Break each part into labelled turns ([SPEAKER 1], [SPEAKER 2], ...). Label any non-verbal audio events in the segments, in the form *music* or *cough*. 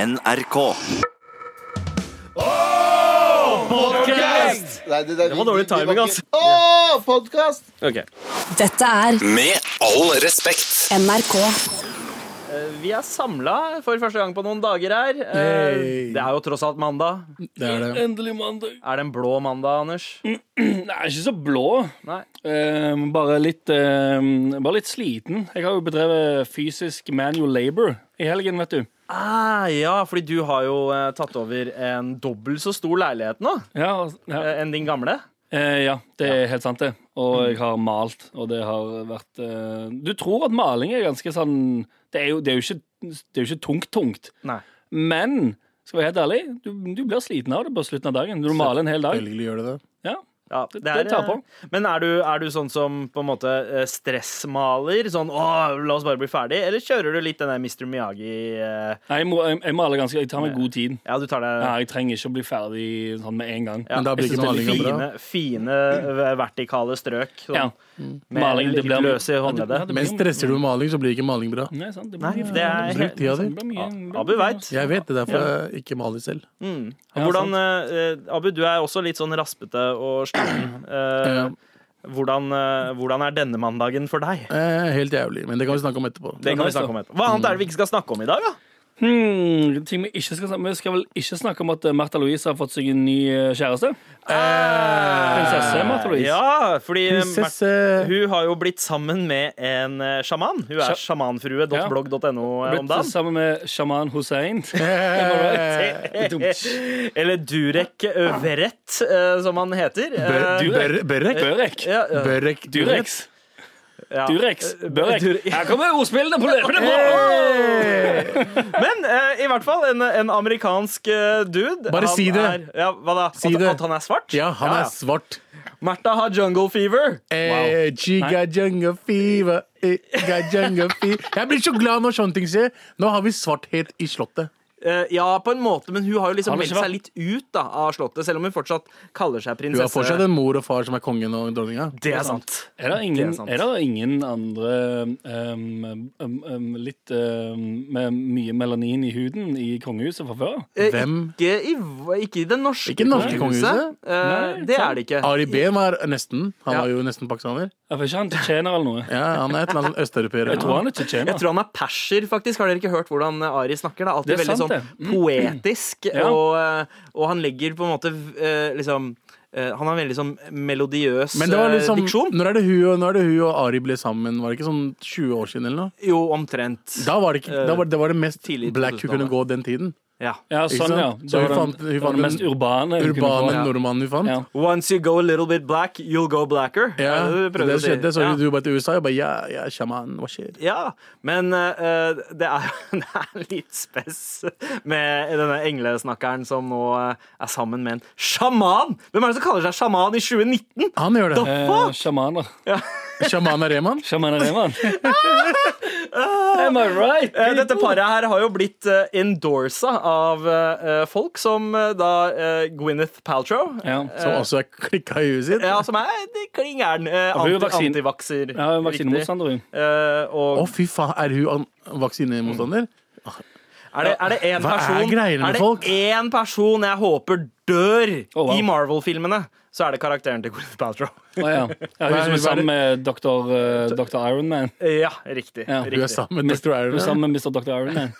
[SPEAKER 1] NRK.
[SPEAKER 2] Nei, det, det,
[SPEAKER 3] var dårlig timing, altså.
[SPEAKER 2] Åh, podcast!
[SPEAKER 3] Ok.
[SPEAKER 4] Dette er
[SPEAKER 1] Med all respekt.
[SPEAKER 4] NRK.
[SPEAKER 3] Eh, Vi er samla for første gang på noen dager her. Eh,
[SPEAKER 5] Hey.
[SPEAKER 3] Det er jo tross alt mandag.
[SPEAKER 5] Det er det.
[SPEAKER 6] Endelig mandag.
[SPEAKER 3] Er det en blå mandag, Anders?
[SPEAKER 6] Nei, ikke så blå.
[SPEAKER 3] Nei.
[SPEAKER 6] Eh, bare, litt, eh, bare litt sliten. Jeg har jo bedrevet fysisk manual labor i helgen, vet du.
[SPEAKER 3] Ah, ja, fordi du har jo eh, tatt over en dobbelt så stor leilighet nå
[SPEAKER 6] Ja, altså, ja.
[SPEAKER 3] eh, enn din gamle.
[SPEAKER 6] Eh, ja Mm. det er helt sant, det. Og jeg har malt, og det har vært eh, Du tror at maling er ganske sånn Det er jo, det er jo ikke det er jo ikke tungt-tungt,
[SPEAKER 3] Nei.
[SPEAKER 6] men skal være helt ærlig, du, du blir sliten av det på slutten av dagen. Du maler en hel dag.
[SPEAKER 5] Selvfølgelig gjør det det.
[SPEAKER 6] Ja.
[SPEAKER 3] Ja,
[SPEAKER 6] Det- det tar på.
[SPEAKER 3] eh, Men er du, er du sånn som på en måte eh, stressmaler? Sånn 'Å, la oss bare bli ferdig'? Eller kjører du litt den der Mr. Miyagi eh,
[SPEAKER 6] Nei, jeg, må, jeg, jeg maler ganske Jeg tar meg god tid.
[SPEAKER 3] Ja, du tar deg
[SPEAKER 6] Ja, jeg trenger ikke å bli ferdig sånn med en gang.
[SPEAKER 3] ja,
[SPEAKER 5] Men da blir
[SPEAKER 3] jeg synes
[SPEAKER 5] ikke
[SPEAKER 3] det er
[SPEAKER 5] malinga
[SPEAKER 3] fine, fine eh, vertikale strøk. Sånn,
[SPEAKER 6] Ja.
[SPEAKER 3] Med
[SPEAKER 6] Maling, det
[SPEAKER 3] litt
[SPEAKER 6] blir-
[SPEAKER 3] løs i
[SPEAKER 6] Ja, det- ja,
[SPEAKER 3] håndleddet.
[SPEAKER 6] det blir-
[SPEAKER 5] Men stresser du maling, så blir ikke maling bra.
[SPEAKER 6] Nei, sant. Det blir
[SPEAKER 3] Nei,
[SPEAKER 6] mye-
[SPEAKER 3] det er-
[SPEAKER 6] blir-
[SPEAKER 5] Bruk tida di.
[SPEAKER 6] blir mye-
[SPEAKER 3] Abu vet.
[SPEAKER 5] Jeg vet det, derfor jeg ikke maler selv.
[SPEAKER 3] Mm.
[SPEAKER 6] Ja,
[SPEAKER 3] Hvordan, eh, Abu, du er også litt sånn raspete og
[SPEAKER 6] *clears throat*
[SPEAKER 3] sliten. Eh,
[SPEAKER 5] Ja.
[SPEAKER 3] hvordan, eh, hvordan er denne mandagen for deg?
[SPEAKER 5] Eh, helt jævlig, men det kan vi snakke om etterpå.
[SPEAKER 3] Det kan vi
[SPEAKER 6] nice,
[SPEAKER 3] snakke om etterpå. Hva annet er det vi ikke skal snakke om i dag, da?
[SPEAKER 6] Hmm, ting vi, ikke skal, snakke- vi skal vel ikke snakke om at eh, Martha Louise har fått seg en ny eh, kjæreste? Prinsesse Martha Louise.
[SPEAKER 3] Ja, fordi eh, Märtha-
[SPEAKER 5] Prinsesse
[SPEAKER 3] hun har jo blitt sammen med en eh, sjaman. Hun er
[SPEAKER 6] Sja-
[SPEAKER 3] sjamanfrue.blogg.no eh, om
[SPEAKER 6] Blitt
[SPEAKER 3] dagen.
[SPEAKER 6] sammen med sjaman
[SPEAKER 3] *laughs*
[SPEAKER 6] Hussein.
[SPEAKER 5] eh,
[SPEAKER 3] Eller Durek Verrett, eh, som han heter. Eh,
[SPEAKER 5] Ber- Ber- Berrek?
[SPEAKER 6] Børek.
[SPEAKER 3] ja, Eh, ja,
[SPEAKER 5] Berrek
[SPEAKER 6] Durex.
[SPEAKER 3] ja.
[SPEAKER 6] Durex. Børek.
[SPEAKER 3] Dur-
[SPEAKER 6] Her kommer ordspillene på løpende bånd!
[SPEAKER 5] Eh,
[SPEAKER 3] Men eh, i hvert fall en, en amerikansk eh, dude.
[SPEAKER 5] Bare
[SPEAKER 3] Han
[SPEAKER 5] si det.
[SPEAKER 3] Er, ja, hva da?
[SPEAKER 5] Si
[SPEAKER 3] at,
[SPEAKER 5] det.
[SPEAKER 3] at han er svart?
[SPEAKER 5] Ja, han er svart.
[SPEAKER 3] Martha har jungle fever.
[SPEAKER 5] Eh, she got jungle fever, eh, got jungle fever. Jeg blir så glad når sånne ting skjer. Nå har vi svarthet i Slottet.
[SPEAKER 3] Eh, ja, på en måte, men hun har jo liksom
[SPEAKER 6] Han er
[SPEAKER 3] meldt
[SPEAKER 6] svart.
[SPEAKER 3] seg litt ut da, av slottet, selv om hun fortsatt kaller seg
[SPEAKER 5] Du
[SPEAKER 3] prinsesse.
[SPEAKER 5] har fortsatt en mor og far som er kongen og dronninga.
[SPEAKER 3] Det er sant.
[SPEAKER 6] Er
[SPEAKER 3] Det
[SPEAKER 6] det
[SPEAKER 3] er
[SPEAKER 6] ingen,
[SPEAKER 3] sant.
[SPEAKER 6] er det ingen andre um, um, um, litt um, med mye melanin i huden i kongehuset fra før?
[SPEAKER 3] Eh,
[SPEAKER 5] Hvem?
[SPEAKER 3] Ikke i, ikke i det norske
[SPEAKER 5] Ikke norske kongehuset.
[SPEAKER 3] Eh,
[SPEAKER 6] Nei,
[SPEAKER 3] det
[SPEAKER 6] sant.
[SPEAKER 3] er det ikke.
[SPEAKER 5] Ari Behn var nesten. Han
[SPEAKER 3] Ja.
[SPEAKER 5] var jo nesten pakistaner.
[SPEAKER 6] Jeg får ikke han tjener eller noe.
[SPEAKER 5] Ja, han er et eller annet østeuropeer.
[SPEAKER 6] Jeg tror han er tjener.
[SPEAKER 3] Jeg tror han er perser, faktisk. Har dere ikke hørt hvordan Ari snakker? Det er alltid
[SPEAKER 6] Det er
[SPEAKER 3] veldig
[SPEAKER 6] sant,
[SPEAKER 5] Mm.
[SPEAKER 3] sånn poetisk,
[SPEAKER 6] Ja.
[SPEAKER 3] og, eh, og han legger på en måte eh, liksom eh, Han har en veldig sånn melodiøs
[SPEAKER 5] Men det var
[SPEAKER 3] eh,
[SPEAKER 5] liksom,
[SPEAKER 3] diksjon.
[SPEAKER 5] når er det hun og, når er det hun og Ari ble sammen? Var det ikke sånn 20 år siden eller noe?
[SPEAKER 3] Jo, omtrent.
[SPEAKER 5] Da var det, ikke, da var, det var det mest
[SPEAKER 3] Tidlig
[SPEAKER 5] black hun kunne
[SPEAKER 3] 2000-tallet.
[SPEAKER 5] gå den tiden.
[SPEAKER 3] Ja.
[SPEAKER 6] Ja,
[SPEAKER 5] Ikke
[SPEAKER 6] sånn,
[SPEAKER 5] sant?
[SPEAKER 6] ja.
[SPEAKER 5] Så
[SPEAKER 6] Det var
[SPEAKER 5] hun
[SPEAKER 6] den,
[SPEAKER 5] fant- hun
[SPEAKER 6] det var
[SPEAKER 5] fant
[SPEAKER 6] den
[SPEAKER 5] den
[SPEAKER 6] mest urbane. hun kunne
[SPEAKER 5] Urbane
[SPEAKER 6] få.
[SPEAKER 5] nordmannen vi fant.
[SPEAKER 6] Ja.
[SPEAKER 5] Ja.
[SPEAKER 3] Once you go a little bit black, you'll go blacker. Er det du
[SPEAKER 5] det,
[SPEAKER 3] prøver å si?
[SPEAKER 5] skjedde, så
[SPEAKER 3] ja.
[SPEAKER 5] hun dro bare til USA og bare Ja, ja, sjaman, hva skjer?
[SPEAKER 3] Ja, men eh, det, er, *laughs* det er litt spess med denne englesnakkeren som nå eh, er sammen med en sjaman! Hvem er det som kaller seg sjaman i 2019?
[SPEAKER 5] Han gjør det. Eh,
[SPEAKER 6] Eh,
[SPEAKER 3] Fuck!
[SPEAKER 6] Sjamaner.
[SPEAKER 5] Sjaman er Reman.
[SPEAKER 6] Sjamaner
[SPEAKER 3] *laughs*
[SPEAKER 6] er man. Am I right?
[SPEAKER 3] Eh, Dette
[SPEAKER 6] people?
[SPEAKER 3] paret her har jo blitt eh, endorsa av eh, folk som eh, da eh, Gwyneth Paltrow. Eh,
[SPEAKER 6] Ja.
[SPEAKER 5] Som også er klikka i huet sitt.
[SPEAKER 3] Ja, som er eh, klingeren. eh,
[SPEAKER 6] hun er
[SPEAKER 3] anti-
[SPEAKER 6] vaksin-
[SPEAKER 3] Antivakser.
[SPEAKER 6] Ja, hun er vaksinemotstander, hun.
[SPEAKER 3] Eh,
[SPEAKER 5] Å,
[SPEAKER 3] og
[SPEAKER 5] fy faen, er hun an- vaksinemotstander?
[SPEAKER 3] er det, er det en
[SPEAKER 5] Hva er
[SPEAKER 3] person
[SPEAKER 5] greiene med
[SPEAKER 3] det
[SPEAKER 5] folk?
[SPEAKER 3] én person jeg håper dør
[SPEAKER 6] Oh, wow.
[SPEAKER 3] i Marvel-filmene, så er det karakteren til Gwyneth Paltrow. *laughs*
[SPEAKER 6] Å, ja. ja, hun som
[SPEAKER 5] Hva er- hva
[SPEAKER 6] er
[SPEAKER 5] er det-
[SPEAKER 6] sammen med Dr. eh, Dr. Ironman.
[SPEAKER 3] *laughs* Ja, riktig.
[SPEAKER 6] Ja.
[SPEAKER 5] Hun er
[SPEAKER 3] riktig.
[SPEAKER 5] sammen med Dr.
[SPEAKER 6] Hun er
[SPEAKER 5] Iron.
[SPEAKER 6] sammen med Mr. Dr.
[SPEAKER 5] *laughs*
[SPEAKER 6] Ironman.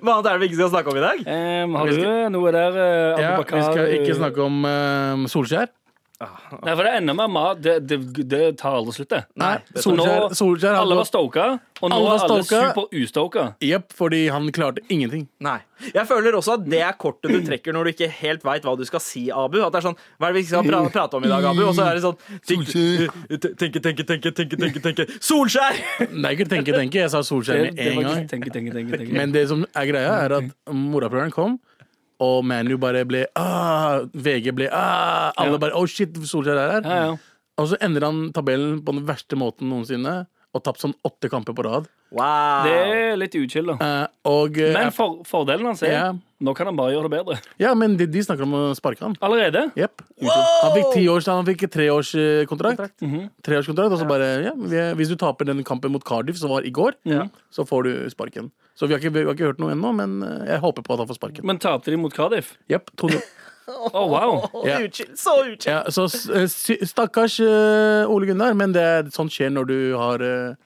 [SPEAKER 3] Hva annet er det vi ikke skal snakke om i dag?
[SPEAKER 6] Um, har du noe der, eh, Abu
[SPEAKER 5] Ja, vi
[SPEAKER 6] Bakar?
[SPEAKER 5] skal ikke snakke om eh, Solskjær.
[SPEAKER 6] Nei, for det ender med mat. Det, det, det tar aldri slutt, det.
[SPEAKER 5] Nei,
[SPEAKER 6] Nå-
[SPEAKER 5] Solskjær, Solskjær hadde
[SPEAKER 6] Alle var stoka, og nå er
[SPEAKER 5] Alle var
[SPEAKER 6] alle
[SPEAKER 5] stoka.
[SPEAKER 6] super-ustoka.
[SPEAKER 5] Jepp, fordi han klarte ingenting.
[SPEAKER 3] Nei. Jeg føler også at det er kortet du trekker når du ikke helt veit hva du skal si, Abu. At det er sånn Hva er det vi skal pra prate om i dag, Abu? Og så er det sånn tenk- eh, Tenke, tenke, tenke, tenke, tenke, tenke. Solskjær!
[SPEAKER 5] Nei, ikke tenke, tenke. Jeg sa Solskjær med en gang.
[SPEAKER 6] Tenke, tenke, tenke, tenke.
[SPEAKER 5] Men det som er greia, er at morapuleren kom, og ManU bare ble ah, VG ble ah, Alle
[SPEAKER 6] Ja.
[SPEAKER 5] bare Oh shit, Solskjær er her.
[SPEAKER 6] ja, ja.
[SPEAKER 5] Og så endrer han tabellen på den verste måten noensinne. og tapt sånn åtte kamper på rad.
[SPEAKER 3] Wow.
[SPEAKER 6] Det er litt uchill, da.
[SPEAKER 5] Eh, og eh,
[SPEAKER 6] Men for, fordelen hans er
[SPEAKER 5] Ja.
[SPEAKER 6] nå kan han bare gjøre det bedre.
[SPEAKER 5] Ja, men de, de snakker om å sparke han.
[SPEAKER 6] Allerede.
[SPEAKER 5] Jepp. Han fikk ti års, eh, han fikk treårskontrakt.
[SPEAKER 6] mhm.
[SPEAKER 5] Treårskontrakt, og så bare ja, vi- Hvis du taper den kampen mot Cardiff som var i går, så får du sparken. Så vi har ikke, vi har ikke hørt noe ennå, men eh, jeg håper på at han får sparken.
[SPEAKER 6] Men tapte de mot Cardiff? *laughs*
[SPEAKER 5] Jepp. 2-0.
[SPEAKER 6] Å, wow.
[SPEAKER 3] Å,
[SPEAKER 5] Ja.
[SPEAKER 3] utkjent, Så utkjent.
[SPEAKER 5] Ja, så s- eh, sy- stakkars eh, Ole Gunnar, men det er sånt skjer når du har eh,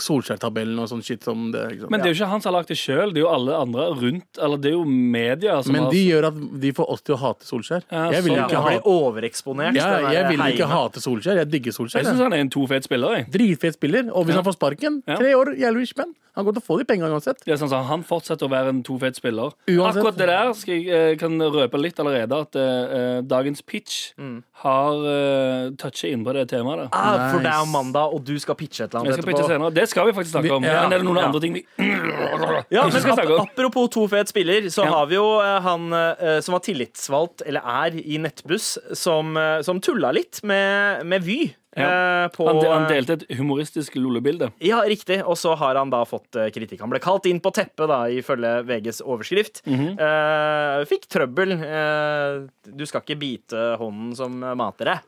[SPEAKER 5] Solskjær-tabellen og sånn shit som det. Ikke sant?
[SPEAKER 6] Men det er jo ikke han som har lagd det sjøl, det er jo alle andre rundt. Eller det er jo media som
[SPEAKER 5] men
[SPEAKER 6] har
[SPEAKER 5] de gjør at de får oss til å hate Solskjær.
[SPEAKER 6] Ja,
[SPEAKER 5] Jeg vil
[SPEAKER 6] sånn,
[SPEAKER 5] jo
[SPEAKER 3] Ja,
[SPEAKER 5] ikke,
[SPEAKER 3] han blir
[SPEAKER 5] hate,
[SPEAKER 3] overeksponert.
[SPEAKER 5] ja,
[SPEAKER 3] den der
[SPEAKER 5] jeg vil jo ikke
[SPEAKER 3] heimen.
[SPEAKER 5] hate Solskjær. Jeg digger Solskjær.
[SPEAKER 6] Jeg
[SPEAKER 5] jeg.
[SPEAKER 6] syns han er en to fet spiller. Jeg.
[SPEAKER 5] Dritfet spiller. Og hvis han får sparken,
[SPEAKER 6] Ja.
[SPEAKER 5] tre år, jævlig men han går til å få de penga uansett.
[SPEAKER 6] Det er sånn som Han fortsetter å være en to fet spiller.
[SPEAKER 5] Uansett.
[SPEAKER 6] Akkurat det der skal jeg, eh, kan røpe litt allerede, at eh, eh, dagens pitch
[SPEAKER 5] Mm.
[SPEAKER 6] har uh, touchet inn på det temaet. der
[SPEAKER 3] Ah, for det er jo
[SPEAKER 5] Nice.
[SPEAKER 3] mandag, og du skal pitche et eller
[SPEAKER 6] Jeg
[SPEAKER 3] annet
[SPEAKER 6] skal pitche senere. Det skal vi faktisk snakke om.
[SPEAKER 5] Ja.
[SPEAKER 6] Men det er noen
[SPEAKER 3] Ja.
[SPEAKER 6] andre ting vi *clears throat*
[SPEAKER 3] Ja,
[SPEAKER 6] ikke
[SPEAKER 3] men
[SPEAKER 6] skal snakke
[SPEAKER 3] ap
[SPEAKER 6] om.
[SPEAKER 3] apropos to fet spiller, så
[SPEAKER 6] Ja.
[SPEAKER 3] har vi jo eh, han eh, som var tillitsvalgt, eller er, i Nettbuss, som, eh, som tulla litt med, med Vy. eh, På,
[SPEAKER 6] Han, de, han delte et humoristisk lollebilde.
[SPEAKER 3] Ja, riktig. Og så har han da fått eh, kritikk. Han ble kalt inn på teppet, da, ifølge VGs overskrift. Eh, fikk trøbbel. Eh, du skal ikke bite hånden som mater deg.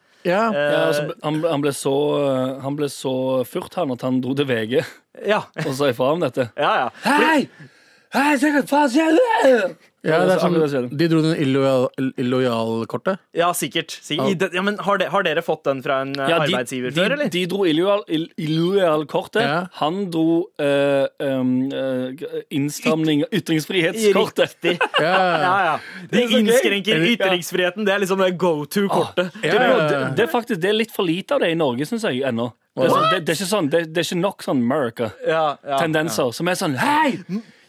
[SPEAKER 6] Ja,
[SPEAKER 5] Ja.
[SPEAKER 3] Eh,
[SPEAKER 6] altså, han, ble- han, ble så, eh, han ble så furt, han, at han dro til VG *laughs*
[SPEAKER 3] ja, *laughs*
[SPEAKER 6] og sa ifra om dette.
[SPEAKER 3] ja, ja.
[SPEAKER 6] Hei! Hei, se hva faen skjer det?
[SPEAKER 5] Ja, det er
[SPEAKER 6] akkurat
[SPEAKER 5] sånn,
[SPEAKER 6] det.
[SPEAKER 5] de dro den illojal-
[SPEAKER 6] *laughs*
[SPEAKER 5] illojal-kortet.
[SPEAKER 3] ja sikkert. sikkert. I det- Ja, men har, de, har dere fått den fra en eh,
[SPEAKER 6] Ja,
[SPEAKER 3] arbeidsgiver
[SPEAKER 6] de,
[SPEAKER 3] før, eller?
[SPEAKER 6] De dro illojal- ill- illojal-kortet.
[SPEAKER 5] Ja.
[SPEAKER 6] Han dro eh, em, eh, innstramning ytringsfrihetskortet.
[SPEAKER 3] Riktig.
[SPEAKER 5] Ja.
[SPEAKER 3] Ja, ja. De
[SPEAKER 6] er så gøy.
[SPEAKER 3] innskrenker
[SPEAKER 6] Ja.
[SPEAKER 3] ytringsfriheten. Det er liksom det go to-kortet.
[SPEAKER 5] Ja.
[SPEAKER 6] Det, er jo- det, det, er faktisk, det er litt for lite av det i Norge, syns jeg ennå. Det er, sånn, det, det, er ikke sånn, det, det er ikke nok sånn America-tendenser
[SPEAKER 3] Ja, ja.
[SPEAKER 6] som er sånn Hei!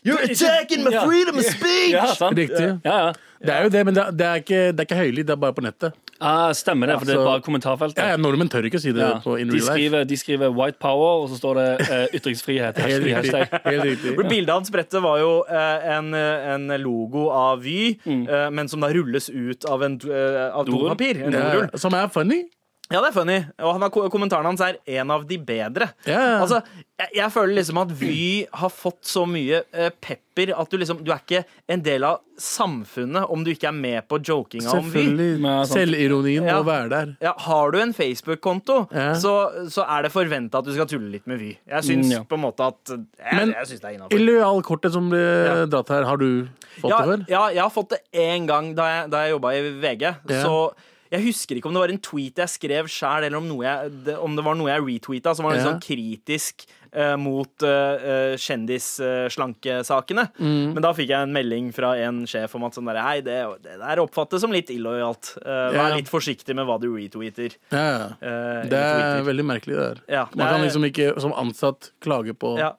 [SPEAKER 3] You're attacking my freedom of speech!
[SPEAKER 6] Ja, sant?
[SPEAKER 5] Riktig.
[SPEAKER 6] Ja, ja.
[SPEAKER 5] Det er jo det, men det er, det er ikke, det er ikke høylytt, det er bare på nettet.
[SPEAKER 6] Ah, stemmer det, for det
[SPEAKER 5] så-
[SPEAKER 3] Altså,
[SPEAKER 6] er bare kommentarfeltet.
[SPEAKER 5] Ja, ja, Nordmenn tør ikke å si det
[SPEAKER 6] Ja.
[SPEAKER 5] eh, på in
[SPEAKER 6] De,
[SPEAKER 5] real life.
[SPEAKER 6] skriver, de skriver 'white power', og så står det eh, 'ytringsfrihet'.
[SPEAKER 5] *laughs* Helt
[SPEAKER 6] Hashtag,
[SPEAKER 5] riktig.
[SPEAKER 6] hashtag.
[SPEAKER 5] Helt riktig.
[SPEAKER 3] For Bildet hans brettet var jo eh, en, en logo av Vy,
[SPEAKER 5] Mm.
[SPEAKER 3] eh, men som da rulles ut av, en, do- eh, av
[SPEAKER 6] Dorull.
[SPEAKER 3] dopapir. En
[SPEAKER 5] Ja,
[SPEAKER 3] dorull.
[SPEAKER 5] ja, som er funny.
[SPEAKER 3] Ja, det er funny. Og han har, ko- kommentaren hans er 'en av de bedre'.
[SPEAKER 5] Ja.
[SPEAKER 3] Altså, jeg, jeg føler liksom at Vy har fått så mye eh, pepper at du liksom Du er ikke en del av samfunnet om du ikke er med på jokinga om Vy.
[SPEAKER 5] Selvfølgelig.
[SPEAKER 6] Ja, sant.
[SPEAKER 5] Selvironien må
[SPEAKER 3] Ja.
[SPEAKER 5] være der.
[SPEAKER 3] ja, har du en Facebook-konto,
[SPEAKER 5] Ja.
[SPEAKER 3] så, så er det forventa at du skal tulle litt med Vy. Jeg syns
[SPEAKER 6] Mm, ja.
[SPEAKER 3] på en måte at jeg,
[SPEAKER 5] Men-
[SPEAKER 3] jeg syns det er innafor.
[SPEAKER 5] Illojal-kortet som ble dratt her, har du fått
[SPEAKER 3] Ja,
[SPEAKER 5] det før?
[SPEAKER 3] ja, jeg har fått det én gang da jeg, da jeg jobba i VG.
[SPEAKER 5] Ja.
[SPEAKER 3] Så jeg husker ikke om det var en tweet jeg skrev sjæl, eller om, noe jeg, det- om det var noe jeg retweeta som var litt
[SPEAKER 5] Ja.
[SPEAKER 3] sånn kritisk eh, mot uh, kjendisslanke-sakene.
[SPEAKER 5] Mm.
[SPEAKER 3] Men da fikk jeg en melding fra en sjef om at sånn der, hei, det, det der oppfattes som litt illojalt. Eh,
[SPEAKER 5] Ja.
[SPEAKER 3] Vær litt forsiktig med hva du retweeter.
[SPEAKER 5] Ja, ja.
[SPEAKER 3] eh,
[SPEAKER 5] Det
[SPEAKER 3] retweeter.
[SPEAKER 5] er veldig merkelig, det der.
[SPEAKER 3] Ja,
[SPEAKER 5] Man kan
[SPEAKER 3] det er-
[SPEAKER 5] liksom ikke som ansatt klage på
[SPEAKER 3] Ja.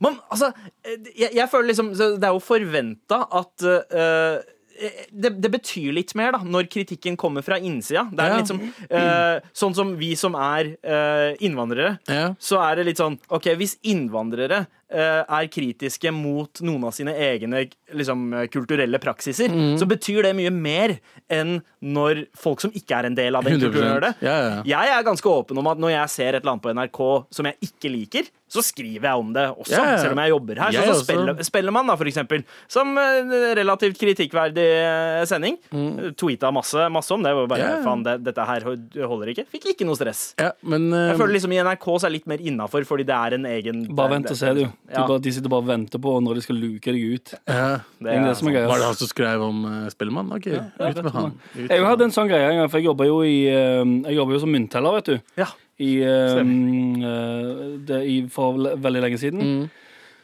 [SPEAKER 3] Men altså, eh, jeg, jeg føler liksom så Det er jo forventa at eh, eh, det, det betyr litt mer da når kritikken kommer fra innsida. Det er
[SPEAKER 5] Ja.
[SPEAKER 3] liksom, eh, sånn som vi som er eh, innvandrere.
[SPEAKER 5] Ja.
[SPEAKER 3] Så er det litt sånn OK, hvis innvandrere eh, er kritiske mot noen av sine egne liksom, eh, kulturelle praksiser,
[SPEAKER 5] Mm.
[SPEAKER 3] så betyr det mye mer enn når folk som ikke er en del av den
[SPEAKER 5] 100%.
[SPEAKER 3] kulturen, gjør det.
[SPEAKER 5] Ja, ja, ja.
[SPEAKER 3] Jeg er ganske åpen om at når jeg ser et eller annet på NRK som jeg ikke liker, så skriver jeg om det også,
[SPEAKER 5] Ja, ja.
[SPEAKER 3] selv om jeg jobber her.
[SPEAKER 5] Jeg
[SPEAKER 3] sånn
[SPEAKER 5] også.
[SPEAKER 3] som Spelle, Spellemann, da, for eksempel, som eh, relativt kritikkverdig eh, sending. Tweeta masse, masse om det. og Bare,
[SPEAKER 5] Mm. Ja, ja.
[SPEAKER 3] faen, det, dette her holder ikke. Fikk ikke noe stress.
[SPEAKER 5] Ja, men eh,
[SPEAKER 3] Jeg føler liksom I NRK så er det litt mer innafor, fordi det er en egen
[SPEAKER 6] Bare vent og se, du. du
[SPEAKER 3] Ja.
[SPEAKER 6] bare, de sitter bare og venter på når de skal luke deg ut.
[SPEAKER 5] ja.
[SPEAKER 6] Det er det som er
[SPEAKER 5] Var altså- det
[SPEAKER 6] greia.
[SPEAKER 5] han som skrev om uh, Spellemann? OK, ut med han. Ut med
[SPEAKER 6] Jeg
[SPEAKER 5] han.
[SPEAKER 6] hadde en sånn greie en gang, for jeg jobba jo i eh, Jeg jobba jo som myntteller, vet du.
[SPEAKER 3] Ja.
[SPEAKER 6] I, eh, eh, det, i, for le- veldig lenge siden.
[SPEAKER 5] Mm.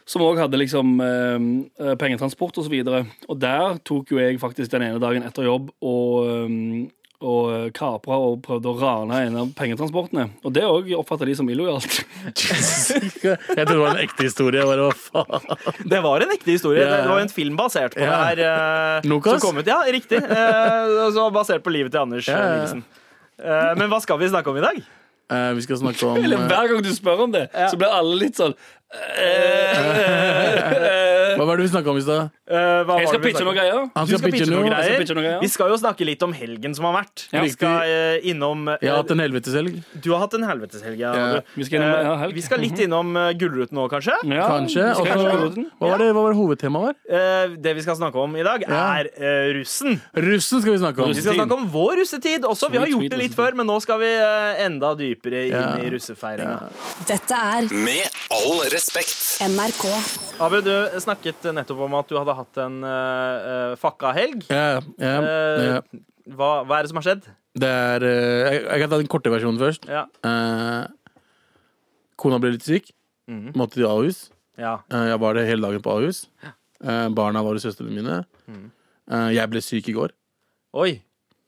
[SPEAKER 6] Som òg hadde liksom eh, eh, pengetransport og så videre. Og der tok jo jeg faktisk den ene dagen etter jobb og, eh, og kapra og prøvde å rane en av pengetransportene. Og det òg oppfatta de som illojalt.
[SPEAKER 5] Jeg trodde det var en ekte historie. Jeg bare, hva faen?
[SPEAKER 3] Det var en ekte historie.
[SPEAKER 5] Ja.
[SPEAKER 3] Det- Det var jo en film basert på
[SPEAKER 5] Ja.
[SPEAKER 3] det
[SPEAKER 6] *laughs*
[SPEAKER 3] her. eh,
[SPEAKER 5] Nokas?
[SPEAKER 3] Som kom ut, ja, riktig. Eh, så basert på livet til Anders
[SPEAKER 5] ja, ja.
[SPEAKER 3] eh, Nilsen. Eh, men hva skal vi snakke om i dag?
[SPEAKER 5] Eh, vi skal snakke *laughs* om
[SPEAKER 6] Eller
[SPEAKER 5] eh,
[SPEAKER 6] hver gang du spør om det, så blir alle litt sånn eh, eh,
[SPEAKER 5] Hva var det vi snakka om i stad?
[SPEAKER 3] Eh, hva
[SPEAKER 6] Jeg
[SPEAKER 3] var det
[SPEAKER 6] skal
[SPEAKER 3] vi
[SPEAKER 6] pitche noen
[SPEAKER 3] snakket om?
[SPEAKER 6] greier.
[SPEAKER 5] Han
[SPEAKER 3] Du skal pitche noen
[SPEAKER 6] Jeg skal
[SPEAKER 3] greier.
[SPEAKER 6] pitche noen greier.
[SPEAKER 3] Vi skal jo snakke litt om helgen som har vært.
[SPEAKER 6] Ja.
[SPEAKER 3] Vi skal eh, innom eh,
[SPEAKER 5] Jeg har hatt en helveteshelg.
[SPEAKER 3] Du har hatt en helveteshelg. Ja.
[SPEAKER 5] Ja,
[SPEAKER 3] du.
[SPEAKER 6] vi skal innom-
[SPEAKER 3] Eh,
[SPEAKER 6] ja, helg. Mhm.
[SPEAKER 3] vi skal litt innom uh, Gullruten òg, kanskje.
[SPEAKER 6] Ja,
[SPEAKER 5] Kanskje.
[SPEAKER 6] vi skal
[SPEAKER 5] og så-
[SPEAKER 6] kanskje gå den.
[SPEAKER 5] hva var det, hva var det hovedtemaet var?
[SPEAKER 3] Eh, det vi skal snakke om i dag,
[SPEAKER 5] Ja.
[SPEAKER 3] er eh, russen.
[SPEAKER 5] Russen skal vi snakke om.
[SPEAKER 3] Vi skal
[SPEAKER 6] Russetid.
[SPEAKER 3] snakke om vår russetid også. Vi har
[SPEAKER 6] Sweet,
[SPEAKER 3] gjort
[SPEAKER 6] sweet
[SPEAKER 3] det litt
[SPEAKER 6] russetid.
[SPEAKER 3] før, men nå skal vi eh, enda dypere
[SPEAKER 5] Ja.
[SPEAKER 3] inn i russefeiringa.
[SPEAKER 2] Dette er
[SPEAKER 1] Med all respekt.
[SPEAKER 2] NRK.
[SPEAKER 3] Abu, du snakket nettopp om at du hadde hatt en eh, eh, fakka helg.
[SPEAKER 5] Ja, ja,
[SPEAKER 3] Eh,
[SPEAKER 5] ja.
[SPEAKER 3] hva, hva er det som har skjedd?
[SPEAKER 5] Det er eh, jeg, jeg kan ta den korte versjonen først.
[SPEAKER 3] Ja.
[SPEAKER 5] Eh, kona ble litt syk.
[SPEAKER 3] Mhm.
[SPEAKER 5] Måtte til Ahus.
[SPEAKER 3] ja.
[SPEAKER 5] Eh, jeg var det hele dagen på Ahus. Eh, barna var hos søstrene mine.
[SPEAKER 3] Mhm.
[SPEAKER 5] Eh, jeg ble syk i går,
[SPEAKER 3] Oi.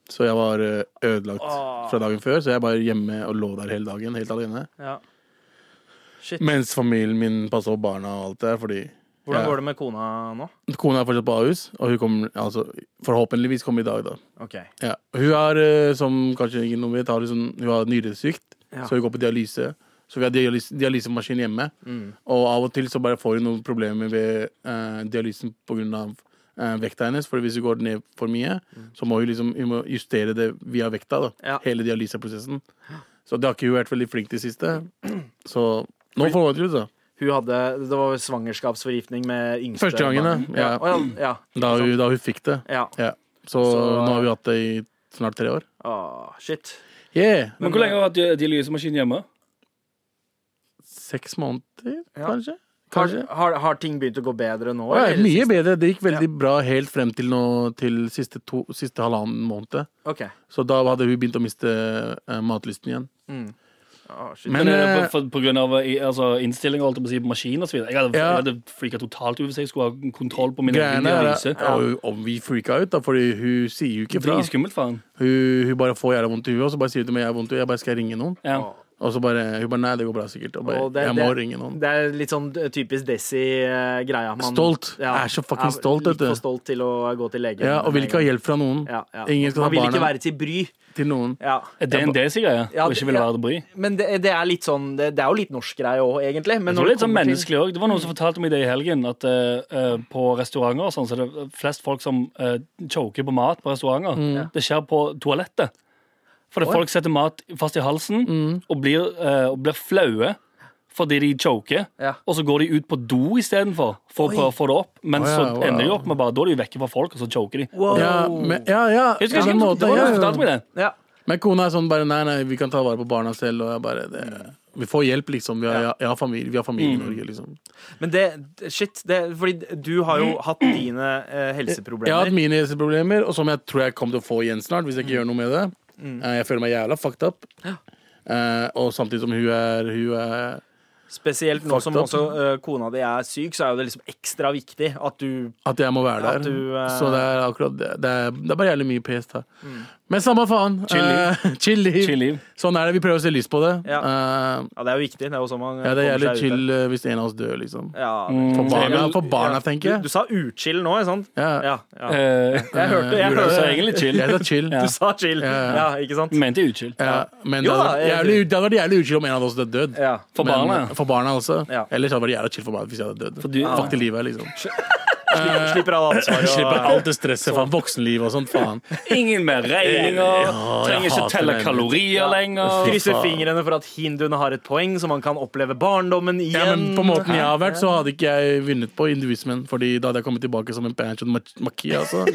[SPEAKER 5] så jeg var eh, ødelagt
[SPEAKER 3] Åh.
[SPEAKER 5] fra dagen før. Så jeg bare hjemme og lå der hele dagen, helt alene.
[SPEAKER 3] Ja. Shit.
[SPEAKER 5] Mens familien min passa på barna og alt det der, fordi
[SPEAKER 3] Hvordan
[SPEAKER 5] Ja.
[SPEAKER 3] går det med kona nå?
[SPEAKER 5] Kona er fortsatt på Ahus, og hun kommer, altså, forhåpentligvis kommer i dag, da.
[SPEAKER 3] OK.
[SPEAKER 5] Ja. Hun har, eh, som kanskje ikke noen vet, har liksom, hun har nyresvikt,
[SPEAKER 3] Ja.
[SPEAKER 5] så hun går på dialyse. Så vi har dialyse, dialysemaskin hjemme,
[SPEAKER 3] Mm.
[SPEAKER 5] og av og til så bare får hun noen problemer ved eh, dialysen pga. Uh, vekta hennes, for hvis hun går ned for mye, så må hun liksom hun må justere det via vekta. da
[SPEAKER 3] Mm. Ja.
[SPEAKER 5] Hele dialyseprosessen. Så det har ikke hun vært veldig flink til siste.
[SPEAKER 3] Mm.
[SPEAKER 5] Så nå får hun det ut, da.
[SPEAKER 3] Hun hadde, det var svangerskapsforgiftning med yngste
[SPEAKER 5] Første gangen,
[SPEAKER 3] barn.
[SPEAKER 5] ja.
[SPEAKER 3] Ja. å, ja.
[SPEAKER 5] Da hun, da hun fikk det.
[SPEAKER 3] ja. ja.
[SPEAKER 5] Ja. Så,
[SPEAKER 3] Så- eh,
[SPEAKER 5] nå har vi hatt det i snart tre år.
[SPEAKER 3] Å, shit.
[SPEAKER 5] Yeah!
[SPEAKER 6] Men hvor lenge har du hatt dialysemaskin hjemme?
[SPEAKER 5] Seks måneder,
[SPEAKER 3] Ja.
[SPEAKER 5] kanskje?
[SPEAKER 3] Har,
[SPEAKER 5] Kanskje?
[SPEAKER 3] har, har ting begynt å gå bedre nå?
[SPEAKER 5] Å, ja,
[SPEAKER 3] eller?
[SPEAKER 5] mye bedre. Det gikk veldig bra helt frem til nå, til siste, to, siste halvannen måned.
[SPEAKER 3] Ok.
[SPEAKER 5] Så da hadde hun begynt å miste eh, matlysten igjen.
[SPEAKER 3] Å, shit.
[SPEAKER 5] Men,
[SPEAKER 6] Men er det
[SPEAKER 5] eh,
[SPEAKER 6] på, for, på grunn av eh, i- altså, innstilling og alt det på å si på maskin og så videre Jeg hadde,
[SPEAKER 5] Ja.
[SPEAKER 6] jeg hadde freaka totalt ut hvis jeg skulle ha kontroll på min egen
[SPEAKER 5] greiene er
[SPEAKER 6] dialyse.
[SPEAKER 5] at og- om vi freaka ut, da, fordi hun sier jo ikke fra.
[SPEAKER 6] Dritskummelt, faen.
[SPEAKER 5] Hun, hun bare får jævla vondt i huet, og så bare sier hun til meg jeg har vondt i huet. Jeg bare skal jeg ringe noen.
[SPEAKER 6] Ja.
[SPEAKER 5] Og så bare Hun bare nei, det går bra, sikkert. Og bare,
[SPEAKER 3] Og det-
[SPEAKER 5] jeg må
[SPEAKER 3] det-
[SPEAKER 5] ringe noen.
[SPEAKER 3] Det er litt sånn typisk eh, Desi-greia.
[SPEAKER 5] Stolt. Jeg er så fucking stolt,
[SPEAKER 3] Litt
[SPEAKER 5] vet du.
[SPEAKER 3] for stolt til å gå til legen.
[SPEAKER 5] Ja, og vil ikke ha hjelp fra noen.
[SPEAKER 3] Ja, ja.
[SPEAKER 5] Ingen skal
[SPEAKER 3] Man
[SPEAKER 5] ta
[SPEAKER 3] vil ikke
[SPEAKER 5] barna
[SPEAKER 3] være til bry.
[SPEAKER 5] til noen.
[SPEAKER 3] Ja.
[SPEAKER 6] Er det en desi-greie?
[SPEAKER 3] Ja,
[SPEAKER 6] Å
[SPEAKER 3] det-
[SPEAKER 6] ikke ville
[SPEAKER 3] ja.
[SPEAKER 6] være det bry?
[SPEAKER 3] Men det, det er litt sånn Det, det er jo litt norsk greie òg, egentlig. Men når
[SPEAKER 6] Jeg tror det er litt sånn
[SPEAKER 3] kommer til-
[SPEAKER 6] menneskelig også. Det var noen som fortalte meg det i helgen, at eh, eh, på restauranter og sånn, så er det flest folk som eh, choker på mat på restauranter. Det skjer på toalettet. For det er folk setter mat fast i halsen og, blir, eh, og blir flaue fordi de choker.
[SPEAKER 3] Ja.
[SPEAKER 6] Og så går de ut på do istedenfor for å prøve å få det opp, men
[SPEAKER 5] Å ja,
[SPEAKER 6] så
[SPEAKER 5] wow.
[SPEAKER 6] ender de opp med bare Da er de vekke fra folk, og så choker de.
[SPEAKER 3] Wow.
[SPEAKER 5] Ja, men, ja, ja.
[SPEAKER 6] Jeg husker
[SPEAKER 5] ja,
[SPEAKER 6] ikke hvem
[SPEAKER 5] den
[SPEAKER 6] som-
[SPEAKER 5] måten,
[SPEAKER 6] det var
[SPEAKER 5] ja,
[SPEAKER 6] noen som
[SPEAKER 5] ja.
[SPEAKER 6] fortalte meg det.
[SPEAKER 3] ja.
[SPEAKER 5] Men kona er sånn bare nei, nei, vi kan ta vare på barna selv. Og jeg bare, det, Vi får hjelp, liksom. Vi har, jeg, har familie, vi har
[SPEAKER 6] Mm.
[SPEAKER 5] familie i Norge, liksom.
[SPEAKER 3] Men det Shit. Det, fordi du har jo hatt dine eh,
[SPEAKER 5] Jeg har hatt
[SPEAKER 3] helseproblemer.
[SPEAKER 5] mine helseproblemer, og som jeg tror jeg kommer til å få igjen snart. Hvis jeg
[SPEAKER 6] Mm.
[SPEAKER 5] ikke gjør noe med det
[SPEAKER 3] Mm.
[SPEAKER 5] Eh, Jeg føler meg jævla fucked up. Eh, og samtidig som hun er, hun er
[SPEAKER 3] Spesielt nå
[SPEAKER 5] Fucked
[SPEAKER 3] som
[SPEAKER 5] up.
[SPEAKER 3] også eh, kona di er syk, så er jo det liksom ekstra viktig at du
[SPEAKER 5] At jeg må være
[SPEAKER 3] At
[SPEAKER 5] der.
[SPEAKER 3] du, eh, Mm.
[SPEAKER 5] Så det er akkurat det. Det er, det er bare jævlig mye pes da. Men samme faen.
[SPEAKER 6] Chill liv.
[SPEAKER 5] Eh, *laughs* chill liv.
[SPEAKER 6] Chill liv.
[SPEAKER 5] Sånn er det. Vi prøver å se lyst på det. Eh,
[SPEAKER 3] Ja, det er jo viktig. Det er jo sånn man
[SPEAKER 5] ja, det er
[SPEAKER 3] kommer seg
[SPEAKER 5] jævlig
[SPEAKER 3] ut av-
[SPEAKER 5] chill eh, hvis en av oss dør, liksom.
[SPEAKER 3] Ja,
[SPEAKER 5] For barna,
[SPEAKER 6] vel-
[SPEAKER 5] for barna tenker
[SPEAKER 3] Du,
[SPEAKER 5] jeg.
[SPEAKER 3] du sa utchill nå, ikke sant?
[SPEAKER 5] Ja.
[SPEAKER 3] Ja, ja.
[SPEAKER 6] Eh,
[SPEAKER 3] Jeg
[SPEAKER 6] *laughs*
[SPEAKER 3] hørte jeg
[SPEAKER 5] gjorde
[SPEAKER 6] så
[SPEAKER 3] hørte
[SPEAKER 6] er egentlig
[SPEAKER 5] *laughs*
[SPEAKER 6] chill.
[SPEAKER 5] Jeg sa chill.
[SPEAKER 3] Du sa chill.
[SPEAKER 5] ja.
[SPEAKER 3] Ja, ikke sant?
[SPEAKER 6] Mente jeg uchill.
[SPEAKER 5] Ja, men
[SPEAKER 3] Jo
[SPEAKER 5] det
[SPEAKER 3] da,
[SPEAKER 5] hadde
[SPEAKER 3] jeg-
[SPEAKER 5] vært jævlig- det hadde vært jævlig uchill om en av oss døde død.
[SPEAKER 3] Ja.
[SPEAKER 6] For
[SPEAKER 5] Men-
[SPEAKER 6] barna, ja.
[SPEAKER 5] For barna også.
[SPEAKER 3] Ja.
[SPEAKER 5] Ellers hadde det vært jævlig chill for meg hvis jeg hadde dødd.
[SPEAKER 6] du-
[SPEAKER 5] Fuck til livet, liksom.
[SPEAKER 3] Slipper alle ansvar og
[SPEAKER 5] Eh, *laughs* Slipper alt det stresset fra voksenliv og sånt, faen.
[SPEAKER 6] Ingen mer regninger.
[SPEAKER 5] Ja, jeg
[SPEAKER 6] trenger ikke
[SPEAKER 5] hater
[SPEAKER 6] telle
[SPEAKER 5] regninger.
[SPEAKER 6] kalorier lenger.
[SPEAKER 3] Krysser
[SPEAKER 5] faen.
[SPEAKER 3] fingrene for at hinduene har et poeng, så man kan oppleve barndommen igjen.
[SPEAKER 5] Ja, men på måten jeg har vært, så hadde ikke jeg vunnet på hinduismen. Fordi da hadde jeg kommet tilbake som en Panchon Maki,
[SPEAKER 3] *laughs*
[SPEAKER 5] altså.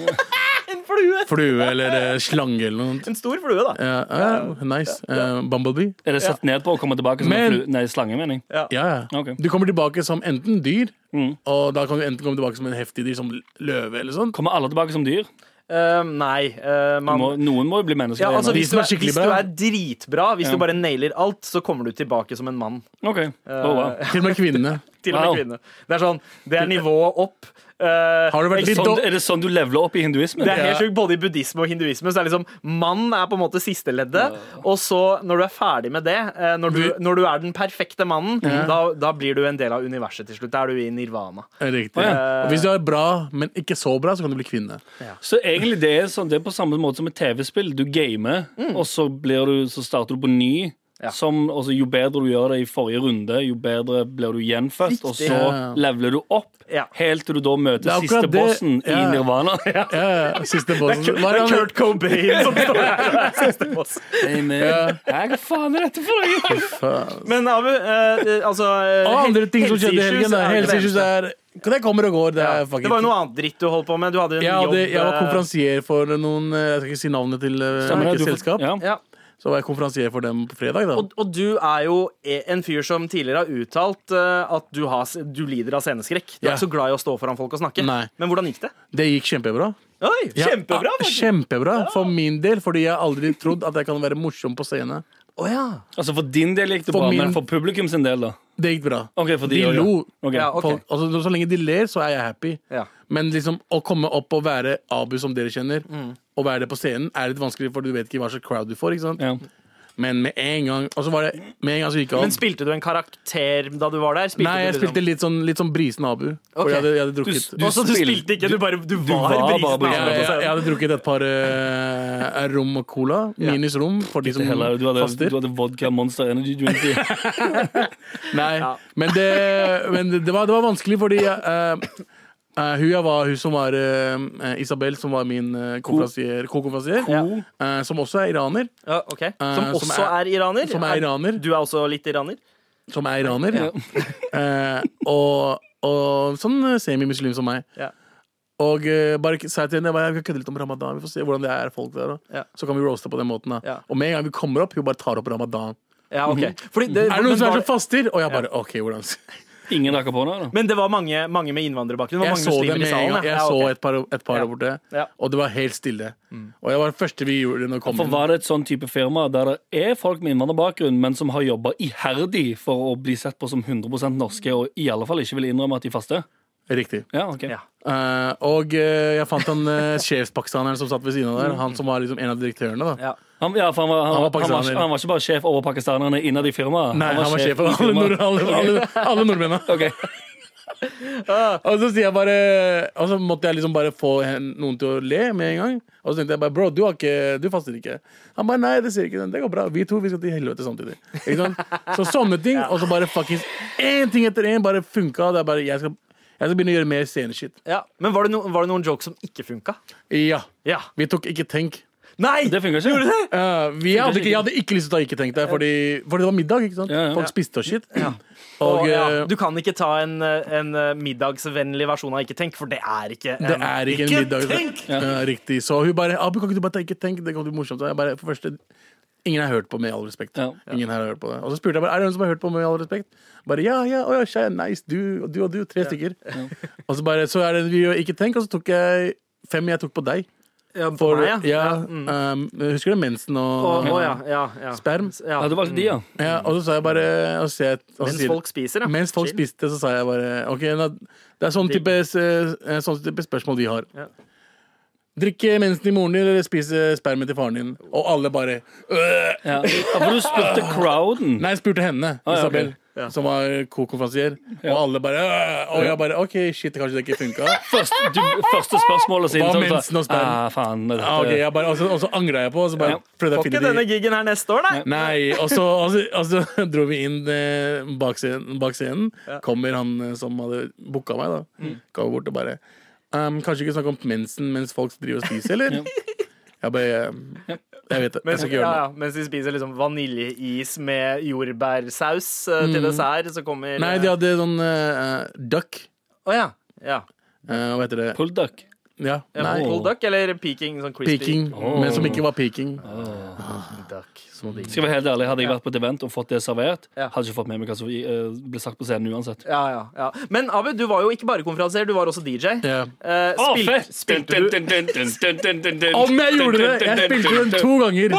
[SPEAKER 3] En flue!
[SPEAKER 5] Flue eller eh, slange eller noe. sånt.
[SPEAKER 3] En stor flue, da.
[SPEAKER 5] Ja, ja, nice. Eh, Bumblebee.
[SPEAKER 6] Er det sett ned på å komme tilbake som
[SPEAKER 5] Men-
[SPEAKER 6] en flu... Nei, slange, mener jeg.
[SPEAKER 5] Ja, ja.
[SPEAKER 6] Ok.
[SPEAKER 5] Du kommer tilbake som enten dyr,
[SPEAKER 3] Mm.
[SPEAKER 5] og da kan du enten komme tilbake som en heftig dyr, som løve eller sånn. sånt.
[SPEAKER 6] Kommer alle tilbake som dyr?
[SPEAKER 3] Eh, nei, eh, man
[SPEAKER 6] Må, noen må jo bli mennesker.
[SPEAKER 3] ja, altså,
[SPEAKER 5] De
[SPEAKER 3] hvis, du
[SPEAKER 5] som
[SPEAKER 3] er,
[SPEAKER 5] er skikkelig
[SPEAKER 3] hvis du
[SPEAKER 5] bra.
[SPEAKER 3] er dritbra, hvis
[SPEAKER 6] Ja.
[SPEAKER 3] du bare nailer alt, så kommer du tilbake som en mann.
[SPEAKER 6] Ok. Oh, wow.
[SPEAKER 5] Til og med kvinnene.
[SPEAKER 3] Til og med
[SPEAKER 6] Wow.
[SPEAKER 3] kvinne. Det er sånn, det er nivået opp. Eh,
[SPEAKER 5] Har du vært litt
[SPEAKER 6] sånn,
[SPEAKER 5] dårlig?
[SPEAKER 6] er det sånn du leveler opp i hinduismen?
[SPEAKER 3] Det er helt
[SPEAKER 5] Ja.
[SPEAKER 3] sjukt, Både i buddhisme og hinduisme Så er det liksom Mann er på en måte siste leddet. Og så, når du er ferdig med det, eh, når du, når du er den perfekte mannen, da, da blir du en del av universet til slutt. Da er du i
[SPEAKER 5] *laughs*
[SPEAKER 3] nirvana.
[SPEAKER 5] Riktig. Og hvis du er bra, men ikke så bra, så kan du bli kvinne.
[SPEAKER 6] Så egentlig
[SPEAKER 5] Mm.
[SPEAKER 6] det er sånn, det er på samme måte som et TV-spill. Du gamer, og så, blir du, så starter du på ny. Som, altså, jo bedre du gjør det i forrige runde, jo bedre blir du gjenfødt. Og
[SPEAKER 3] Riktig.
[SPEAKER 6] så
[SPEAKER 5] Ja.
[SPEAKER 6] leveler du opp
[SPEAKER 3] Ja.
[SPEAKER 6] helt til du da
[SPEAKER 5] Det er
[SPEAKER 6] møter
[SPEAKER 5] akkurat
[SPEAKER 6] siste
[SPEAKER 5] det.
[SPEAKER 6] bossen
[SPEAKER 5] Ja.
[SPEAKER 6] i Nirvana.
[SPEAKER 5] *laughs*
[SPEAKER 6] Ja.
[SPEAKER 5] Ja, ja, siste bossen. Hva er det han-
[SPEAKER 3] Cobain
[SPEAKER 5] *laughs*
[SPEAKER 3] som står der. Siste boss.
[SPEAKER 5] Ja.
[SPEAKER 6] Hæ, Hva faen er dette for noe?
[SPEAKER 5] Faen.
[SPEAKER 3] Men Abu, eh, altså eh,
[SPEAKER 5] Og andre ting som
[SPEAKER 3] helse-
[SPEAKER 5] skjedde i
[SPEAKER 3] helseissues
[SPEAKER 5] helgen. da.
[SPEAKER 3] er det
[SPEAKER 5] Helseissues
[SPEAKER 3] verste.
[SPEAKER 5] er Det kommer og går. Det er
[SPEAKER 3] Det var jo
[SPEAKER 5] fucking
[SPEAKER 3] noe annet dritt du holdt på med. Du hadde en
[SPEAKER 5] jeg, hadde,
[SPEAKER 3] jobb
[SPEAKER 5] jeg var
[SPEAKER 3] eh,
[SPEAKER 5] konferansier for noen eh, Jeg skal ikke si navnet til eh,
[SPEAKER 6] Stemmer det,
[SPEAKER 5] hvilket
[SPEAKER 6] du får-
[SPEAKER 5] selskap.
[SPEAKER 6] Ja.
[SPEAKER 3] ja.
[SPEAKER 5] Så var jeg konferansier for dem på fredag. da
[SPEAKER 3] og, og du er jo e, en fyr som tidligere har uttalt eh, at du, har, du lider av sceneskrekk. Du er
[SPEAKER 5] Ja.
[SPEAKER 3] ikke så glad i å stå foran folk og snakke.
[SPEAKER 5] Nei.
[SPEAKER 3] Men hvordan gikk det?
[SPEAKER 5] Det gikk kjempebra.
[SPEAKER 3] Oi,
[SPEAKER 5] Ja,
[SPEAKER 3] Kjempebra!
[SPEAKER 5] ah,
[SPEAKER 3] faktisk.
[SPEAKER 5] Kjempebra For min del, fordi jeg har aldri trodd at jeg kan være morsom på scene.
[SPEAKER 3] Å ja.
[SPEAKER 6] Altså For din del gikk det
[SPEAKER 5] For
[SPEAKER 6] bra,
[SPEAKER 5] min-
[SPEAKER 6] men for publikum sin del, da?
[SPEAKER 5] Det gikk bra.
[SPEAKER 6] Ok, for de også, ja.
[SPEAKER 5] lo.
[SPEAKER 6] Ok.
[SPEAKER 3] Ja, ok.
[SPEAKER 5] Folk, altså, så lenge de ler, så er jeg happy.
[SPEAKER 3] Ja.
[SPEAKER 5] Men liksom å komme opp og være Abu, som dere kjenner,
[SPEAKER 3] Mm.
[SPEAKER 5] og være det på scenen, er litt vanskelig, for du vet ikke hva slags crowd du får. ikke sant?
[SPEAKER 6] Ja.
[SPEAKER 5] Men med en gang Og så var det med en gang så gikk jeg
[SPEAKER 3] Men
[SPEAKER 5] av.
[SPEAKER 3] spilte du en karakter da du var der? Spilte
[SPEAKER 5] Nei, jeg
[SPEAKER 3] du
[SPEAKER 5] spilte litt sånn, litt sånn brisen Abu.
[SPEAKER 3] Ok.
[SPEAKER 5] For jeg hadde, jeg hadde
[SPEAKER 6] Du,
[SPEAKER 5] drukket
[SPEAKER 6] du,
[SPEAKER 3] Også, du
[SPEAKER 6] spil-
[SPEAKER 3] spilte ikke, du bare du
[SPEAKER 6] var
[SPEAKER 3] var, brisen. altså,
[SPEAKER 6] bare brisen.
[SPEAKER 5] Ja,
[SPEAKER 3] på
[SPEAKER 5] jeg, jeg
[SPEAKER 3] scenen.
[SPEAKER 5] hadde drukket et par eh, rom og cola. Minus rom for de som
[SPEAKER 6] Heller, du, hadde,
[SPEAKER 5] faster.
[SPEAKER 6] du hadde vodka Monster Energy Drink.
[SPEAKER 5] *laughs*
[SPEAKER 6] i.
[SPEAKER 5] Nei, men, det, men det, var, det var vanskelig fordi jeg, eh, eh, hun, jeg var, hun som var eh, Isabel, som var min eh, konferansier, konferansier
[SPEAKER 6] Ja.
[SPEAKER 5] som også er iraner,
[SPEAKER 3] Ja, ok. Som
[SPEAKER 5] Eh, som
[SPEAKER 3] også
[SPEAKER 5] er-
[SPEAKER 3] er iraner?
[SPEAKER 5] som er iraner.
[SPEAKER 3] Du er også litt iraner?
[SPEAKER 5] som er iraner *laughs* eh, og, og sånn eh, semimuslim som meg.
[SPEAKER 3] Ja.
[SPEAKER 5] Og eh, bare k- sa jeg til henne jeg bare, jeg kan kødde litt om ramadan. Vi får se hvordan det er folk der. Da.
[SPEAKER 3] Ja.
[SPEAKER 5] Så kan vi roaste på den måten. Da.
[SPEAKER 3] Ja.
[SPEAKER 5] Og med en gang vi kommer opp, hun bare tar opp ramadan.
[SPEAKER 3] Ja, ok. Fordi det,
[SPEAKER 5] Mhm. Er det noen
[SPEAKER 3] men,
[SPEAKER 5] som
[SPEAKER 3] var,
[SPEAKER 5] er så faster? Og jeg bare OK, hvordan
[SPEAKER 6] Ingen rakk opp hånda? da
[SPEAKER 3] men det var mange, mange med innvandrerbakgrunn? Det var
[SPEAKER 5] Jeg
[SPEAKER 3] mange
[SPEAKER 5] så det
[SPEAKER 3] muslimer i
[SPEAKER 5] med en
[SPEAKER 3] salen,
[SPEAKER 5] gang. Jeg
[SPEAKER 3] ja,
[SPEAKER 5] så
[SPEAKER 3] ok.
[SPEAKER 5] et par, et par
[SPEAKER 3] Ja.
[SPEAKER 5] der borte,
[SPEAKER 3] Ja. Mm.
[SPEAKER 5] og det var helt stille. Og jeg var den første vi gjorde når vi kom
[SPEAKER 6] For
[SPEAKER 5] inn.
[SPEAKER 6] Var det et sånn type firma der det er folk med innvandrerbakgrunn, men som har jobba iherdig for å bli sett på som 100 norske, og i alle fall ikke vil innrømme at de faster?
[SPEAKER 5] Riktig.
[SPEAKER 6] Ja, ok
[SPEAKER 3] Ja.
[SPEAKER 5] Eh, og eh, jeg fant han eh, *laughs* sjefspakistaneren som satt ved siden av
[SPEAKER 3] Mm.
[SPEAKER 5] der. Han som var liksom en av direktørene. da
[SPEAKER 3] Ja.
[SPEAKER 6] Han, ja, for han, var, han, han,
[SPEAKER 5] Han var
[SPEAKER 6] var,
[SPEAKER 5] pakistaner.
[SPEAKER 6] ikke- han var ikke bare sjef over pakistanerne innad i firmaet.
[SPEAKER 5] Nei, han var sjef for
[SPEAKER 6] i
[SPEAKER 5] alle, nord,
[SPEAKER 6] firmaet.
[SPEAKER 5] alle, alle, alle *laughs* nordmennene.
[SPEAKER 6] Ok.
[SPEAKER 5] Og så, sier jeg bare, og så måtte jeg liksom bare få hen- noen til å le med en gang. Og så tenkte jeg bare Bro, du, har ikke, du faster ikke. Han bare Nei, det ser ikke sånn. Det går bra. Vi to vi skal til helvete samtidig. Ikke sant? Så sånne *laughs* ting. Og så bare fuckings én ting etter én bare funka. Det er bare jeg skal, jeg skal begynne å gjøre mer sceneshit.
[SPEAKER 3] Ja. Men var det, no, var det noen jokes som ikke funka?
[SPEAKER 5] Ja.
[SPEAKER 3] Ja.
[SPEAKER 5] Vi tok Ikke tenk.
[SPEAKER 3] Nei!
[SPEAKER 6] Det funka ikke.
[SPEAKER 5] Eh, vi hadde ikke, jeg hadde ikke lyst til å ta Ikke tenk der, fordi, fordi det var middag. ikke sant?
[SPEAKER 6] Ja, ja.
[SPEAKER 5] Folk spiste og shit.
[SPEAKER 3] Og,
[SPEAKER 5] Og
[SPEAKER 3] ja,
[SPEAKER 5] eh,
[SPEAKER 3] du kan ikke ta en, en eh, middagsvennlig versjon av Ikke tenk, for det er ikke en,
[SPEAKER 5] Det er ikke, en middag.
[SPEAKER 3] Tenk!
[SPEAKER 5] Ja. riktig. Så hun bare Abu, kan ikke du bare tenke, tenk, det kan bli morsomt. Så jeg bare, for det første, ingen har hørt på med all respekt.
[SPEAKER 6] Ja.
[SPEAKER 5] Ingen her har hørt på det. Og så spurte jeg bare, er det noen som har hørt på med all respekt? Bare ja, ja, å ja, skje, nice, du og du og du, tre stykker. Og så bare, så er det vi og ikke tenk, og så tok jeg fem jeg tok på deg.
[SPEAKER 3] Ja, på
[SPEAKER 5] For,
[SPEAKER 3] meg,
[SPEAKER 5] ja, um, husker du mensen og,
[SPEAKER 3] Å, å, ja, ja, ja.
[SPEAKER 5] sperm?
[SPEAKER 3] Ja.
[SPEAKER 6] Ja, det var de, ja.
[SPEAKER 5] Ja, og så sa jeg bare og så, jeg- og så
[SPEAKER 3] Mens
[SPEAKER 5] sier-
[SPEAKER 3] folk spiser, ja.
[SPEAKER 5] mens folk
[SPEAKER 3] Chill.
[SPEAKER 5] spiste, så sa jeg bare Ok, da, det er sånn type, eh, sånn type spørsmål vi har.
[SPEAKER 3] Ja.
[SPEAKER 5] Drikke mensen til moren din, eller spise spermen til faren din? Og alle bare øh!
[SPEAKER 6] ja. Ja, For du spurte
[SPEAKER 5] Ah.
[SPEAKER 6] crowden.
[SPEAKER 5] Nei, jeg spurte henne,
[SPEAKER 6] ja,
[SPEAKER 5] Isabel,
[SPEAKER 6] ok.
[SPEAKER 5] som var kokonferansier, og alle bare øh! Og jeg bare OK, shit, kanskje det ikke funka.
[SPEAKER 6] *laughs* Første, du, første spørsmålet siden.
[SPEAKER 5] Hva
[SPEAKER 6] så-
[SPEAKER 5] mensen og sperm?
[SPEAKER 6] Ah, faen, det,
[SPEAKER 5] Ah, ok, jeg bare- og så- og så angra jeg på, og så bare
[SPEAKER 6] Ja.
[SPEAKER 5] prøvde jeg å
[SPEAKER 3] Får
[SPEAKER 5] finne
[SPEAKER 3] ikke
[SPEAKER 5] de-
[SPEAKER 3] denne gigen her neste år, nei?
[SPEAKER 5] Nei, og så, og så, og så *laughs* dro vi inn eh, bak scenen. Bak scenen. Kommer han eh, som hadde booka meg, da. Kommer bort og bare ehm, Kanskje ikke snakke om mensen mens folk driver og spiser, eller? Jeg bare ehm, Jeg vet det. Jeg
[SPEAKER 3] Mens,
[SPEAKER 5] skal ikke
[SPEAKER 3] ja,
[SPEAKER 5] gjøre det.
[SPEAKER 3] ja, mens de spiser liksom vaniljeis med jordbærsaus eh, til dessert, så kommer
[SPEAKER 5] Mm. Nei, de hadde sånn eh, duck.
[SPEAKER 3] Å ja. ja.
[SPEAKER 5] Eh, hva heter det?
[SPEAKER 6] Pull duck.
[SPEAKER 5] Ja, nei.
[SPEAKER 3] Pull duck eller peking? Sånn crispy
[SPEAKER 5] Peking, men som ikke var peking.
[SPEAKER 3] duck. Så digg.
[SPEAKER 6] Skal jeg være helt ærlig, Hadde jeg vært på et event og fått det servert,
[SPEAKER 3] Ja.
[SPEAKER 6] hadde jeg ikke fått med meg hva som eh, ble sagt på scenen uansett.
[SPEAKER 3] Ja, ja, ja. Men Abu, du var jo ikke bare konferansier, du var også DJ.
[SPEAKER 5] Ja.
[SPEAKER 3] Eh,
[SPEAKER 6] Å,
[SPEAKER 3] spil,
[SPEAKER 6] fett!
[SPEAKER 3] spilte du
[SPEAKER 5] Om jeg gjorde det! Jeg spilte den to ganger.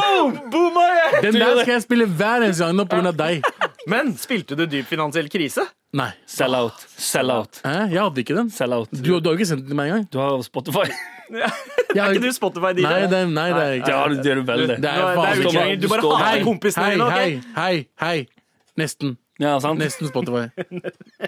[SPEAKER 5] Den der skal jeg spille hver eneste gang nå på grunn av deg.
[SPEAKER 3] Men spilte du dyp finansiell krise?
[SPEAKER 5] Nei.
[SPEAKER 6] Sell out. Sell out.
[SPEAKER 5] Hæ? Jeg hadde ikke den.
[SPEAKER 6] Sell out.
[SPEAKER 5] Du, du har jo ikke sendt den til meg engang.
[SPEAKER 6] Du har
[SPEAKER 5] *laughs*
[SPEAKER 6] Spotify.
[SPEAKER 5] Jeg har
[SPEAKER 3] Er
[SPEAKER 5] jo-
[SPEAKER 3] ikke du Spotify-DJ?
[SPEAKER 5] Nei, det, nei, det er
[SPEAKER 6] Det
[SPEAKER 5] jeg ikke.
[SPEAKER 6] har du, det er du vel, det.
[SPEAKER 5] Det er
[SPEAKER 3] Nå er- det er
[SPEAKER 5] faen
[SPEAKER 3] jo
[SPEAKER 5] ikke
[SPEAKER 3] ikke lenger. Du bare
[SPEAKER 6] Står-
[SPEAKER 3] hater
[SPEAKER 6] Hei,
[SPEAKER 3] kompisene
[SPEAKER 5] Hei,
[SPEAKER 3] dine.
[SPEAKER 5] hei,
[SPEAKER 3] ok?
[SPEAKER 5] hei, hei. Nesten.
[SPEAKER 6] Ja, sant?
[SPEAKER 5] Nesten Spotify.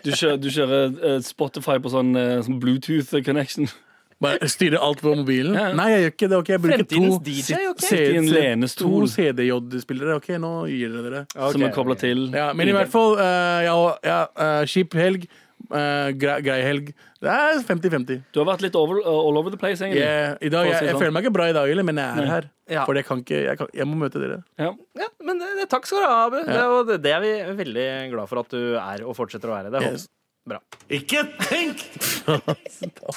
[SPEAKER 6] Du kjører, du kjører eh, Spotify på sånn, eh, sånn Bluetooth connection.
[SPEAKER 5] Bare styre alt på mobilen? Nei, jeg gjør ikke det. ok, Jeg bruker
[SPEAKER 3] Fremtidens
[SPEAKER 5] to
[SPEAKER 3] DJ, ok?
[SPEAKER 5] C-
[SPEAKER 6] I en
[SPEAKER 5] C-
[SPEAKER 6] lenestol.
[SPEAKER 5] To CDJ-spillere. Ok, nå gir dere dere.
[SPEAKER 6] Som er kobla til.
[SPEAKER 5] Ja, men i hvert fall, eh, ja, ja, eh, kjip helg, eh, grei, grei helg. Det er 50-50.
[SPEAKER 6] Du har vært litt over, eh, all over the place, egentlig.
[SPEAKER 5] Jeg, i
[SPEAKER 6] For å Mm.
[SPEAKER 5] dag,
[SPEAKER 6] si det
[SPEAKER 5] jeg, jeg
[SPEAKER 6] sånn.
[SPEAKER 5] føler meg ikke bra i dag heller, men jeg er her.
[SPEAKER 3] Ja.
[SPEAKER 5] For jeg kan ikke jeg, kan, jeg må møte dere.
[SPEAKER 6] Ja.
[SPEAKER 3] Ja, men det, det, takk skal du ha, Abu. Det, og det, det er vi veldig glad for at du er og fortsetter å være. Det er
[SPEAKER 5] Yes.
[SPEAKER 3] bra.
[SPEAKER 5] Ikke tenk!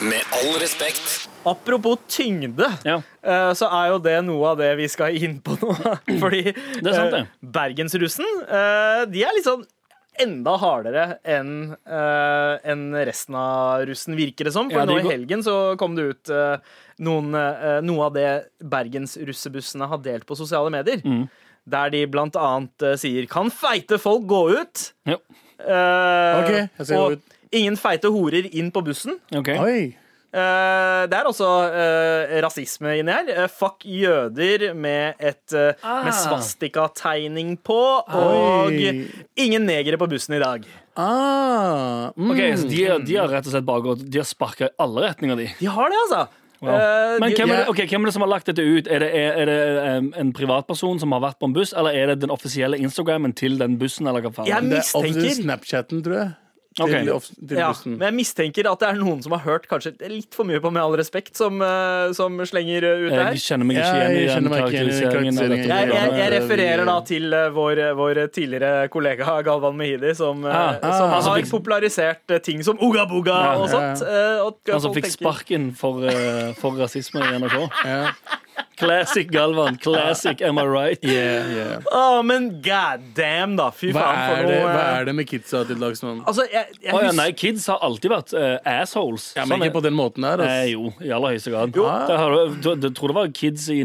[SPEAKER 1] Med all respekt.
[SPEAKER 3] Apropos tyngde,
[SPEAKER 6] Ja.
[SPEAKER 3] eh, så er jo det noe av det vi skal inn på
[SPEAKER 6] *clears throat*
[SPEAKER 3] nå. Fordi
[SPEAKER 6] er sant,
[SPEAKER 3] eh,
[SPEAKER 6] det.
[SPEAKER 3] bergensrussen, eh, de er litt sånn enda hardere enn eh, enn resten av russen, virker det som. For
[SPEAKER 6] Ja, de
[SPEAKER 3] nå i
[SPEAKER 6] går-
[SPEAKER 3] helgen så kom det ut eh, noen, eh, noe av det bergensrussebussene har delt på sosiale medier.
[SPEAKER 6] Mm.
[SPEAKER 3] Der de blant annet eh, sier 'Kan feite folk gå ut?'
[SPEAKER 6] ja.
[SPEAKER 3] Eh,
[SPEAKER 5] Ok, jeg ser
[SPEAKER 3] og
[SPEAKER 5] jo ut.
[SPEAKER 3] ingen feite horer inn på bussen.
[SPEAKER 6] OK.
[SPEAKER 5] Oi.
[SPEAKER 3] Eh, det er også eh, rasisme inni her. Eh, fuck jøder med et eh, med svastikategning på. Og
[SPEAKER 5] Oi.
[SPEAKER 3] ingen negere på bussen i dag.
[SPEAKER 5] Ah, mm.
[SPEAKER 6] Ok, så de, de har rett og slett bare gått De har sparka i alle retninger, de.
[SPEAKER 3] De har det, altså.
[SPEAKER 6] Wow.
[SPEAKER 3] Eh,
[SPEAKER 6] Men
[SPEAKER 3] de,
[SPEAKER 6] hvem er, det,
[SPEAKER 5] ja.
[SPEAKER 6] ok, hvem er det som har lagt dette ut? Er det, er, er det em, en privatperson som har vært på en buss, eller er det den offisielle Instagrammen til den bussen? Eller hva
[SPEAKER 3] Jeg
[SPEAKER 6] faen?
[SPEAKER 5] Det er ofte
[SPEAKER 3] mistenker
[SPEAKER 5] Snapchatten, tror jeg. Til,
[SPEAKER 6] Ok.
[SPEAKER 5] off- til
[SPEAKER 3] ja,
[SPEAKER 5] bussen.
[SPEAKER 3] men jeg mistenker at det er noen som har hørt kanskje litt for mye på Med all respekt, som, eh, som slenger eh, ut det her.
[SPEAKER 6] Jeg kjenner meg ikke
[SPEAKER 5] Ja,
[SPEAKER 6] igjen i
[SPEAKER 5] jeg
[SPEAKER 6] den
[SPEAKER 5] kjenner meg ikke igjen i
[SPEAKER 6] karakteriseringen. av
[SPEAKER 3] Jeg,
[SPEAKER 6] dette
[SPEAKER 5] karakteriseringen.
[SPEAKER 3] jeg, jeg
[SPEAKER 6] programmet.
[SPEAKER 3] refererer da til eh, vår, vår tidligere kollega Galvan Mehidi, som, eh,
[SPEAKER 6] Ah, ah.
[SPEAKER 3] som
[SPEAKER 6] Han som
[SPEAKER 3] har
[SPEAKER 6] fikk-
[SPEAKER 3] popularisert eh, ting som Uga Buga
[SPEAKER 6] Ja,
[SPEAKER 3] og
[SPEAKER 5] ja,
[SPEAKER 3] sånt. eh, og at
[SPEAKER 6] Han som
[SPEAKER 3] folk
[SPEAKER 6] fikk
[SPEAKER 3] tenker-
[SPEAKER 6] sparken for, eh, for rasisme i NRK.
[SPEAKER 5] Ja.
[SPEAKER 6] Classic Galvan. Classic, am I right?
[SPEAKER 5] Yeah, yeah.
[SPEAKER 3] Å, men god damn, da. Fy
[SPEAKER 5] Hva,
[SPEAKER 3] faen,
[SPEAKER 5] er
[SPEAKER 3] for
[SPEAKER 5] det,
[SPEAKER 3] noe
[SPEAKER 5] hva
[SPEAKER 3] eh,
[SPEAKER 5] er det med kidsa til dags nå?
[SPEAKER 3] Altså, jeg, jeg
[SPEAKER 6] Å ja,
[SPEAKER 3] hus-
[SPEAKER 6] nei, kids har alltid vært eh, assholes.
[SPEAKER 5] Ja, men
[SPEAKER 6] Sånn
[SPEAKER 5] ikke på den måten her.
[SPEAKER 6] Eh,
[SPEAKER 5] Altså.
[SPEAKER 6] jo, i aller høyeste grad.
[SPEAKER 5] Jo.
[SPEAKER 6] Det har, du, du, du tror det var kids i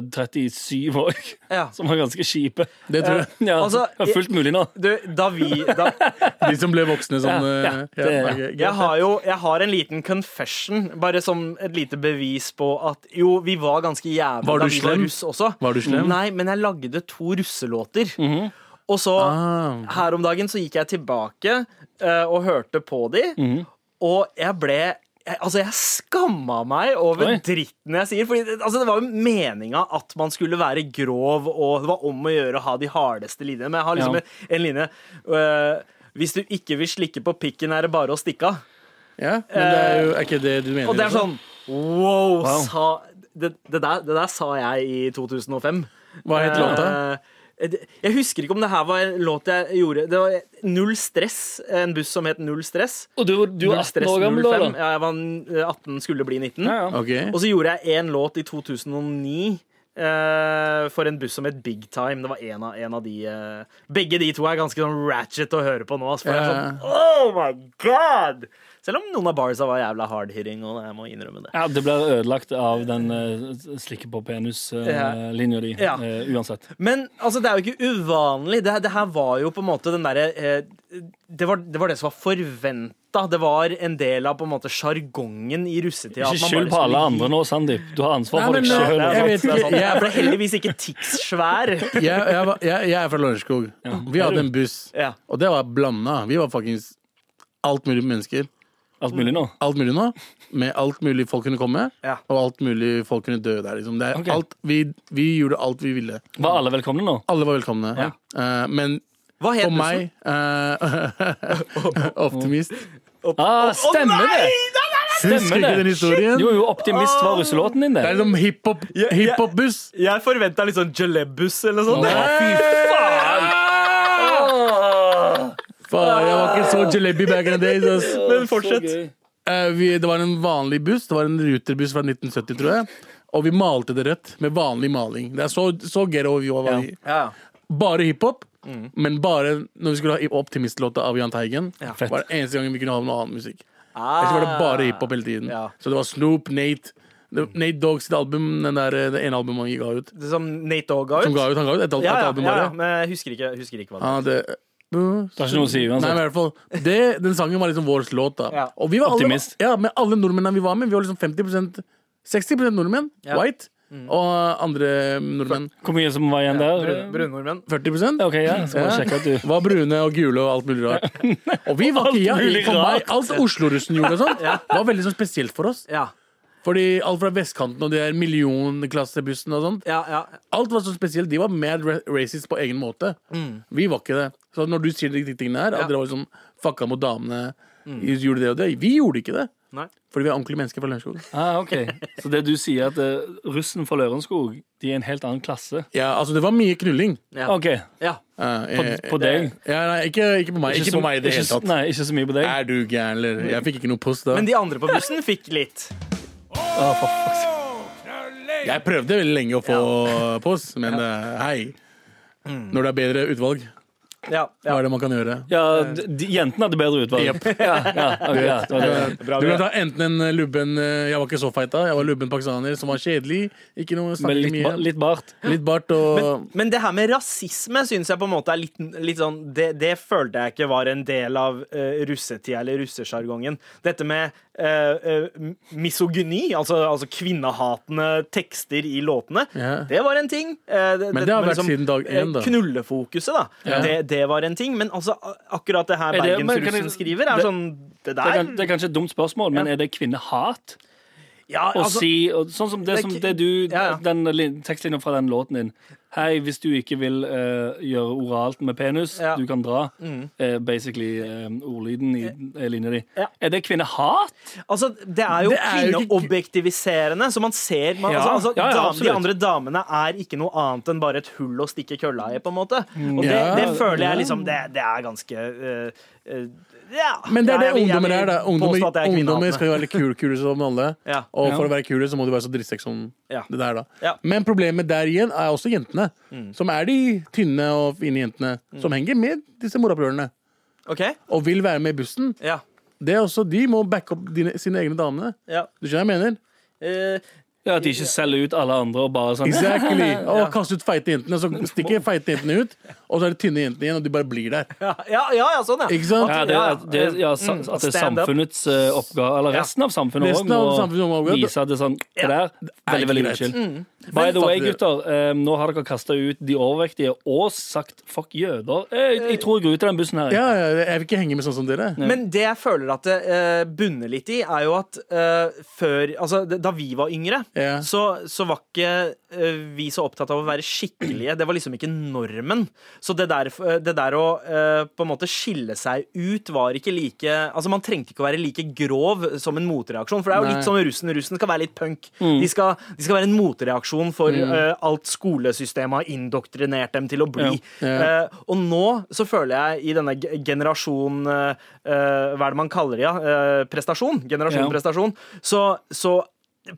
[SPEAKER 6] 1937 òg,
[SPEAKER 3] Ja.
[SPEAKER 6] *laughs* som var ganske kjipe. Eh,
[SPEAKER 5] Det tror jeg.
[SPEAKER 6] Ja,
[SPEAKER 3] Altså,
[SPEAKER 6] det er fullt mulig nå.
[SPEAKER 3] Du, da vi
[SPEAKER 5] *laughs*
[SPEAKER 3] da,
[SPEAKER 5] De som ble voksne sånn
[SPEAKER 6] Ja, ja,
[SPEAKER 5] eh,
[SPEAKER 6] det-
[SPEAKER 5] ok, greit.
[SPEAKER 3] Jeg har jo jeg har en liten confession, bare som et lite bevis på at jo, vi var ganske jævla
[SPEAKER 5] Var du
[SPEAKER 3] da vi var
[SPEAKER 5] slem?
[SPEAKER 3] russ også.
[SPEAKER 5] Var du slem? Mhm.
[SPEAKER 3] Nei, men jeg lagde to russelåter. Og så
[SPEAKER 5] Ah.
[SPEAKER 3] her om dagen så gikk jeg tilbake eh, og hørte på de,
[SPEAKER 6] Mhm.
[SPEAKER 3] og jeg ble jeg, altså, jeg skamma meg over
[SPEAKER 6] Oi.
[SPEAKER 3] dritten jeg sier. Fordi det- altså, det var jo meninga at man skulle være grov, og det var om å gjøre å ha de hardeste linjene. Men jeg har liksom
[SPEAKER 6] Ja.
[SPEAKER 3] en, en linje eh, Hvis du ikke vil slikke på pikken, er det bare å stikke av.
[SPEAKER 5] Ja, men det er jo er ikke det du mener.
[SPEAKER 3] Og det er
[SPEAKER 5] altså?
[SPEAKER 3] sånn Wow,
[SPEAKER 6] Wow.
[SPEAKER 3] sa det, det, der, det der sa jeg i 2005.
[SPEAKER 5] Hva het låta?
[SPEAKER 3] Eh, det- Jeg husker ikke om det her var en låt jeg gjorde Det var Null Stress. En buss som het Null Stress.
[SPEAKER 6] Og du, du
[SPEAKER 3] Null
[SPEAKER 6] er 18
[SPEAKER 3] Stress
[SPEAKER 6] år gammel da?
[SPEAKER 3] 05.
[SPEAKER 6] da.
[SPEAKER 3] Ja, jeg var n- 18, skulle bli 19.
[SPEAKER 6] Ja, ja.
[SPEAKER 5] Ok.
[SPEAKER 3] sånn- Og så gjorde jeg en låt i 2009. eh, for en buss som het Big Time. Det var en av, en av de eh, Begge de to er ganske sånn ratchet å høre på nå. ass, For det er sånn, oh my god Selv om noen av barsa var jævla hard-hitting. Og jeg må innrømme det
[SPEAKER 6] Ja, det blir ødelagt av den uh, slikke på
[SPEAKER 3] Ja.
[SPEAKER 6] penis-linja di.
[SPEAKER 3] Ja.
[SPEAKER 6] eh, uansett.
[SPEAKER 3] Men altså, det er jo ikke uvanlig. Det, her- det her var jo på en måte den derre eh, det, var- det var det som var forventa. Det var en del av på en måte sjargongen i russetida. at
[SPEAKER 6] Ikke
[SPEAKER 3] man bare liksom
[SPEAKER 6] skyld på alle
[SPEAKER 3] skulle
[SPEAKER 6] andre nå, Sandeep. Du har ansvar
[SPEAKER 5] Nei,
[SPEAKER 6] for
[SPEAKER 5] men
[SPEAKER 6] deg
[SPEAKER 5] nå-
[SPEAKER 3] eh,
[SPEAKER 6] sjøl.
[SPEAKER 5] jeg vet ikke.
[SPEAKER 3] gi- Jeg
[SPEAKER 5] Jeg,
[SPEAKER 3] ble heldigvis ikke TIX-svær.
[SPEAKER 5] jeg, jeg, var- jeg, jeg er fra Lørenskog. Vi hadde en buss,
[SPEAKER 3] Ja.
[SPEAKER 5] og det var blanda. Vi var fuckings alt mulig mennesker.
[SPEAKER 6] Alt mulig nå.
[SPEAKER 5] Alt mulig nå. Med alt mulig folk kunne komme,
[SPEAKER 3] Ja.
[SPEAKER 5] og alt mulig folk kunne dø der. Liksom. Det er
[SPEAKER 6] Ok.
[SPEAKER 5] alt, vi, vi gjorde alt vi ville.
[SPEAKER 6] Var alle velkomne nå?
[SPEAKER 5] Alle var velkomne.
[SPEAKER 6] Ja.
[SPEAKER 5] Eh, men
[SPEAKER 3] Hva het
[SPEAKER 5] for
[SPEAKER 3] bussen?
[SPEAKER 5] meg eh, *laughs* Optimist.
[SPEAKER 6] Ah, stemmer det!
[SPEAKER 5] Husker ikke
[SPEAKER 6] det.
[SPEAKER 5] den historien?
[SPEAKER 6] Jo, jo, Optimist var russelåten din,
[SPEAKER 5] Det er
[SPEAKER 6] det.
[SPEAKER 5] som hiphop-
[SPEAKER 3] Ja, ja.
[SPEAKER 5] hiphop-buss.
[SPEAKER 3] Jeg forventa litt sånn Jalebbus eller noe sånt.
[SPEAKER 6] Å, fy faen!
[SPEAKER 5] Faen, jeg var ikke så jalebi back in the days. Ass.
[SPEAKER 3] *laughs* Men fortsett.
[SPEAKER 6] Så gøy.
[SPEAKER 5] Eh, vi, det var en vanlig buss. Det var en ruterbuss fra 1970, tror jeg. Og vi malte det rødt med vanlig maling. Det er så, så ghetto vi var i.
[SPEAKER 3] Ja. Mm.
[SPEAKER 5] Bare hiphop, men bare når vi skulle ha optimistlåta av Jahn Teigen.
[SPEAKER 6] Fett.
[SPEAKER 5] Var det eneste gangen vi kunne ha noe annen musikk.
[SPEAKER 3] Ah.
[SPEAKER 5] Ellers var det bare hiphop hele tiden.
[SPEAKER 3] Ja.
[SPEAKER 5] Så det var Snoop, Nate det, Nate Dogg sitt album, den der, eh, det ene albumet han ga ut.
[SPEAKER 3] Det Som Nate Dogg ga ut?
[SPEAKER 5] Som ga ut, han ga ut et, al-
[SPEAKER 3] Ja,
[SPEAKER 5] et
[SPEAKER 3] ja,
[SPEAKER 5] album
[SPEAKER 3] ja,
[SPEAKER 5] bare.
[SPEAKER 3] ja, men jeg husker ikke, husker ikke hva det
[SPEAKER 5] Han hadde
[SPEAKER 6] Det har ikke noe å si
[SPEAKER 5] Nei, men
[SPEAKER 6] uansett.
[SPEAKER 5] i hvert fall det, Den sangen var liksom vår låt. da
[SPEAKER 3] Ja.
[SPEAKER 5] Og vi var alle,
[SPEAKER 6] Optimist.
[SPEAKER 5] ja, men alle nordmennene vi var med, vi var liksom 50 60 nordmenn.
[SPEAKER 3] Ja. Mm.
[SPEAKER 5] White. Og andre nordmenn.
[SPEAKER 6] Hvor mye som var igjen der?
[SPEAKER 3] Brun- Brunnordmenn.
[SPEAKER 5] 40
[SPEAKER 6] OK, ja. Så må
[SPEAKER 5] Ja.
[SPEAKER 6] jeg sjekke at du
[SPEAKER 5] var brune og gule og alt mulig
[SPEAKER 6] *laughs*
[SPEAKER 5] rart. Og vi var
[SPEAKER 6] Alt
[SPEAKER 5] ikke ja,
[SPEAKER 6] mulig
[SPEAKER 5] for
[SPEAKER 6] rart.
[SPEAKER 5] meg,
[SPEAKER 3] *laughs*
[SPEAKER 5] Alt Oslo-russen gjorde, og sånt, var veldig sånn spesielt for oss.
[SPEAKER 3] Ja.
[SPEAKER 5] Fordi alt fra vestkanten og de der millionklassebussene og sånt
[SPEAKER 3] Ja, ja.
[SPEAKER 5] Alt var så spesielt. De var mad ra- racist på egen måte. Vi var ikke det. Så når du sier de tingene her, at
[SPEAKER 3] Ja.
[SPEAKER 5] dere var liksom fucka mot damene, gjorde det og det Vi gjorde ikke det.
[SPEAKER 3] Nei.
[SPEAKER 5] Fordi vi er ordentlige mennesker fra Lørenskog.
[SPEAKER 6] Ah, ok. Så det du sier, at eh, russen fra Lørenskog de er en helt annen klasse?
[SPEAKER 5] Ja, altså, det var mye knulling.
[SPEAKER 3] Ja.
[SPEAKER 6] OK.
[SPEAKER 3] Ja.
[SPEAKER 5] Eh,
[SPEAKER 6] På,
[SPEAKER 5] eh,
[SPEAKER 6] på deg?
[SPEAKER 5] Ja, nei, ikke, ikke på meg. Ikke,
[SPEAKER 6] så-
[SPEAKER 5] på meg i det
[SPEAKER 6] ikke
[SPEAKER 5] hele
[SPEAKER 6] så-
[SPEAKER 5] tatt.
[SPEAKER 6] Nei, ikke så mye på deg?
[SPEAKER 5] Er du gæren, eller? Jeg fikk ikke noe post da.
[SPEAKER 3] Men de andre på bussen fikk litt.
[SPEAKER 6] Ah, for fuck's sake.
[SPEAKER 5] Jeg prøvde veldig lenge å få post, men eh, hei. Når det er bedre utvalg,
[SPEAKER 3] Ja, ja.
[SPEAKER 5] hva er det man kan gjøre?
[SPEAKER 6] ja, de, de, jentene hadde bedre utvalg. *laughs* Ja, ja, ok, ja, det var det.
[SPEAKER 5] Du kan ta enten en lubben eh, Jeg var ikke så feit da. Jeg var lubben pakistaner som var kjedelig. Ikke noe
[SPEAKER 6] Med
[SPEAKER 5] snakket
[SPEAKER 6] litt,
[SPEAKER 5] mye.
[SPEAKER 6] ba- litt bart.
[SPEAKER 5] litt bart og
[SPEAKER 3] Men det her med rasisme syns jeg på en måte er litt, litt sånn det, det følte jeg ikke var en del av uh, russetida eller russesjargongen. Dette med eh, eh, misogyni, altså, altså kvinnehatende tekster i låtene,
[SPEAKER 5] Ja.
[SPEAKER 3] det var en ting. Eh, det,
[SPEAKER 5] Men
[SPEAKER 3] dette
[SPEAKER 5] det har
[SPEAKER 3] med
[SPEAKER 5] vært siden dag én,
[SPEAKER 3] eh,
[SPEAKER 5] da.
[SPEAKER 3] Knullefokuset, da. Det, det var en ting. Men altså, a- akkurat det her
[SPEAKER 6] Er det- men kan
[SPEAKER 3] bergensrussen
[SPEAKER 6] jeg-
[SPEAKER 3] skriver, er
[SPEAKER 6] det-
[SPEAKER 3] sånn Det
[SPEAKER 6] Det er,
[SPEAKER 3] der
[SPEAKER 6] kan- det er kanskje et dumt spørsmål, men er det kvinnehat?
[SPEAKER 3] ja,
[SPEAKER 6] Å
[SPEAKER 3] altså,
[SPEAKER 6] si, og sånn som det,
[SPEAKER 3] det er
[SPEAKER 6] som
[SPEAKER 3] ki-
[SPEAKER 6] det du
[SPEAKER 3] Ja, ja.
[SPEAKER 6] Den lin- tekstlinjen fra den låten din. Hei, hvis du ikke vil eh, gjøre oralt med penis,
[SPEAKER 3] Ja.
[SPEAKER 6] du kan dra. Eh, basically eh, ordlyden i i linja di.
[SPEAKER 3] Ja.
[SPEAKER 6] Er det kvinnehat?
[SPEAKER 3] Altså, det er jo
[SPEAKER 5] Det er jo ikke-
[SPEAKER 3] kvinneobjektiviserende, så man ser man,
[SPEAKER 6] Ja,
[SPEAKER 3] altså, altså,
[SPEAKER 6] ja, ja,
[SPEAKER 3] dam- De
[SPEAKER 6] absolutt.
[SPEAKER 3] andre damene er ikke noe annet enn bare et hull å stikke kølla i, på en måte. Og det,
[SPEAKER 5] Ja,
[SPEAKER 3] det føler
[SPEAKER 6] ja.
[SPEAKER 3] jeg liksom Det, det er ganske eh, eh, ja.
[SPEAKER 5] Men det er
[SPEAKER 3] Jeg
[SPEAKER 5] det
[SPEAKER 3] vil- jeg
[SPEAKER 5] ungdommer
[SPEAKER 3] vil
[SPEAKER 5] er. da Ungdommer,
[SPEAKER 3] påstå at jeg er altså.
[SPEAKER 5] ungdommer
[SPEAKER 3] kvinnehatende.
[SPEAKER 5] skal jo være litt kule, kule som alle.
[SPEAKER 3] Ja.
[SPEAKER 5] Og for
[SPEAKER 6] Ja.
[SPEAKER 5] å være kule så må du være så drittsekk som
[SPEAKER 3] Ja.
[SPEAKER 5] det der. da
[SPEAKER 3] Ja. Mm.
[SPEAKER 5] Men problemet der igjen er også jentene. Som er de tynne og fine jentene som henger med disse morapprørerne.
[SPEAKER 3] OK?
[SPEAKER 5] Og vil være med i bussen.
[SPEAKER 3] Ja.
[SPEAKER 5] Det er også, De må backe opp dine, sine egne damene.
[SPEAKER 3] ja.
[SPEAKER 5] Du skjønner hva jeg mener?
[SPEAKER 3] Eh,
[SPEAKER 6] Ja, At de ikke selger ut alle andre og bare
[SPEAKER 3] *laughs*
[SPEAKER 6] sånn
[SPEAKER 5] Exactly. Og kaste ut feite jentene, så stikker feite jentene ut. Og så er det tynne jentene igjen, og de bare blir der.
[SPEAKER 3] ja, ja, ja, ja, sånn, ja.
[SPEAKER 5] Ikke sant?
[SPEAKER 6] Ja, det,
[SPEAKER 3] Ja,
[SPEAKER 6] at det, ja, sa-
[SPEAKER 3] mm,
[SPEAKER 6] at det er
[SPEAKER 3] stand up.
[SPEAKER 6] samfunnets eh, oppgave, eller resten av samfunnet
[SPEAKER 5] Resten
[SPEAKER 6] òg,
[SPEAKER 5] av samfunnet må
[SPEAKER 6] må
[SPEAKER 5] gå.
[SPEAKER 6] vise at det er sånn Det der, veldig,
[SPEAKER 5] ikke
[SPEAKER 6] veldig
[SPEAKER 5] greit.
[SPEAKER 6] unnskyld.
[SPEAKER 3] Mm.
[SPEAKER 6] By the way,
[SPEAKER 5] Veldig
[SPEAKER 6] gutter, eh, nå har dere kasta ut de overvektige og sagt fuck jøder. Eh, jeg tror jeg går ut av den bussen her.
[SPEAKER 5] Ja, ja, jeg vil ikke henge med sånn som dere.
[SPEAKER 3] Men det jeg føler at det eh, bunner litt i, er jo at eh, før Altså, d- da vi var yngre,
[SPEAKER 5] Ja.
[SPEAKER 3] så, så var ikke eh, vi så opptatt av å være skikkelige. Det var liksom ikke normen. Så det der, det der å eh, på en måte skille seg ut var ikke like Altså, man trengte ikke å være like grov som en motreaksjon, for det er jo
[SPEAKER 5] Nei.
[SPEAKER 3] litt sånn russen. Russen skal være litt punk. De, skal, de skal være en motreaksjon for eh, alt skolesystemet har indoktrinert dem til å bli. Eh, og nå så føler jeg i denne ge- generasjon eh, eh, Hva er det man kaller det? Ja? Eh, prestasjon. Generasjon
[SPEAKER 6] Ja.
[SPEAKER 3] prestasjon. Så, så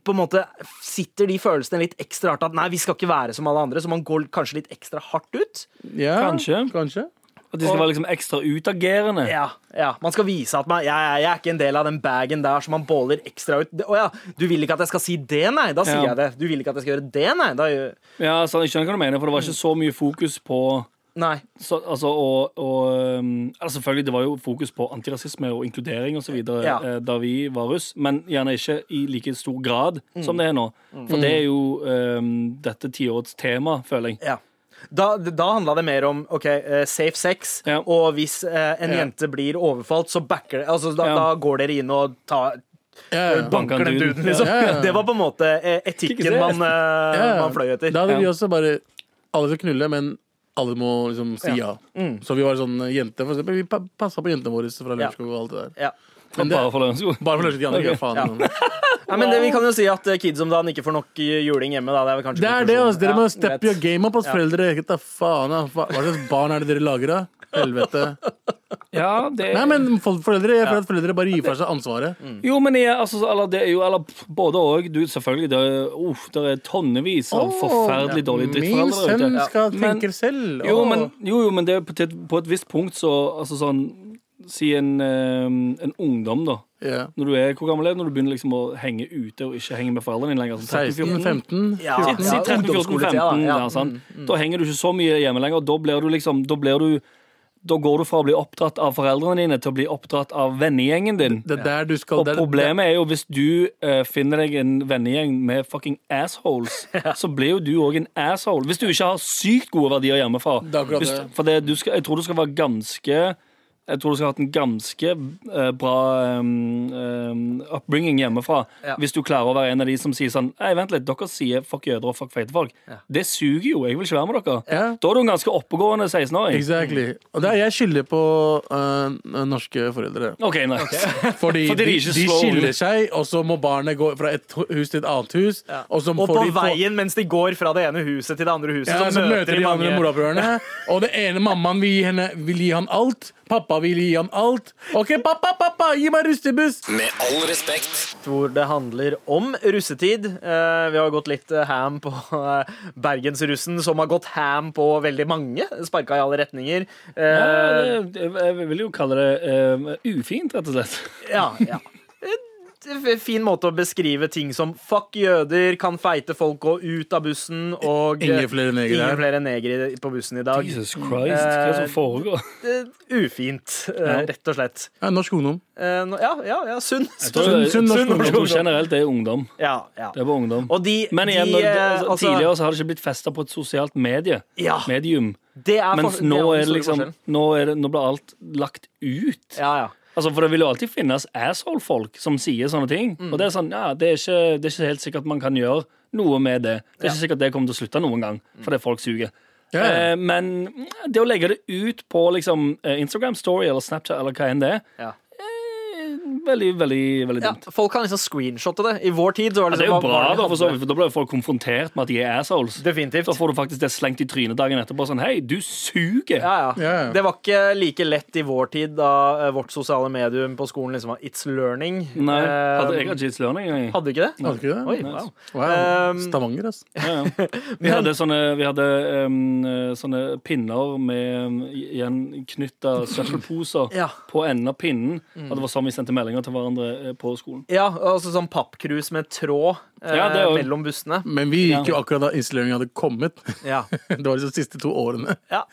[SPEAKER 3] på en måte sitter de følelsene litt ekstra hardt at nei, vi skal ikke være som alle andre, så man går kanskje litt ekstra hardt ut.
[SPEAKER 5] Ja,
[SPEAKER 6] Kanskje.
[SPEAKER 5] kanskje.
[SPEAKER 6] At de skal være liksom ekstra utagerende.
[SPEAKER 3] Ja, ja. Man skal vise at man, jeg, jeg, jeg er ikke en del av den bagen der som man båler ekstra ut. Det- Å ja, du vil ikke at jeg skal si det, nei. Da sier
[SPEAKER 6] Ja.
[SPEAKER 3] jeg det. Du vil ikke at jeg skal gjøre det, nei. Da, gjør-
[SPEAKER 6] Ja, så Jeg skjønner hva du mener, for det var ikke så mye fokus på
[SPEAKER 3] nei.
[SPEAKER 6] så, altså, og, og, um, altså, Selvfølgelig, det var jo fokus på antirasisme og inkludering
[SPEAKER 3] Ja.
[SPEAKER 6] osv. videre eh, da vi var russ, men gjerne ikke i like stor grad
[SPEAKER 5] Mm.
[SPEAKER 6] som det er nå. For det er jo um, dette tiårets tema, føler jeg.
[SPEAKER 3] Ja. Da, da handla det mer om ok, eh, safe sex,
[SPEAKER 6] Ja.
[SPEAKER 3] og hvis eh, en jente blir overfalt, så backer det altså, da,
[SPEAKER 6] Ja.
[SPEAKER 3] da går dere inn og tar
[SPEAKER 5] Ja, ja.
[SPEAKER 6] Banker
[SPEAKER 3] Banker den
[SPEAKER 6] duden.
[SPEAKER 3] duden, *laughs* liksom.
[SPEAKER 5] Ja, ja, ja.
[SPEAKER 3] Det var på en måte eh,
[SPEAKER 6] Ikke
[SPEAKER 3] etikken
[SPEAKER 6] se.
[SPEAKER 3] man, eh,
[SPEAKER 5] *laughs* Ja, ja.
[SPEAKER 3] man fløy etter.
[SPEAKER 5] Da hadde vi
[SPEAKER 6] Ja.
[SPEAKER 5] også bare Alle skal knulle, men alle må liksom si ja.
[SPEAKER 3] Mm.
[SPEAKER 5] Så vi var sånn eh, jente, for eksempel. Vi pa- passa på jentene våre
[SPEAKER 3] Ja.
[SPEAKER 5] fra Lørenskog og alt det der.
[SPEAKER 3] Ja.
[SPEAKER 5] Men det,
[SPEAKER 6] Bare for lønnskog.
[SPEAKER 5] bare for Lørenskog, de andre ikke faen.
[SPEAKER 3] Nei, men det, vi kan jo si at eh, kids om dagen ikke får nok eh, juling hjemme. Da. Det er vel kanskje
[SPEAKER 5] *laughs* Det er det, altså. Dere må
[SPEAKER 3] konklusjonen.
[SPEAKER 5] steppe
[SPEAKER 3] Ja,
[SPEAKER 5] your game up, ass,
[SPEAKER 3] Ja.
[SPEAKER 5] foreldre. Ikke ta faen av. Hva hva slags barn er det dere lager, da? Helvete.
[SPEAKER 6] Ja, det
[SPEAKER 5] Nei, men for- foreldre, jeg føler at foreldre bare gir fra seg ansvaret.
[SPEAKER 6] Jo, men jeg, altså, eller, det er jo eller, pff, både og. Du, selvfølgelig, det er, uff, det er tonnevis av
[SPEAKER 5] Åh,
[SPEAKER 6] forferdelig dårlige
[SPEAKER 5] Min
[SPEAKER 6] drittforeldre der
[SPEAKER 5] sønn
[SPEAKER 6] ute.
[SPEAKER 5] skal
[SPEAKER 6] Men-
[SPEAKER 5] tenke selv.
[SPEAKER 6] Jo,
[SPEAKER 5] Åh.
[SPEAKER 6] men, jo, jo, men det er på, til, på et visst punkt så altså sånn, Si en, eh, en ungdom, da.
[SPEAKER 5] Ja.
[SPEAKER 6] Når du er hvor gammel er du når du begynner liksom å henge ute og ikke henge med foreldrene dine lenger? Sånn 13-14?
[SPEAKER 5] 16-15.
[SPEAKER 3] Ja.
[SPEAKER 6] Si- si 13-14-15.
[SPEAKER 3] ungdomsskoletida, da. Ja. Mm,
[SPEAKER 6] ja, sant? Da henger du ikke så mye hjemme lenger. og Da blir du liksom Da, blir du, da går du fra å bli oppdratt av foreldrene dine til å bli oppdratt av vennegjengen din.
[SPEAKER 5] Det er der du skal
[SPEAKER 6] Og
[SPEAKER 5] det er-
[SPEAKER 6] problemet er jo hvis du eh, finner deg en vennegjeng med fucking
[SPEAKER 5] *laughs*
[SPEAKER 6] assholes, så blir jo du òg en asshole. Hvis du ikke har sykt gode verdier hjemmefra.
[SPEAKER 5] Det er akkurat
[SPEAKER 6] Hvis,
[SPEAKER 5] det.
[SPEAKER 6] for det, du skal, jeg tror du skal være ganske Jeg tror du skal ha hatt en ganske eh, bra em, em, upbringing hjemmefra
[SPEAKER 3] Ja.
[SPEAKER 6] hvis du klarer å være en av de som sier sånn Nei, vent litt, dere sier fuck jøder og fuck feite folk. Det suger jo. Jeg vil ikke være med dere.
[SPEAKER 5] Ja.
[SPEAKER 6] Da er du en ganske oppegående 16-åring.
[SPEAKER 5] Exactly. Og det er jeg skylder på øh, norske
[SPEAKER 6] *laughs*
[SPEAKER 5] foreldre.
[SPEAKER 6] Ok, nice.
[SPEAKER 5] Fordi,
[SPEAKER 6] Fordi de
[SPEAKER 5] de,
[SPEAKER 6] ikke
[SPEAKER 5] de
[SPEAKER 6] slår
[SPEAKER 5] skiller
[SPEAKER 6] ut.
[SPEAKER 5] seg, og så må barnet gå fra et hu- hus til et annet hus. Og, så
[SPEAKER 3] Og
[SPEAKER 5] får
[SPEAKER 3] på
[SPEAKER 5] de få-
[SPEAKER 3] veien mens de går fra det ene huset til det andre huset,
[SPEAKER 5] Ja, så møter de andre
[SPEAKER 3] mange-
[SPEAKER 5] morapulerne.
[SPEAKER 6] *laughs*
[SPEAKER 5] Og den ene mammaen vil gi, henne, vil gi han alt. Pappa vil gi han alt. OK, pappa, pappa, gi meg rustebuss!
[SPEAKER 1] Med all respekt.
[SPEAKER 3] hvor det handler om russetid. Eh, Vi har gått litt eh, ham på eh, bergensrussen, som har gått ham på veldig mange. Sparka i alle retninger. Eh,
[SPEAKER 6] *laughs* Ja, det- Jeg vil jo kalle det em, ufint, rett og slett.
[SPEAKER 3] Ja, ja. En f- Fin måte å beskrive ting som fuck jøder, kan feite folk gå ut av bussen og
[SPEAKER 5] Ingen flere negere her.
[SPEAKER 3] Ingen flere negere på bussen i dag.
[SPEAKER 6] Jesus Christ, hva er det som
[SPEAKER 3] *laughs*
[SPEAKER 6] foregår?
[SPEAKER 3] Eh, Ufint, eh, rett og slett.
[SPEAKER 5] Ja, norsk ungdom.
[SPEAKER 3] Eh, nå- Ja, ja, ja sunn.
[SPEAKER 6] Jeg tror,
[SPEAKER 5] Sunn- sunn norsk ungdom.
[SPEAKER 6] jeg tror generelt det er ungdom.
[SPEAKER 3] Ja, ja.
[SPEAKER 6] Det er bare ungdom.
[SPEAKER 3] Og de,
[SPEAKER 6] Men igjen,
[SPEAKER 3] de,
[SPEAKER 6] når det,
[SPEAKER 3] eh,
[SPEAKER 6] altså,
[SPEAKER 3] altså-
[SPEAKER 6] tidligere så har det ikke blitt festa på et sosialt medie.
[SPEAKER 3] Ja.
[SPEAKER 6] medium.
[SPEAKER 3] Det er
[SPEAKER 6] Mens
[SPEAKER 3] for-
[SPEAKER 6] nå
[SPEAKER 3] den
[SPEAKER 6] er det
[SPEAKER 3] store
[SPEAKER 6] liksom
[SPEAKER 3] forskjellen.
[SPEAKER 6] Nå, er det, nå blir alt lagt ut.
[SPEAKER 3] Ja, ja.
[SPEAKER 6] Altså, For det vil jo alltid finnes asshole-folk som sier sånne ting.
[SPEAKER 3] Mm.
[SPEAKER 6] Og det er sånn, ja, det er, ikke, det er ikke helt sikkert man kan gjøre noe med det. Det er ikke sikkert det kommer til å slutte noen gang,
[SPEAKER 3] Mm.
[SPEAKER 6] fordi folk suger.
[SPEAKER 5] Ja, ja.
[SPEAKER 6] Eh, men det å legge det ut på liksom, eh, Instagram Story eller Snapchat eller hva enn det er,
[SPEAKER 3] Ja.
[SPEAKER 6] eh, veldig, veldig, veldig
[SPEAKER 3] Ja,
[SPEAKER 6] dumt. Altså,
[SPEAKER 3] folk kan liksom screenshotte det. I vår tid så var det,
[SPEAKER 6] Det er jo
[SPEAKER 3] liksom- var-
[SPEAKER 6] bra,
[SPEAKER 3] var det-
[SPEAKER 6] da, for, så, vidt, for da blir jo folk konfrontert med at de er assholes.
[SPEAKER 3] Definitivt.
[SPEAKER 6] Da får du faktisk det slengt i trynet dagen etterpå. Sånn, hei, du suger!
[SPEAKER 3] Ja, ja.
[SPEAKER 5] Ja, ja.
[SPEAKER 3] Det var ikke like lett i vår tid, da eh, vårt sosiale medium på skolen liksom var It's Learning.
[SPEAKER 6] Nei,
[SPEAKER 3] Eh,
[SPEAKER 6] hadde jeg hatt Jeez Learning. jeg.
[SPEAKER 3] hadde du ikke det?
[SPEAKER 5] Hadde ikke det?
[SPEAKER 3] Oi, wow.
[SPEAKER 5] Wow.
[SPEAKER 3] Um,
[SPEAKER 5] Stavanger, altså.
[SPEAKER 6] Ja, ja. Vi hadde sånne, vi hadde, em, eh, sånne pinner med gjenknytta søppelposer
[SPEAKER 3] Ja. Mm.
[SPEAKER 6] på enden av pinnen. Og det var sånn vi sendte meldinger til hverandre eh, på skolen.
[SPEAKER 3] Ja, altså sånn pappkrus med tråd eh,
[SPEAKER 6] Ja, det er jo-
[SPEAKER 3] mellom bussene.
[SPEAKER 5] Men vi gikk jo akkurat da installeringen hadde kommet. *laughs*
[SPEAKER 3] Ja.
[SPEAKER 5] Det var liksom de siste to årene.
[SPEAKER 3] ja.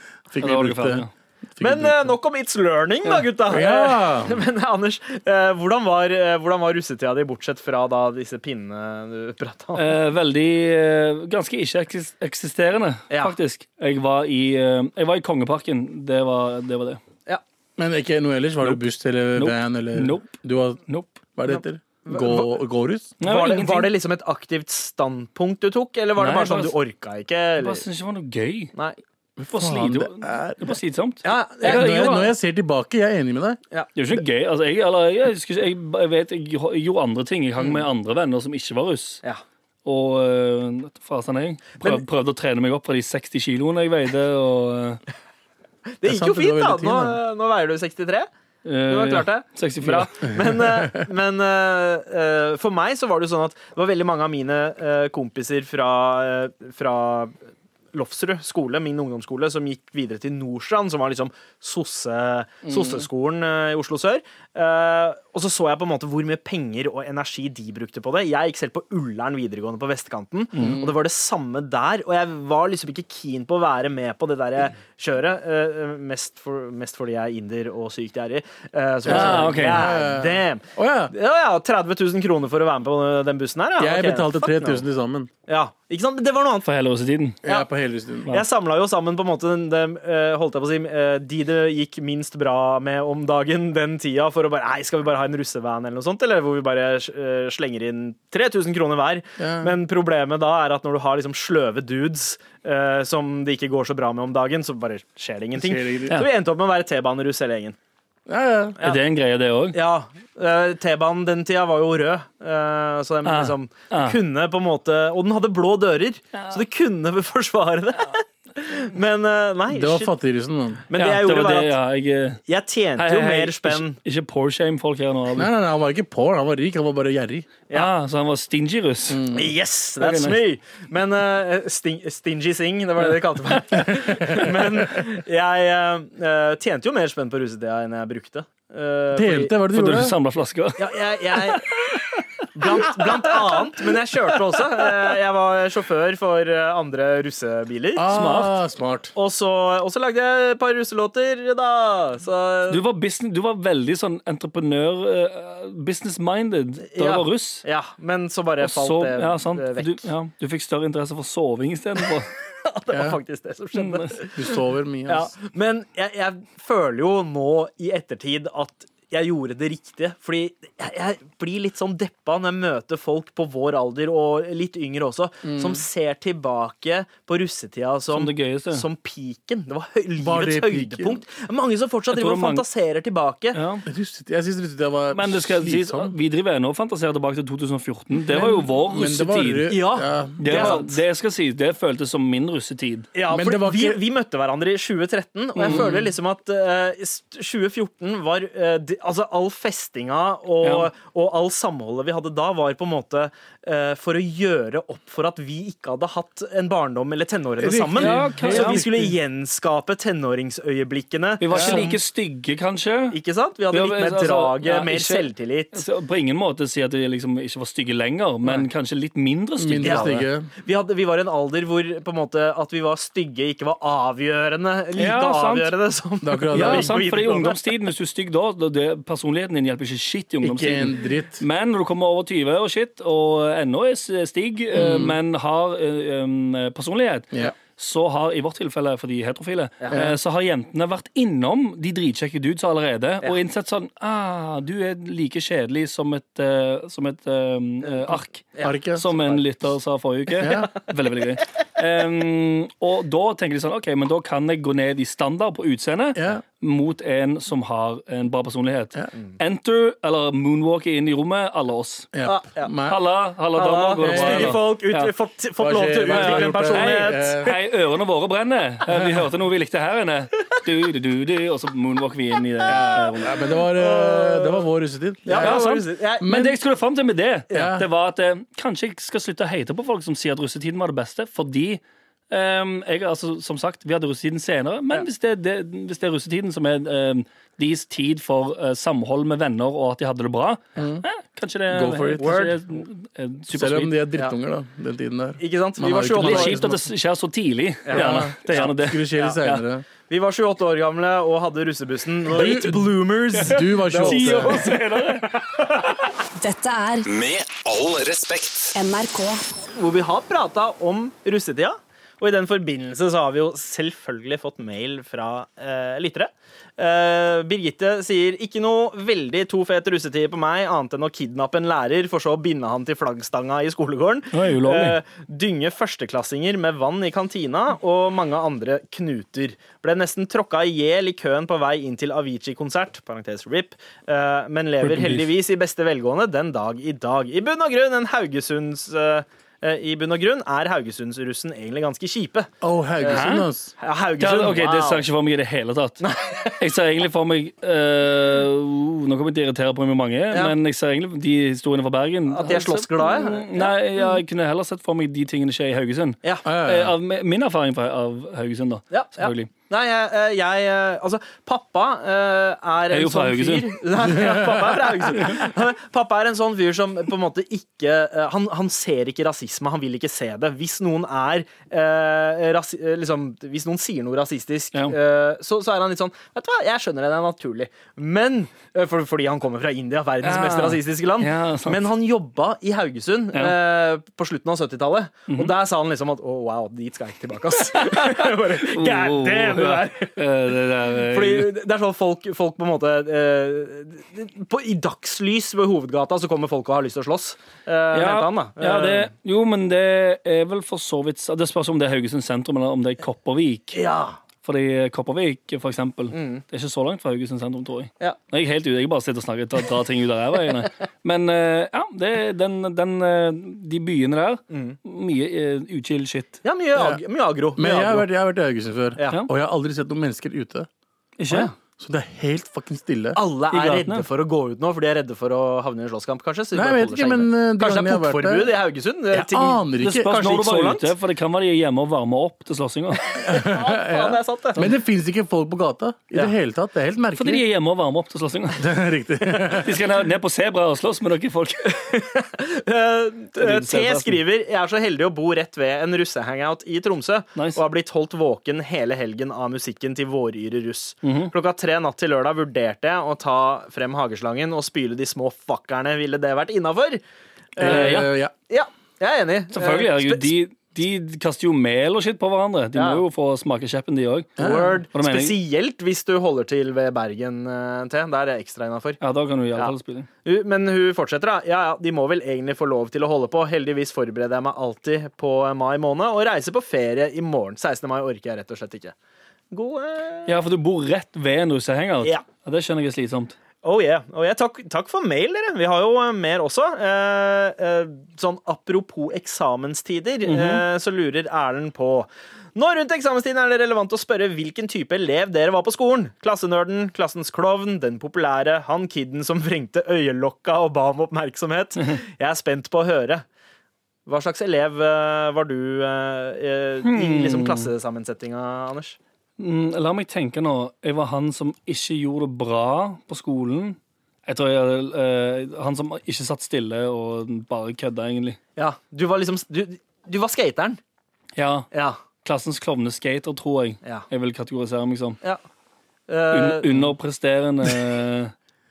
[SPEAKER 6] Ja,
[SPEAKER 5] Fikk vi
[SPEAKER 6] da var
[SPEAKER 5] brukt
[SPEAKER 6] dere
[SPEAKER 5] det.
[SPEAKER 6] ferdige.
[SPEAKER 5] Fikk vi
[SPEAKER 3] Men
[SPEAKER 5] brukt
[SPEAKER 3] eh, nok om It's Learning, da, gutta.
[SPEAKER 5] Ja.
[SPEAKER 3] Eh, *laughs* Men Anders, eh, hvordan var, eh, hvordan var russetida di, bortsett fra da disse pinnene du prata om?
[SPEAKER 6] Eh, veldig eh, Ganske ikke-eksisterende,
[SPEAKER 3] Ja.
[SPEAKER 6] faktisk. Jeg var, i, eh, jeg var i Kongeparken. Det var det. Var det.
[SPEAKER 5] Men ikke noe ellers? Var det buss eller
[SPEAKER 6] Nope.
[SPEAKER 5] van eller
[SPEAKER 6] Nope.
[SPEAKER 5] du var,
[SPEAKER 6] Nope.
[SPEAKER 5] Hva er det heter? Gå- Gårus?
[SPEAKER 6] Nei,
[SPEAKER 3] Var det,
[SPEAKER 6] ingenting.
[SPEAKER 3] var det liksom et aktivt standpunkt du tok, eller var det
[SPEAKER 6] Nei,
[SPEAKER 3] bare sånn
[SPEAKER 6] bare-
[SPEAKER 3] du orka ikke?
[SPEAKER 6] Jeg bare
[SPEAKER 3] Eller?
[SPEAKER 6] syntes ikke det var noe gøy.
[SPEAKER 3] Nei.
[SPEAKER 6] Det var slitsomt.
[SPEAKER 5] det er-
[SPEAKER 6] Det var slitsomt.
[SPEAKER 3] Ja,
[SPEAKER 5] Ja,
[SPEAKER 3] jeg,
[SPEAKER 5] når, jeg,
[SPEAKER 6] jo, da.
[SPEAKER 5] når jeg ser tilbake, jeg er enig med deg.
[SPEAKER 6] Det er jo ikke noe gøy. Altså, jeg, eller, jeg, husker ikke- jeg, jeg vet jeg, jeg gjorde andre ting. Jeg hang med andre venner som ikke var russ.
[SPEAKER 3] Mm. ja.
[SPEAKER 6] Og øh, vet du fasen jeg prøv,
[SPEAKER 3] Men-
[SPEAKER 6] prøvde å trene meg opp fra de 60 kiloene jeg veide. Og, øh,
[SPEAKER 3] Det
[SPEAKER 5] er
[SPEAKER 3] gikk jo
[SPEAKER 5] sant, det går
[SPEAKER 3] fint, da.
[SPEAKER 5] veldig
[SPEAKER 3] Nå, eh,
[SPEAKER 5] tid,
[SPEAKER 3] nå veier du 63.
[SPEAKER 6] øh,
[SPEAKER 3] *laughs* Du har klart det.
[SPEAKER 6] ja, 64.
[SPEAKER 3] Bra. Men, eh, men eh, eh, for meg så var det jo sånn at det var veldig mange av mine eh, kompiser fra, eh, fra Lofsrud skole, min ungdomsskole, som gikk videre til Nordstrand, som var liksom sosse-
[SPEAKER 6] Mm.
[SPEAKER 3] sosseskolen eh, i Oslo sør. Eh, og så så jeg på en måte hvor mye penger og energi de brukte på det. Jeg gikk selv på Ullern videregående på vestkanten,
[SPEAKER 6] Mm.
[SPEAKER 3] og det var det samme der. Og jeg var liksom ikke keen på å være med på det
[SPEAKER 6] Mm.
[SPEAKER 3] der kjøret, eh, mest, for, mest fordi jeg er inder og sykt gjerrig. Eh, så var jeg
[SPEAKER 6] Ja,
[SPEAKER 3] sånn,
[SPEAKER 6] ok.
[SPEAKER 3] "God damn."
[SPEAKER 5] Å ja.
[SPEAKER 3] Ja, ja, 30 000 kroner for å være med på den bussen her, ja.
[SPEAKER 5] Jeg
[SPEAKER 3] Ok,
[SPEAKER 5] betalte
[SPEAKER 3] fuck no.
[SPEAKER 5] 3000 til sammen.
[SPEAKER 3] Ja, ikke sant? Det var noe annet.
[SPEAKER 6] For hele russetiden.
[SPEAKER 5] Jeg er på hele stunden.
[SPEAKER 3] Jeg samla jo sammen på en måte den- dem, eh, holdt jeg på å si, eh, de det gikk minst bra med om dagen den tida, for å bare Nei, skal vi bare ha en russevan eller noe sånt, eller hvor vi bare eh, slenger inn 3000 kroner hver?
[SPEAKER 5] Ja.
[SPEAKER 3] Men problemet da er at når du har liksom sløve dudes eh, som det ikke går så bra med om dagen, så bare skjer det ingenting.
[SPEAKER 5] Skjer det ingenting.
[SPEAKER 3] Så vi endte opp med å være T-baneruss hele gjengen.
[SPEAKER 5] Ja, ja.
[SPEAKER 6] Er det en greie, det òg?
[SPEAKER 3] Ja, eh, T-banen den tida var jo rød, eh, så den
[SPEAKER 6] Ah.
[SPEAKER 3] liksom
[SPEAKER 6] Ah.
[SPEAKER 3] kunne på en måte Og den hadde blå dører, så det kunne *laughs* vel forsvare det. Men eh, nei,
[SPEAKER 5] Det var
[SPEAKER 3] shit.
[SPEAKER 5] fattigrusen. da.
[SPEAKER 3] Men det jeg gjorde, var at
[SPEAKER 6] ja, jeg, øh,
[SPEAKER 3] jeg tjente
[SPEAKER 6] hei,
[SPEAKER 3] jo
[SPEAKER 6] hei,
[SPEAKER 3] mer spenn.
[SPEAKER 6] Ikke, ikke porshame folk her nå. Ali.
[SPEAKER 5] Nei, nei, nei, han var ikke poor, han var rik, han var bare gjerrig.
[SPEAKER 6] Ah, så han var stingy russ.
[SPEAKER 3] Mm.
[SPEAKER 5] Mm.
[SPEAKER 3] Yes, that's
[SPEAKER 6] Ok,
[SPEAKER 3] me! Men eh, sting, Stingy Sing, det var det de kalte
[SPEAKER 5] *laughs*
[SPEAKER 3] meg. Men jeg eh, tjente jo mer spenn på russetida enn jeg brukte. Eh, fordi-
[SPEAKER 5] Delte, hva er det
[SPEAKER 6] For
[SPEAKER 5] du
[SPEAKER 6] du
[SPEAKER 5] gjorde?
[SPEAKER 6] samla flasker.
[SPEAKER 3] Ja, jeg, jeg blant, blant annet, men jeg kjørte også. Eh, Jeg var sjåfør for eh, andre russebiler.
[SPEAKER 5] Ah, smart.
[SPEAKER 3] Og så, og så lagde jeg et par russelåter, da. Så
[SPEAKER 6] Du var, business, du var veldig sånn entreprenør, øh, business-minded, da du
[SPEAKER 3] Ja.
[SPEAKER 6] var russ.
[SPEAKER 3] Ja, men så bare
[SPEAKER 6] Og
[SPEAKER 3] falt
[SPEAKER 6] så-
[SPEAKER 3] det
[SPEAKER 6] ja, sant.
[SPEAKER 3] eh,
[SPEAKER 6] For
[SPEAKER 3] *laughs* vekk. *laughs*
[SPEAKER 6] Du, ja, Mm, du fikk større interesse for soving istedenfor.
[SPEAKER 3] det var faktisk det som skjedde.
[SPEAKER 5] Du sover mye,
[SPEAKER 3] Ja,
[SPEAKER 5] ass.
[SPEAKER 3] men jeg, jeg føler jo nå i ettertid at jeg gjorde det riktige. Fordi jeg, jeg blir litt sånn deppa når jeg møter folk på vår alder, og litt yngre også, som ser tilbake på russetida som,
[SPEAKER 6] Som det gøyeste.
[SPEAKER 3] som piken. Det var høy,
[SPEAKER 5] Var
[SPEAKER 3] livets
[SPEAKER 5] det piken?
[SPEAKER 3] høydepunkt. Mange som fortsatt
[SPEAKER 6] Jeg
[SPEAKER 3] driver
[SPEAKER 6] tror
[SPEAKER 3] og
[SPEAKER 6] mange-
[SPEAKER 3] fantaserer tilbake.
[SPEAKER 6] Ja.
[SPEAKER 5] Russetid- Jeg syns russetida var
[SPEAKER 6] Men det skal sies, at
[SPEAKER 5] slitsom.
[SPEAKER 6] vi driver ennå og fantaserer tilbake til 2014. Det var jo vår
[SPEAKER 5] Men det var
[SPEAKER 6] russetid.
[SPEAKER 5] ru-
[SPEAKER 3] Ja.
[SPEAKER 6] Det,
[SPEAKER 3] er
[SPEAKER 6] var,
[SPEAKER 3] sant.
[SPEAKER 6] det skal sies, det føltes som min russetid.
[SPEAKER 3] Ja,
[SPEAKER 5] Men
[SPEAKER 3] for
[SPEAKER 5] det var
[SPEAKER 3] vi,
[SPEAKER 5] ikke-
[SPEAKER 3] vi møtte hverandre i 2013, og jeg
[SPEAKER 6] Mm.
[SPEAKER 3] føler liksom at eh, st- 2014 var eh, de, Altså, all festinga og,
[SPEAKER 6] Ja.
[SPEAKER 3] og all samholdet vi hadde da, var på en måte eh, for å gjøre opp for at vi ikke hadde hatt en barndom eller tenårene
[SPEAKER 5] Riktig.
[SPEAKER 3] sammen.
[SPEAKER 6] Ja, ok.
[SPEAKER 3] Så
[SPEAKER 6] Ja.
[SPEAKER 3] vi skulle gjenskape tenåringsøyeblikkene.
[SPEAKER 6] Vi var
[SPEAKER 3] som-
[SPEAKER 6] ikke like stygge, kanskje.
[SPEAKER 3] Ikke sant? Vi hadde
[SPEAKER 6] Ja,
[SPEAKER 3] litt mer
[SPEAKER 6] altså,
[SPEAKER 3] draget,
[SPEAKER 6] ja,
[SPEAKER 3] mer
[SPEAKER 6] ikke-
[SPEAKER 3] selvtillit.
[SPEAKER 6] Så På ingen måte si at vi liksom ikke var stygge lenger, men kanskje litt mindre stygge.
[SPEAKER 5] Mindre
[SPEAKER 3] Ja.
[SPEAKER 5] stygge.
[SPEAKER 3] Vi, hadde, vi var i en alder hvor på en måte, at vi var stygge ikke var avgjørende. Like
[SPEAKER 6] Ja, sant.
[SPEAKER 3] avgjørende som
[SPEAKER 5] Det er akkurat det.
[SPEAKER 6] Ja,
[SPEAKER 5] Ikke
[SPEAKER 6] sant, for i ungdomstiden, hvis du er stygg da, da det, personligheten din hjelper ikke shit i
[SPEAKER 5] Ikke en
[SPEAKER 6] ungdomstiden.
[SPEAKER 5] dritt.
[SPEAKER 6] Men når du kommer over 20 og shit, og ennå er s- stig, eh, men har eh, em, personlighet,
[SPEAKER 5] Mm. Ja.
[SPEAKER 6] så har i vårt tilfelle, for de heterofile, eh, så har jentene vært innom de dritkjekke dudesa allerede og innsett sånn ah, Du er like kjedelig som et, eh, som et em, eh, ark.
[SPEAKER 5] Arket.
[SPEAKER 6] Som en lytter sa forrige uke. Veldig, veldig gøy. Em, og da tenker de sånn OK, men da kan jeg gå ned i standard på utseendet
[SPEAKER 5] Ja.
[SPEAKER 6] mot en som har en bra personlighet. Enter eller moonwalker inn i rommet, alle oss.
[SPEAKER 5] Ja.
[SPEAKER 3] ja.
[SPEAKER 5] Meg.
[SPEAKER 6] Halla, halla damer. Går det bra?
[SPEAKER 5] Stygge
[SPEAKER 3] Stygge
[SPEAKER 6] eller?
[SPEAKER 3] folk, ut,
[SPEAKER 6] Ja.
[SPEAKER 3] fått, fått lov til å utvikle
[SPEAKER 5] Ah, Hva skjer?
[SPEAKER 3] en
[SPEAKER 5] Hva har jeg gjort?
[SPEAKER 3] personlighet.
[SPEAKER 5] Eh,
[SPEAKER 6] Hei, ørene våre brenner. Eh, Vi hørte noe vi likte her inne. Du, du, du, du, og så moonwalker vi inn i det. eh, rommet.
[SPEAKER 5] Ja, men det var, eh, det var vår russetid.
[SPEAKER 3] Ja,
[SPEAKER 6] Ja,
[SPEAKER 3] det var
[SPEAKER 6] sant.
[SPEAKER 3] russetid. Jeg-
[SPEAKER 6] Men det jeg skulle fram til med det,
[SPEAKER 5] Ja.
[SPEAKER 6] Det var at eh, kanskje jeg skal slutte å hate på folk som sier at russetiden var det beste, fordi ehm, jeg, altså, som sagt, Vi hadde russetiden senere, men hvis, det, det, hvis det er russetiden som er um, deres tid for eh, samhold med venner, og at de hadde det bra, eh, kanskje det,
[SPEAKER 5] Mm. Go for it.
[SPEAKER 6] kanskje det er eh,
[SPEAKER 5] Selv om
[SPEAKER 6] supersweet.
[SPEAKER 5] de er drittunger, da. Den tiden der.
[SPEAKER 3] Ikke sant?
[SPEAKER 5] Man
[SPEAKER 3] Vi var
[SPEAKER 5] har jo ikke
[SPEAKER 3] 28 år,
[SPEAKER 6] Litt
[SPEAKER 5] mange-
[SPEAKER 6] kjipt at det skjer så tidlig. Gjerne. Det er gjerne det.
[SPEAKER 5] Skulle skje litt
[SPEAKER 6] Ja.
[SPEAKER 5] seinere.
[SPEAKER 3] vi var 28 år gamle og hadde russebussen. Late bloomers!
[SPEAKER 5] Du var eh.
[SPEAKER 3] Ti
[SPEAKER 5] 28.
[SPEAKER 3] år senere.
[SPEAKER 2] Dette er
[SPEAKER 1] Med all respekt.
[SPEAKER 2] NRK.
[SPEAKER 3] Hvor vi har prata om russetida. Og i den forbindelse så har vi jo selvfølgelig fått mail fra eh, lyttere. Eh, Birgitte sier ikke noe veldig to fete russetid på meg, annet enn å kidnappe en lærer, for så å binde han til flaggstanga i skolegården.
[SPEAKER 6] Oi, ulovlig.
[SPEAKER 3] Eh, dynge førsteklassinger med vann i kantina og mange andre knuter. Ble nesten tråkka i hjel i køen på vei inn til Avicii-konsert, parentes RIP, eh, men lever heldigvis i beste velgående den dag i dag. I bunn og grunn en Haugesunds... eh, eh, I bunn og grunn er Haugesundsrussen egentlig ganske kjipe.
[SPEAKER 5] Oh, Haugesund, ass.
[SPEAKER 3] Ja,
[SPEAKER 6] Ja,
[SPEAKER 3] Haugesund,
[SPEAKER 6] ok, Det ser jeg ikke for meg i det hele tatt. *laughs* Jeg ser egentlig for meg øh, uh, Nå kommer jeg til å irritere på meg mange, men jeg ser egentlig de historiene fra Bergen.
[SPEAKER 3] At de er slåssglade?
[SPEAKER 6] Mm, Nei, ja, jeg kunne heller sett for meg de tingene skjer i Haugesund.
[SPEAKER 3] Ja.
[SPEAKER 5] Ah, Ja, ja,
[SPEAKER 6] Eh,
[SPEAKER 5] ja.
[SPEAKER 6] Av me- min erfaring fra, av Haugesund, da.
[SPEAKER 3] Ja, ja.
[SPEAKER 6] Selvfølgelig.
[SPEAKER 3] Nei, jeg, eh, jeg eh, Altså, pappa eh, er
[SPEAKER 6] Jeg er
[SPEAKER 3] en
[SPEAKER 6] jo fra
[SPEAKER 3] sånn fyr *laughs*
[SPEAKER 6] Haugesund.
[SPEAKER 3] Nei, ja, pappa er fra Haugesund. Pappa er en sånn fyr som på en måte ikke eh, Han, han ser ikke rasisme, han vil ikke se det. Hvis noen er eh, rasi eh, liksom, Hvis noen sier noe rasistisk,
[SPEAKER 6] Ja.
[SPEAKER 3] eh, så, så er han litt sånn Vet du hva, jeg skjønner det, det er naturlig. Men eh, for, Fordi han kommer fra India, verdens
[SPEAKER 6] Ja.
[SPEAKER 3] mest rasistiske land.
[SPEAKER 6] Ja, sant.
[SPEAKER 3] Men han jobba i Haugesund eh, på slutten av 70-tallet,
[SPEAKER 5] Mhm.
[SPEAKER 3] og der sa han liksom at å, wow, dit skal jeg ikke tilbake,
[SPEAKER 5] *laughs*
[SPEAKER 3] ass. Jeg bare,
[SPEAKER 5] Oh,
[SPEAKER 3] God damn, det der.
[SPEAKER 6] Eh, det der, eh,
[SPEAKER 3] Fordi det er sånn folk, folk på en måte eh, på, I dagslys ved hovedgata så kommer folk og har lyst til å slåss. Eh, mente han, da.
[SPEAKER 6] ja, det, jo, men det er vel for så vidt Det spørs om det er Haugesund sentrum eller om det er Kopervik.
[SPEAKER 3] Eh, ja.
[SPEAKER 6] Fordi Kopervik, for eksempel, det er ikke så langt fra Haugesund sentrum, tror jeg.
[SPEAKER 3] Mm. Ja.
[SPEAKER 6] Nå er jeg helt ute, jeg bare sitter og snakker drar, drar ting ut av ræva. jeg, nei. Men eh, ja, det, er den, den, eh, de byene der
[SPEAKER 3] Mm.
[SPEAKER 6] Mye uh, uchill shit.
[SPEAKER 3] ja, mye, ag mye agro. Mye
[SPEAKER 5] Men jeg har,
[SPEAKER 3] agro.
[SPEAKER 5] vært, jeg har vært i Haugesund før,
[SPEAKER 3] Ja.
[SPEAKER 5] og jeg har aldri sett noen mennesker ute.
[SPEAKER 6] Ikke?
[SPEAKER 5] Så det er helt fucking stille.
[SPEAKER 3] Alle
[SPEAKER 6] i
[SPEAKER 3] er
[SPEAKER 6] gatene.
[SPEAKER 3] redde for å gå ut nå, for de er redde for å havne i en slåsskamp, kanskje. Så de
[SPEAKER 5] Nei,
[SPEAKER 3] bare
[SPEAKER 5] jeg vet
[SPEAKER 3] holder
[SPEAKER 5] ikke,
[SPEAKER 3] seg
[SPEAKER 5] men,
[SPEAKER 3] inne.
[SPEAKER 5] eh,
[SPEAKER 3] kanskje
[SPEAKER 5] de
[SPEAKER 3] det er
[SPEAKER 5] gangene jeg har vært
[SPEAKER 3] portforbud
[SPEAKER 5] der-
[SPEAKER 3] i Haugesund? eh,
[SPEAKER 5] Jeg aner
[SPEAKER 6] Det
[SPEAKER 5] ikke.
[SPEAKER 6] spørs
[SPEAKER 3] kanskje
[SPEAKER 6] når
[SPEAKER 3] ikke
[SPEAKER 6] du
[SPEAKER 3] så
[SPEAKER 6] var
[SPEAKER 3] langt.
[SPEAKER 6] ute, for det kan være de er hjemme og varmer opp til
[SPEAKER 3] *laughs*
[SPEAKER 6] slåssinga.
[SPEAKER 3] Faen, det er sant, det.
[SPEAKER 5] Men det fins ikke folk på gata i
[SPEAKER 3] Ja.
[SPEAKER 5] det hele tatt. Det er
[SPEAKER 6] Fordi
[SPEAKER 5] helt
[SPEAKER 6] de Eh,
[SPEAKER 5] *laughs* merkelig.
[SPEAKER 6] er hjemme og varmer opp til slåssinga.
[SPEAKER 5] Riktig.
[SPEAKER 6] De skal ned, ned på Sebra og slåss med noen
[SPEAKER 3] *laughs*
[SPEAKER 6] folk.
[SPEAKER 3] Eh, T
[SPEAKER 6] Ryddeselplassen.
[SPEAKER 3] skriver Jeg er så heldig å bo rett ved en russehangout i Tromsø
[SPEAKER 6] Nice.
[SPEAKER 3] og har blitt holdt våken hele helgen av musikken til Våryre russ.
[SPEAKER 6] Mhm.
[SPEAKER 3] Klokka tre natt til lørdag vurderte jeg å ta frem hageslangen og spyle de små fuckerne. Ville det vært innafor?
[SPEAKER 6] Eh, ja.
[SPEAKER 5] Eh, ja.
[SPEAKER 3] Ja, jeg er enig.
[SPEAKER 6] Selvfølgelig.
[SPEAKER 3] Eh,
[SPEAKER 6] herregud,
[SPEAKER 3] spe-
[SPEAKER 6] De, De kaster jo mel og shit på hverandre. De
[SPEAKER 3] Ja.
[SPEAKER 6] må jo få smake kjeppen, de òg.
[SPEAKER 3] Word.
[SPEAKER 6] Hva er det meningen?
[SPEAKER 3] Spesielt hvis du holder til ved Bergen, eh, T. Der er det ekstra innafor.
[SPEAKER 6] Ja, da kan du i alle
[SPEAKER 3] Ja.
[SPEAKER 6] fall spille.
[SPEAKER 3] Hun- Men hun fortsetter, da. Ja, ja, de må vel egentlig få lov til å holde på. Heldigvis forbereder jeg meg alltid på mai måned, og reiser på ferie i morgen. 16. mai orker jeg rett og slett ikke. God eh,
[SPEAKER 6] Ja, for du bor rett ved en russehangout.
[SPEAKER 3] Ja.
[SPEAKER 6] Ja, det skjønner jeg er slitsomt.
[SPEAKER 3] Oh yeah. Oh yeah. Takk, takk for mail, dere. Vi har jo eh, mer også. Eh, eh, sånn apropos eksamenstider, eh, så lurer Erlend på Nå rundt eksamenstiden er det relevant å spørre hvilken type elev dere var på skolen. Klassenerden, klassens klovn, den populære, han kidden som vrengte øyelokka og ba om *laughs* oppmerksomhet. Jeg er spent på å høre. Hva slags elev eh, var du eh, eh, i liksom klassesammensetninga, Anders?
[SPEAKER 6] Mm, la meg tenke nå. Jeg var han som ikke gjorde det bra på skolen. Jeg tror jeg, eh, Han som ikke satt stille og bare kødda, egentlig.
[SPEAKER 3] Ja, Du var liksom Du, du var skateren.
[SPEAKER 6] Ja,
[SPEAKER 3] Ja.
[SPEAKER 6] Klassens klovneskater, tror jeg.
[SPEAKER 3] Ja.
[SPEAKER 6] Jeg vil kategorisere meg som.
[SPEAKER 3] ja.
[SPEAKER 6] Un
[SPEAKER 3] Eh, *laughs*
[SPEAKER 6] underpresterende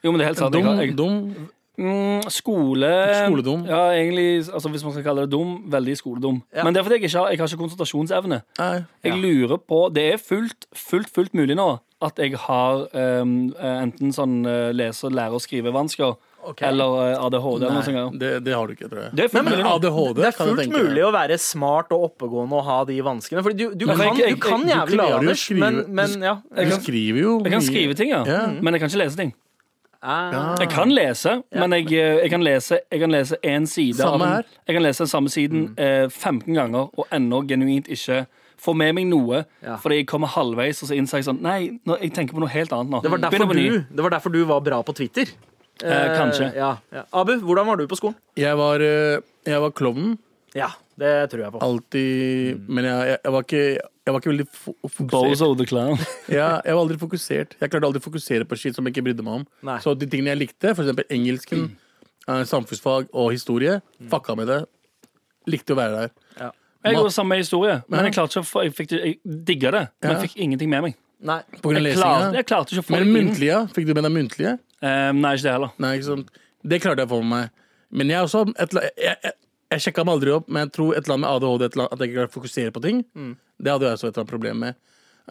[SPEAKER 6] Jo, men det er helt sant. Jeg, har-
[SPEAKER 5] Dum,
[SPEAKER 6] jeg,
[SPEAKER 5] dum.
[SPEAKER 6] mm, skole
[SPEAKER 5] Skoledum.
[SPEAKER 6] Ja, egentlig, altså Hvis man skal kalle det dum, veldig skoledum.
[SPEAKER 3] Ja.
[SPEAKER 6] Men det er fordi jeg ikke har, jeg har ikke konsentrasjonsevne.
[SPEAKER 5] Nei.
[SPEAKER 6] Jeg lurer på Det er fullt, fullt, fullt mulig nå at jeg har em, eh, enten sånn eh, lese-, lære- og skrivevansker
[SPEAKER 3] Ok.
[SPEAKER 6] eller eh, ADHD eller noe sånt.
[SPEAKER 5] Nei,
[SPEAKER 6] greier.
[SPEAKER 5] det, det har du ikke, tror jeg.
[SPEAKER 6] Det er fullt
[SPEAKER 5] Men
[SPEAKER 6] mulig nå.
[SPEAKER 5] ADHD
[SPEAKER 3] Det er
[SPEAKER 5] kan jeg
[SPEAKER 3] fullt
[SPEAKER 5] tenke meg.
[SPEAKER 3] mulig å være smart og oppegående og ha de vanskene. Fordi du, du,
[SPEAKER 6] Men
[SPEAKER 3] kan,
[SPEAKER 6] jeg- jeg-
[SPEAKER 3] du kan
[SPEAKER 6] du
[SPEAKER 3] jævlig
[SPEAKER 5] klarer
[SPEAKER 3] mye,
[SPEAKER 5] jo å
[SPEAKER 3] Anders,
[SPEAKER 5] skrive-
[SPEAKER 3] men, men ja.
[SPEAKER 5] Du skriver jo
[SPEAKER 6] Jeg kan
[SPEAKER 5] mye.
[SPEAKER 6] skrive ting, ja.
[SPEAKER 5] Ja.
[SPEAKER 6] Men jeg kan ikke lese ting.
[SPEAKER 3] Ah.
[SPEAKER 6] Jeg kan lese, men jeg, eh, jeg kan lese Jeg kan lese én side. av
[SPEAKER 5] Samme
[SPEAKER 6] en-
[SPEAKER 5] her.
[SPEAKER 6] Jeg kan lese samme siden
[SPEAKER 3] Mm.
[SPEAKER 6] eh, 15 ganger og ennå genuint ikke få med meg noe.
[SPEAKER 3] Ja.
[SPEAKER 6] Fordi jeg kommer halvveis, og så innser jeg sånn Nei, nå, jeg tenker på noe helt annet nå.
[SPEAKER 3] Det var,
[SPEAKER 6] Begynner
[SPEAKER 3] derfor
[SPEAKER 6] på ny.
[SPEAKER 3] du, det var derfor du var bra på Twitter.
[SPEAKER 6] Eh, kanskje.
[SPEAKER 3] Ja, ja. Abu, hvordan var du på skolen?
[SPEAKER 5] Jeg var, eh, jeg var klovnen.
[SPEAKER 3] Ja, det tror jeg på.
[SPEAKER 5] Alltid Men jeg, jeg, jeg, var ikke, jeg var ikke veldig fo fokusert.
[SPEAKER 6] Mm. Bozo the
[SPEAKER 3] *laughs*
[SPEAKER 6] Clown.
[SPEAKER 5] *laughs* Ja, jeg var aldri fokusert. Jeg klarte aldri å fokusere på shit som jeg ikke brydde meg om.
[SPEAKER 3] Nei.
[SPEAKER 5] Så de tingene jeg likte, for eksempel engelsken,
[SPEAKER 6] Mm.
[SPEAKER 5] eh, samfunnsfag og historie, fucka med det. Likte å være der.
[SPEAKER 6] Jeg går samme historie, men jeg klarte ikke å få Jeg, fikk det- jeg digga det, men jeg fikk ingenting med meg.
[SPEAKER 3] Nei.
[SPEAKER 5] På grunn av
[SPEAKER 6] Jeg klarte,
[SPEAKER 5] lesinga.
[SPEAKER 6] jeg klarte ikke å få
[SPEAKER 5] Men
[SPEAKER 6] det inn.
[SPEAKER 5] muntlige, fikk du med deg muntlige?
[SPEAKER 6] Eh, nei, ikke det heller.
[SPEAKER 5] Nei, ikke sant? Det klarte jeg å få med meg. Men jeg er også et, eller- jeg, jeg, jeg sjekka meg aldri opp, men jeg tror et eller annet med ADHD et eller annet, at jeg ikke klarer å fokusere på ting.
[SPEAKER 3] Mm.
[SPEAKER 5] Det hadde jeg også et eller annet problem med.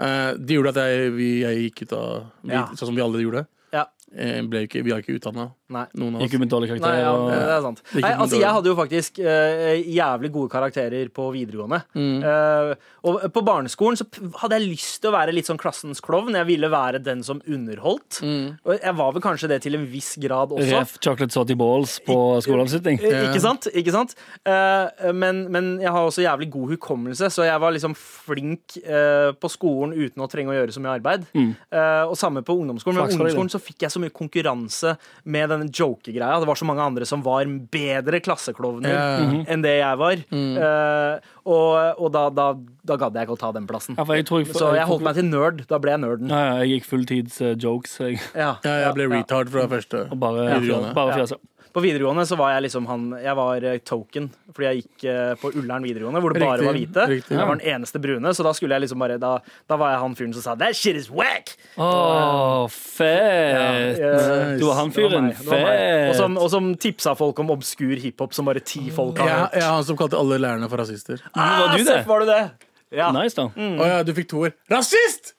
[SPEAKER 5] Eh, det gjorde at jeg, vi, jeg gikk ut av vi,
[SPEAKER 3] Ja.
[SPEAKER 5] Sånn som vi alle gjorde.
[SPEAKER 3] Ja.
[SPEAKER 5] Eh, ble ikke, vi har ikke utdanna
[SPEAKER 3] Nei.
[SPEAKER 5] noen av
[SPEAKER 6] Gikk ut
[SPEAKER 5] oss.
[SPEAKER 6] med dårlige
[SPEAKER 3] Nei, ja, det
[SPEAKER 6] karakterer. og-
[SPEAKER 3] er sant.
[SPEAKER 5] er ikke
[SPEAKER 3] Nei,
[SPEAKER 5] noe
[SPEAKER 3] altså,
[SPEAKER 5] dårlig.
[SPEAKER 3] jeg hadde jo faktisk eh, jævlig gode karakterer på videregående.
[SPEAKER 6] Mm.
[SPEAKER 3] Eh, og på barneskolen så p- hadde jeg lyst til å være litt sånn klassens klovn. Jeg ville være den som underholdt.
[SPEAKER 6] Mm.
[SPEAKER 3] Og jeg var vel kanskje det til en viss grad også.
[SPEAKER 6] Ref chocolate salty balls på skoleavslutning.
[SPEAKER 3] Eh, Ikke sant? Ikke sant? Eh, men, men jeg har også jævlig god hukommelse, så jeg var liksom flink eh, på skolen uten å trenge å gjøre så mye arbeid. Eh, og samme på ungdomsskolen. Men
[SPEAKER 6] Flaks
[SPEAKER 3] på
[SPEAKER 6] for deg,
[SPEAKER 3] ungdomsskolen så fikk jeg så mye konkurranse med denne jokegreia. Det var så mange andre som var bedre klasseklovner
[SPEAKER 5] Ja.
[SPEAKER 3] enn det jeg var. Eh, og og da, da, da gadd jeg ikke å ta den plassen.
[SPEAKER 6] Ja, for jeg tror jeg,
[SPEAKER 3] Så jeg holdt meg til nerd. Da ble jeg nerden.
[SPEAKER 6] Ja, ja, jeg gikk fulltids eh, jokes jeg,
[SPEAKER 3] Ja.
[SPEAKER 5] Ja, jeg ble retard fra første.
[SPEAKER 6] og bare,
[SPEAKER 5] Videregående.
[SPEAKER 6] bare fjasa.
[SPEAKER 3] På videregående så var jeg liksom han Jeg var eh, token, fordi jeg gikk eh, på Ullern videregående, hvor det bare
[SPEAKER 5] Riktig,
[SPEAKER 3] var hvite.
[SPEAKER 5] riktig.
[SPEAKER 3] Jeg var den eneste brune, så da skulle jeg liksom bare Da, da var jeg han fyren som sa 'that shit is whack'!
[SPEAKER 6] Å, fett!
[SPEAKER 3] Eh,
[SPEAKER 6] Du var han
[SPEAKER 3] det var
[SPEAKER 6] fyren.
[SPEAKER 3] meg, det var meg. Og
[SPEAKER 6] Fett!
[SPEAKER 3] som, og som tipsa folk om obskur hiphop som bare ti folk
[SPEAKER 5] Jeg,
[SPEAKER 3] har
[SPEAKER 5] jeg
[SPEAKER 3] hørt.
[SPEAKER 5] er han som kalte alle lærerne for rasister. Å
[SPEAKER 6] Var
[SPEAKER 3] Ah,
[SPEAKER 6] eh, du
[SPEAKER 3] Seff,
[SPEAKER 6] det?
[SPEAKER 3] Var du det? Ja.
[SPEAKER 6] Nice, da.
[SPEAKER 3] Mm.
[SPEAKER 5] ja, du fikk toer. Rasist!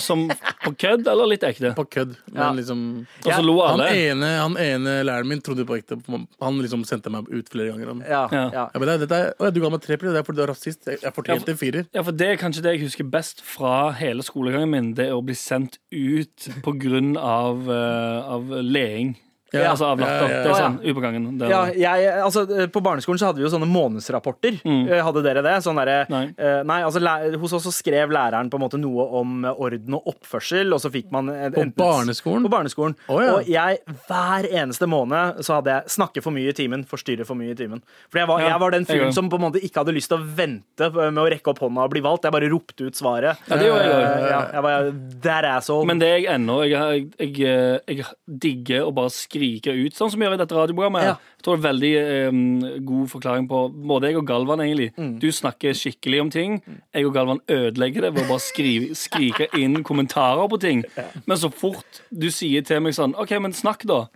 [SPEAKER 6] Som på kødd eller litt ekte?
[SPEAKER 5] På kødd. Men
[SPEAKER 3] Ja.
[SPEAKER 5] liksom
[SPEAKER 6] Og så lo
[SPEAKER 5] han
[SPEAKER 6] alle.
[SPEAKER 5] ene, han ene læreren min trodde på ekte. på- Han liksom sendte meg ut flere ganger. Han.
[SPEAKER 3] Ja,
[SPEAKER 6] Ja.
[SPEAKER 3] ja.
[SPEAKER 5] Ja, men det, dette er, å, ja, du ga meg tre piller, det er fordi du er rasist. Jeg, jeg fortjente en firer.
[SPEAKER 6] Ja, for Det er kanskje det jeg husker best fra hele skolegangen min. Det å bli sendt ut på grunn av, eh, av leing.
[SPEAKER 5] Ja.
[SPEAKER 6] Altså av latter.
[SPEAKER 5] Ja, ja, ja.
[SPEAKER 6] Det er
[SPEAKER 3] Å, ja.
[SPEAKER 6] sånn ut på gangen. Det er-
[SPEAKER 3] Ja, jeg, altså, eh, på barneskolen så hadde vi jo sånne månedsrapporter. Eh, Hadde dere det? Sånn derre
[SPEAKER 6] Mm. Nei.
[SPEAKER 3] eh, nei, altså læ- Hos oss så skrev læreren på en måte noe om eh, orden og oppførsel, og så fikk man eh,
[SPEAKER 5] På
[SPEAKER 3] enten-
[SPEAKER 5] barneskolen?
[SPEAKER 3] På barneskolen.
[SPEAKER 5] Å, ja.
[SPEAKER 3] Og jeg, hver eneste måned så hadde jeg snakke for mye i timen, forstyrre for mye i timen. For jeg var,
[SPEAKER 6] Ja,
[SPEAKER 3] jeg var den
[SPEAKER 6] jeg
[SPEAKER 3] fyren
[SPEAKER 6] også.
[SPEAKER 3] som på en måte ikke hadde lyst til å vente eh, med å rekke opp hånda og bli valgt. Jeg bare ropte ut svaret.
[SPEAKER 6] Ja, det gjorde jeg også.
[SPEAKER 3] Eh, ja, jeg var that asshole.
[SPEAKER 6] Men det er jeg ennå. Jeg, jeg, jeg, jeg digger å bare skrike ut, sånn som vi gjør i dette radioprogrammet. her.
[SPEAKER 3] Ja.
[SPEAKER 6] Jeg tror det er veldig eh, god forklaring på både jeg og Galvan, egentlig. Du snakker skikkelig om ting. Jeg og Galvan ødelegger det ved å bare skrive, skrike inn kommentarer på ting. Men så fort du sier til meg sånn OK, men snakk, da.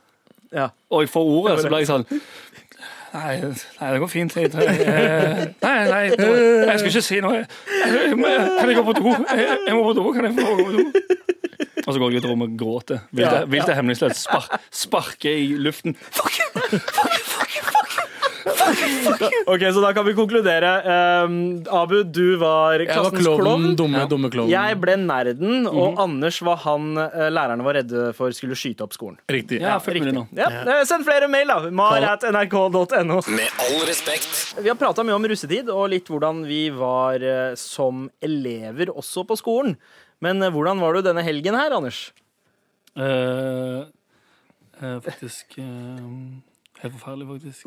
[SPEAKER 3] ja.
[SPEAKER 6] Og jeg får ordet, så blir jeg sånn Nei, nei det går fint. Jeg, jeg, nei, nei, Nei, jeg skal ikke si noe. Jeg- jeg- Kan jeg gå på do? Jeg jeg må på do. Kan jeg få gå på do? Og så går jeg ut i rommet og gråter. Vilt er- Vilt er hemningsløst. Spar, sparker i luften. Fuck you!
[SPEAKER 3] Ok, Så da kan vi konkludere. Ehm, Abu, du var
[SPEAKER 5] Jeg var
[SPEAKER 3] klassens
[SPEAKER 5] klovnen.
[SPEAKER 3] klovn.
[SPEAKER 5] Dumme, dumme klovnen.
[SPEAKER 3] Jeg ble nerden, og Anders var han eh, lærerne var redde for skulle skyte opp skolen.
[SPEAKER 5] Riktig.
[SPEAKER 6] Ja, fuck med det nå.
[SPEAKER 3] Ja, eh, Send flere mail, da. mar.nrk.no.
[SPEAKER 1] Med all respekt.
[SPEAKER 3] Vi har prata mye om russetid og litt hvordan vi var eh, som elever også på skolen. Men eh, hvordan var du denne helgen her, Anders?
[SPEAKER 6] Eh, eh, faktisk eh, Helt forferdelig, faktisk.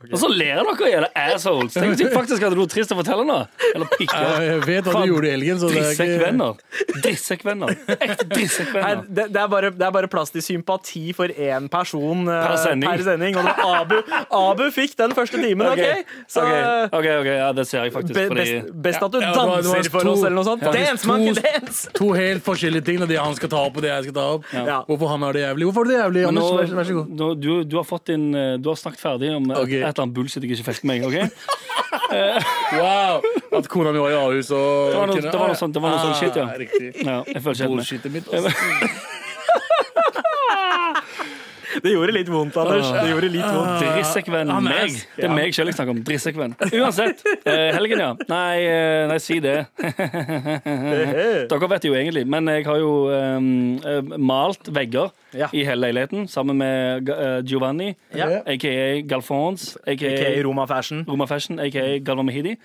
[SPEAKER 6] Og så ler dere, jævla assholes! Tenk hvis jeg faktisk hadde noe trist å fortelle nå. Eller pikker.
[SPEAKER 5] Jeg vet hva
[SPEAKER 6] Faen.
[SPEAKER 5] du gjorde i helgen, så det er ikke
[SPEAKER 6] Drittsekkvenner. Drittsekkvenner. Ekte
[SPEAKER 3] Nei,
[SPEAKER 6] drittsekkvenner.
[SPEAKER 3] det, det, er bare, det er bare plass til sympati for én person eh,
[SPEAKER 6] Per sending.
[SPEAKER 3] per sending. Og det var *laughs* Abu, Abu fikk den første timen, OK?
[SPEAKER 6] Ok,
[SPEAKER 3] Så
[SPEAKER 6] ok,
[SPEAKER 3] eh,
[SPEAKER 6] ok, ok, ja, det ser jeg faktisk.
[SPEAKER 3] be,
[SPEAKER 6] fordi
[SPEAKER 3] best, best at du
[SPEAKER 5] Ja, det var- det var
[SPEAKER 3] danser for oss,
[SPEAKER 5] to-
[SPEAKER 3] eller noe sånt.
[SPEAKER 5] Ja, det var
[SPEAKER 3] Dance, man!
[SPEAKER 5] to-
[SPEAKER 3] Dance!
[SPEAKER 5] To helt forskjellige ting. Det han skal ta opp, og det jeg skal ta opp.
[SPEAKER 3] Ja.
[SPEAKER 5] Hvorfor han har det jævlig? Hvorfor har du det jævlig,
[SPEAKER 6] Men
[SPEAKER 5] Anders?
[SPEAKER 6] nå-
[SPEAKER 5] Vær, vær så god.
[SPEAKER 6] Nå, du, du, har fått din, eh, du har snakket ferdig om eh,
[SPEAKER 5] Ok.
[SPEAKER 6] et eller annet bullshit jeg ikke fikk med meg. *laughs* ok?
[SPEAKER 5] Wow! At kona mi var i Ahus og
[SPEAKER 6] Det var noe, det var noe, sånt, det var noe sånn shit, ja.
[SPEAKER 5] Ah, Riktig.
[SPEAKER 6] ja jeg føler ikke helt med.
[SPEAKER 5] Bullshitet mitt.
[SPEAKER 6] *laughs*
[SPEAKER 5] ass.
[SPEAKER 3] Det gjorde litt vondt, Anders. Det gjorde litt vondt.
[SPEAKER 6] Drittsekkvenn. Meg. Det er meg selv jeg snakker om. Drittsekkvenn. Uansett. eh, helgen, ja. Nei, eh, nei, si det. *laughs*
[SPEAKER 3] Eh,
[SPEAKER 6] Dere vet det jo egentlig, men jeg har jo ehm, eh, malt vegger
[SPEAKER 3] Ja.
[SPEAKER 6] i hele leiligheten sammen med Ga- eh, Giovanni,
[SPEAKER 3] Ja.
[SPEAKER 6] aka Galfons, aka
[SPEAKER 3] Ok, Roma Fashion.
[SPEAKER 6] Roma Fashion, aka Galvan Mehidi,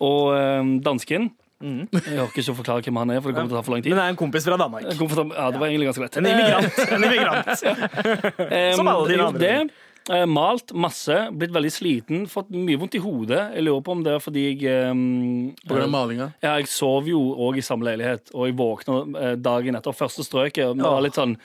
[SPEAKER 6] og ehm, dansken.
[SPEAKER 3] Mm.
[SPEAKER 6] Jeg orker ikke å forklare hvem han er, for det kommer til å ta for lang
[SPEAKER 3] Men
[SPEAKER 6] tid.
[SPEAKER 3] det er en kompis fra Danmark.
[SPEAKER 6] Jeg kommer til å ta- Ja, det var egentlig ganske lett.
[SPEAKER 3] En *laughs* immigrant. En immigrant.
[SPEAKER 6] Ehm,
[SPEAKER 3] Som alle dine
[SPEAKER 6] gjort
[SPEAKER 3] andre
[SPEAKER 6] det. Eh, Malt masse, blitt veldig sliten, fått mye vondt i hodet. Jeg lurer på om det er fordi jeg ehm,
[SPEAKER 5] På grunn av malinga.
[SPEAKER 6] ja, jeg sov jo òg i samme leilighet, og jeg våkna eh, dagen etter første strøket. Og det var litt sånn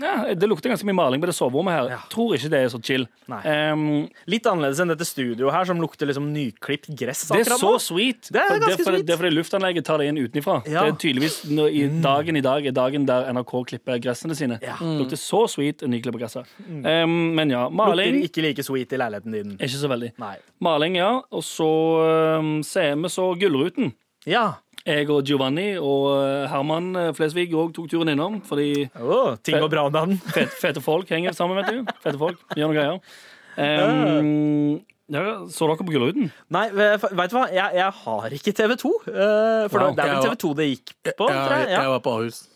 [SPEAKER 6] ja, Det lukter ganske mye maling på det soverommet her. Tror ikke det er så chill.
[SPEAKER 3] Nei.
[SPEAKER 6] Ehm,
[SPEAKER 3] Litt annerledes enn dette studioet her, som lukter liksom nyklipt gress.
[SPEAKER 6] det er
[SPEAKER 3] akkurat
[SPEAKER 6] så
[SPEAKER 3] nå.
[SPEAKER 6] sweet.
[SPEAKER 3] Det er
[SPEAKER 6] for
[SPEAKER 3] ganske
[SPEAKER 6] det, for
[SPEAKER 3] sweet.
[SPEAKER 6] det er fordi luftanlegget tar det inn utenfra.
[SPEAKER 3] Ja. Mm.
[SPEAKER 6] Det er tydeligvis nå, i Dagen i dag er dagen der NRK klipper gressene sine.
[SPEAKER 3] Ja. Mm.
[SPEAKER 6] Det lukter så sweet nyklipper gresser. Ehm, men ja,
[SPEAKER 3] Lukter
[SPEAKER 6] maling
[SPEAKER 3] ikke like sweet i leiligheten din.
[SPEAKER 6] er ikke så veldig.
[SPEAKER 3] Nei.
[SPEAKER 6] Maling, ja. Og så ehm, ser vi så Gullruten.
[SPEAKER 3] Ja.
[SPEAKER 6] Jeg og Giovanni og eh, Herman eh, Flesvig òg tok turen innom, fordi
[SPEAKER 3] Å, ting går bra om dagen.
[SPEAKER 6] fete, fete folk henger sammen, vet du. Fete folk, gjør noen greier. Ehm, ja, så dere på Gullruten?
[SPEAKER 3] Nei, eh, vet du hva? Jeg, jeg har ikke TV2. eh, For
[SPEAKER 6] Wow.
[SPEAKER 3] det er
[SPEAKER 5] Jeg
[SPEAKER 3] vel
[SPEAKER 5] var-
[SPEAKER 3] TV2 det gikk på, tror
[SPEAKER 5] Jeg,
[SPEAKER 3] jeg.
[SPEAKER 5] jeg
[SPEAKER 3] Ja.
[SPEAKER 5] var på Ahus.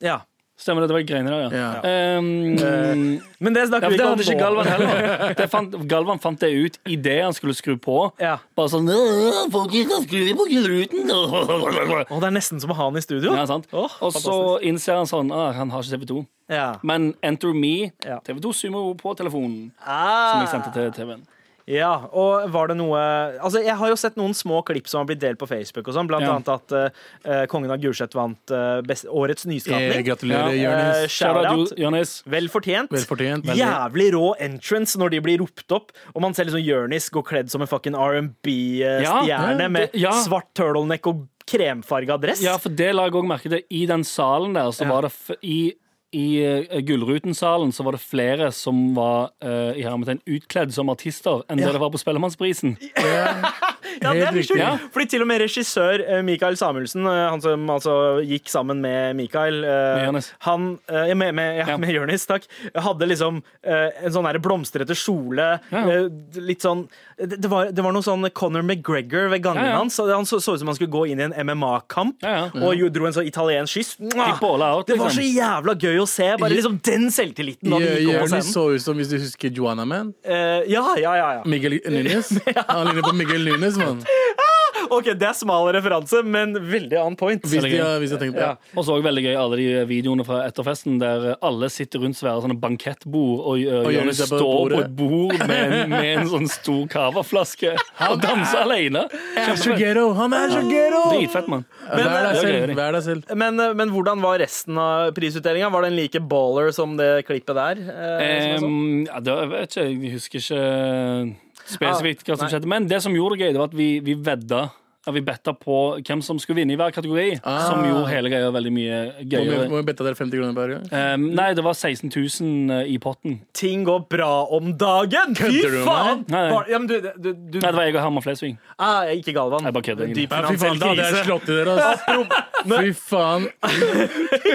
[SPEAKER 3] Ja.
[SPEAKER 6] Stemmer det, det var greiene der, ja.
[SPEAKER 5] Ja.
[SPEAKER 6] Ehm,
[SPEAKER 3] Eh, Men det
[SPEAKER 6] ja,
[SPEAKER 3] snakker
[SPEAKER 6] for
[SPEAKER 3] vi
[SPEAKER 6] det
[SPEAKER 3] ikke om
[SPEAKER 6] hadde ikke
[SPEAKER 3] nå.
[SPEAKER 6] Galvan heller. Det fant, Galvan fant det ut idet han skulle skru på.
[SPEAKER 3] Ja.
[SPEAKER 6] Bare sånn «Åh, Folk skal skru på Gullruten!
[SPEAKER 3] Å, det er nesten som å ha han i studio.
[SPEAKER 6] *laughs* Ja, sant?
[SPEAKER 3] Åh,
[SPEAKER 6] og så innser han sånn ah, Han har ikke TV2.
[SPEAKER 3] Ja.
[SPEAKER 6] Men Enter Me,
[SPEAKER 3] Ja.
[SPEAKER 6] TV2 Sumo på telefonen, som jeg
[SPEAKER 3] Ah,
[SPEAKER 6] sendte til TV-en.
[SPEAKER 3] ja, og var det noe Altså, jeg har jo sett noen små klipp som har blitt delt på Facebook og sånn, blant
[SPEAKER 6] Ja.
[SPEAKER 3] annet at eh, Kongen av Gulset vant eh, best, Årets
[SPEAKER 5] Eh,
[SPEAKER 3] nyskapning.
[SPEAKER 5] gratulerer,
[SPEAKER 6] Ja.
[SPEAKER 3] Eh,
[SPEAKER 5] Jonis.
[SPEAKER 3] Shout out.
[SPEAKER 6] Shout out, Jonis.
[SPEAKER 3] Vel fortjent.
[SPEAKER 5] Vel fortjent, veldig.
[SPEAKER 3] Jævlig rå entrance når de blir ropt opp, og man ser liksom Jonis gå kledd som en fucking
[SPEAKER 6] Ja,
[SPEAKER 3] R&B-stjerne
[SPEAKER 6] ja,
[SPEAKER 3] eh, med
[SPEAKER 6] det- ja.
[SPEAKER 3] svart turtleneck og kremfarga dress.
[SPEAKER 6] Ja, for det la jeg òg merke til. I den salen der, så var det f i, i eh, Gullruten-salen så var det flere som var eh, i hermetegn utkledd som artister enn det det var på Spellemannsprisen.
[SPEAKER 3] Ja, det er
[SPEAKER 5] Helt
[SPEAKER 3] litt sjukt.
[SPEAKER 6] riktig. Ja.
[SPEAKER 3] Fordi til og med regissør eh, Mikael Samuelsen, eh, han som altså gikk sammen med Mikael eh,
[SPEAKER 6] Med Jonis.
[SPEAKER 3] Han, eh, ja, med, med, ja,
[SPEAKER 6] Ja.
[SPEAKER 3] med Jonis, takk. Hadde liksom eh, en sånn der blomstrete kjole.
[SPEAKER 6] Ja.
[SPEAKER 3] eh, Litt sånn det, det, var, det var noe sånn Conor McGregor ved gangen
[SPEAKER 6] Ja, ja.
[SPEAKER 3] hans. Han så, så ut som han skulle gå inn i en MMA-kamp
[SPEAKER 6] Ja, ja.
[SPEAKER 3] og jo, dro en sånn italiensk kyss. Mwah!
[SPEAKER 6] Fikk båla out,
[SPEAKER 3] Det var så
[SPEAKER 6] liksom.
[SPEAKER 3] jævla gøy å se. Bare liksom den selvtilliten da de gikk over
[SPEAKER 5] Jonis
[SPEAKER 3] scenen.
[SPEAKER 5] så ut som, hvis du husker Joanna Man,
[SPEAKER 3] Eh, ja, ja, ja, ja.
[SPEAKER 5] Miguel
[SPEAKER 6] *laughs*
[SPEAKER 5] Nunes. Han ligner på Miguel Nunes, mann.
[SPEAKER 3] OK, det er smal referanse, men veldig on point.
[SPEAKER 5] Hvis de har hvis de har tenkt på det.
[SPEAKER 6] Og så også veldig gøy alle de videoene fra etterfesten der eh, alle sitter rundt svære sånne bankettbord, og, eh,
[SPEAKER 5] Og
[SPEAKER 6] Jonis
[SPEAKER 5] Jonis er på
[SPEAKER 6] står på
[SPEAKER 5] bordet.
[SPEAKER 6] et bord med en, med en sånn stor cava-flaske og danser alene.
[SPEAKER 5] Han er så ghetto! Han er så ghetto!
[SPEAKER 6] Dritfett, mann.
[SPEAKER 5] Vær deg
[SPEAKER 6] det er
[SPEAKER 5] selv.
[SPEAKER 6] gøy.
[SPEAKER 5] Vær deg selv.
[SPEAKER 3] Men, eh, men hvordan var resten av prisutdelinga? Var den like baller som det klippet der? eh, som jeg så?
[SPEAKER 6] Um, ja, det, jeg vet ikke, jeg husker ikke spesifikt hva som
[SPEAKER 3] nei.
[SPEAKER 6] skjedde. Men det som gjorde det gøy, det var at vi, vi vedda Ja, vi betta på hvem som skulle vinne i hver kategori,
[SPEAKER 5] Ah.
[SPEAKER 6] som gjorde hele greia veldig mye
[SPEAKER 5] Må vi,
[SPEAKER 6] gøyere.
[SPEAKER 5] må vi bette dere 50 kroner per gang?
[SPEAKER 6] Eh, nei, det var 16 000 i potten.
[SPEAKER 3] Ting går bra om dagen! Fy
[SPEAKER 5] Kødder du med
[SPEAKER 3] faen!
[SPEAKER 6] meg? Nei, nei.
[SPEAKER 3] Bare- Ja, men du, du, du,
[SPEAKER 6] Nei, det var jeg og Herman Flesvig.
[SPEAKER 3] ah, jeg er ikke Galvan.
[SPEAKER 6] Jeg bare kødder, egentlig.
[SPEAKER 3] Dyp
[SPEAKER 5] Ja, fy
[SPEAKER 3] finansiell
[SPEAKER 5] faen, da hadde jeg
[SPEAKER 3] krise.
[SPEAKER 5] slått i dere, ass. Fy faen.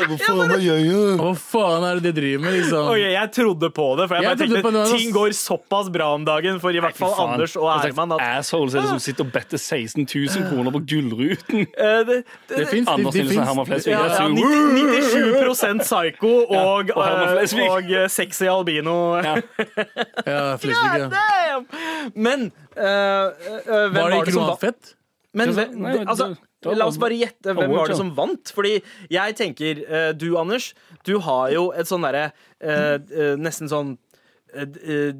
[SPEAKER 5] Hva faen er det de driver med, liksom?
[SPEAKER 3] Ok, jeg trodde på det, for jeg,
[SPEAKER 5] Jeg
[SPEAKER 3] bare
[SPEAKER 5] trodde på
[SPEAKER 3] tenkte
[SPEAKER 5] det, ass.
[SPEAKER 3] ting går såpass bra om dagen for i hvert fall Anders og
[SPEAKER 6] Altså,
[SPEAKER 3] Herman. At, Ah!
[SPEAKER 6] Assholes er det som sitter og better 16 000 kroner på
[SPEAKER 3] *laughs*
[SPEAKER 6] Gullruten.
[SPEAKER 3] eh, det, det,
[SPEAKER 5] Det fins.
[SPEAKER 6] Anders
[SPEAKER 5] Det, det
[SPEAKER 6] Nilsen og Herman
[SPEAKER 5] finnes.
[SPEAKER 6] Flesvig.
[SPEAKER 3] ja,
[SPEAKER 6] Jeg
[SPEAKER 3] ja, 90,
[SPEAKER 6] sier,
[SPEAKER 3] 97 psycho
[SPEAKER 6] *laughs*
[SPEAKER 3] og,
[SPEAKER 6] og Herman
[SPEAKER 3] eh,
[SPEAKER 6] Flesvig.
[SPEAKER 3] og eh, sexy albino. Ah,
[SPEAKER 5] Ja, Flesvig, ja.
[SPEAKER 3] Damn! Men eh, eh, hvem var,
[SPEAKER 5] Var det
[SPEAKER 3] det
[SPEAKER 5] ikke
[SPEAKER 3] som
[SPEAKER 5] noe
[SPEAKER 3] vant?
[SPEAKER 5] annet fett?
[SPEAKER 3] Men
[SPEAKER 6] Ja,
[SPEAKER 3] hvem-
[SPEAKER 6] nei,
[SPEAKER 3] det,
[SPEAKER 6] det-
[SPEAKER 3] altså,
[SPEAKER 6] det var-
[SPEAKER 3] la oss bare gjette hvem
[SPEAKER 6] Awards,
[SPEAKER 3] var det
[SPEAKER 6] ja.
[SPEAKER 3] som vant. Fordi jeg tenker eh, Du, Anders, du har jo et sånn derre eh, eh, Nesten sånn eh, eh,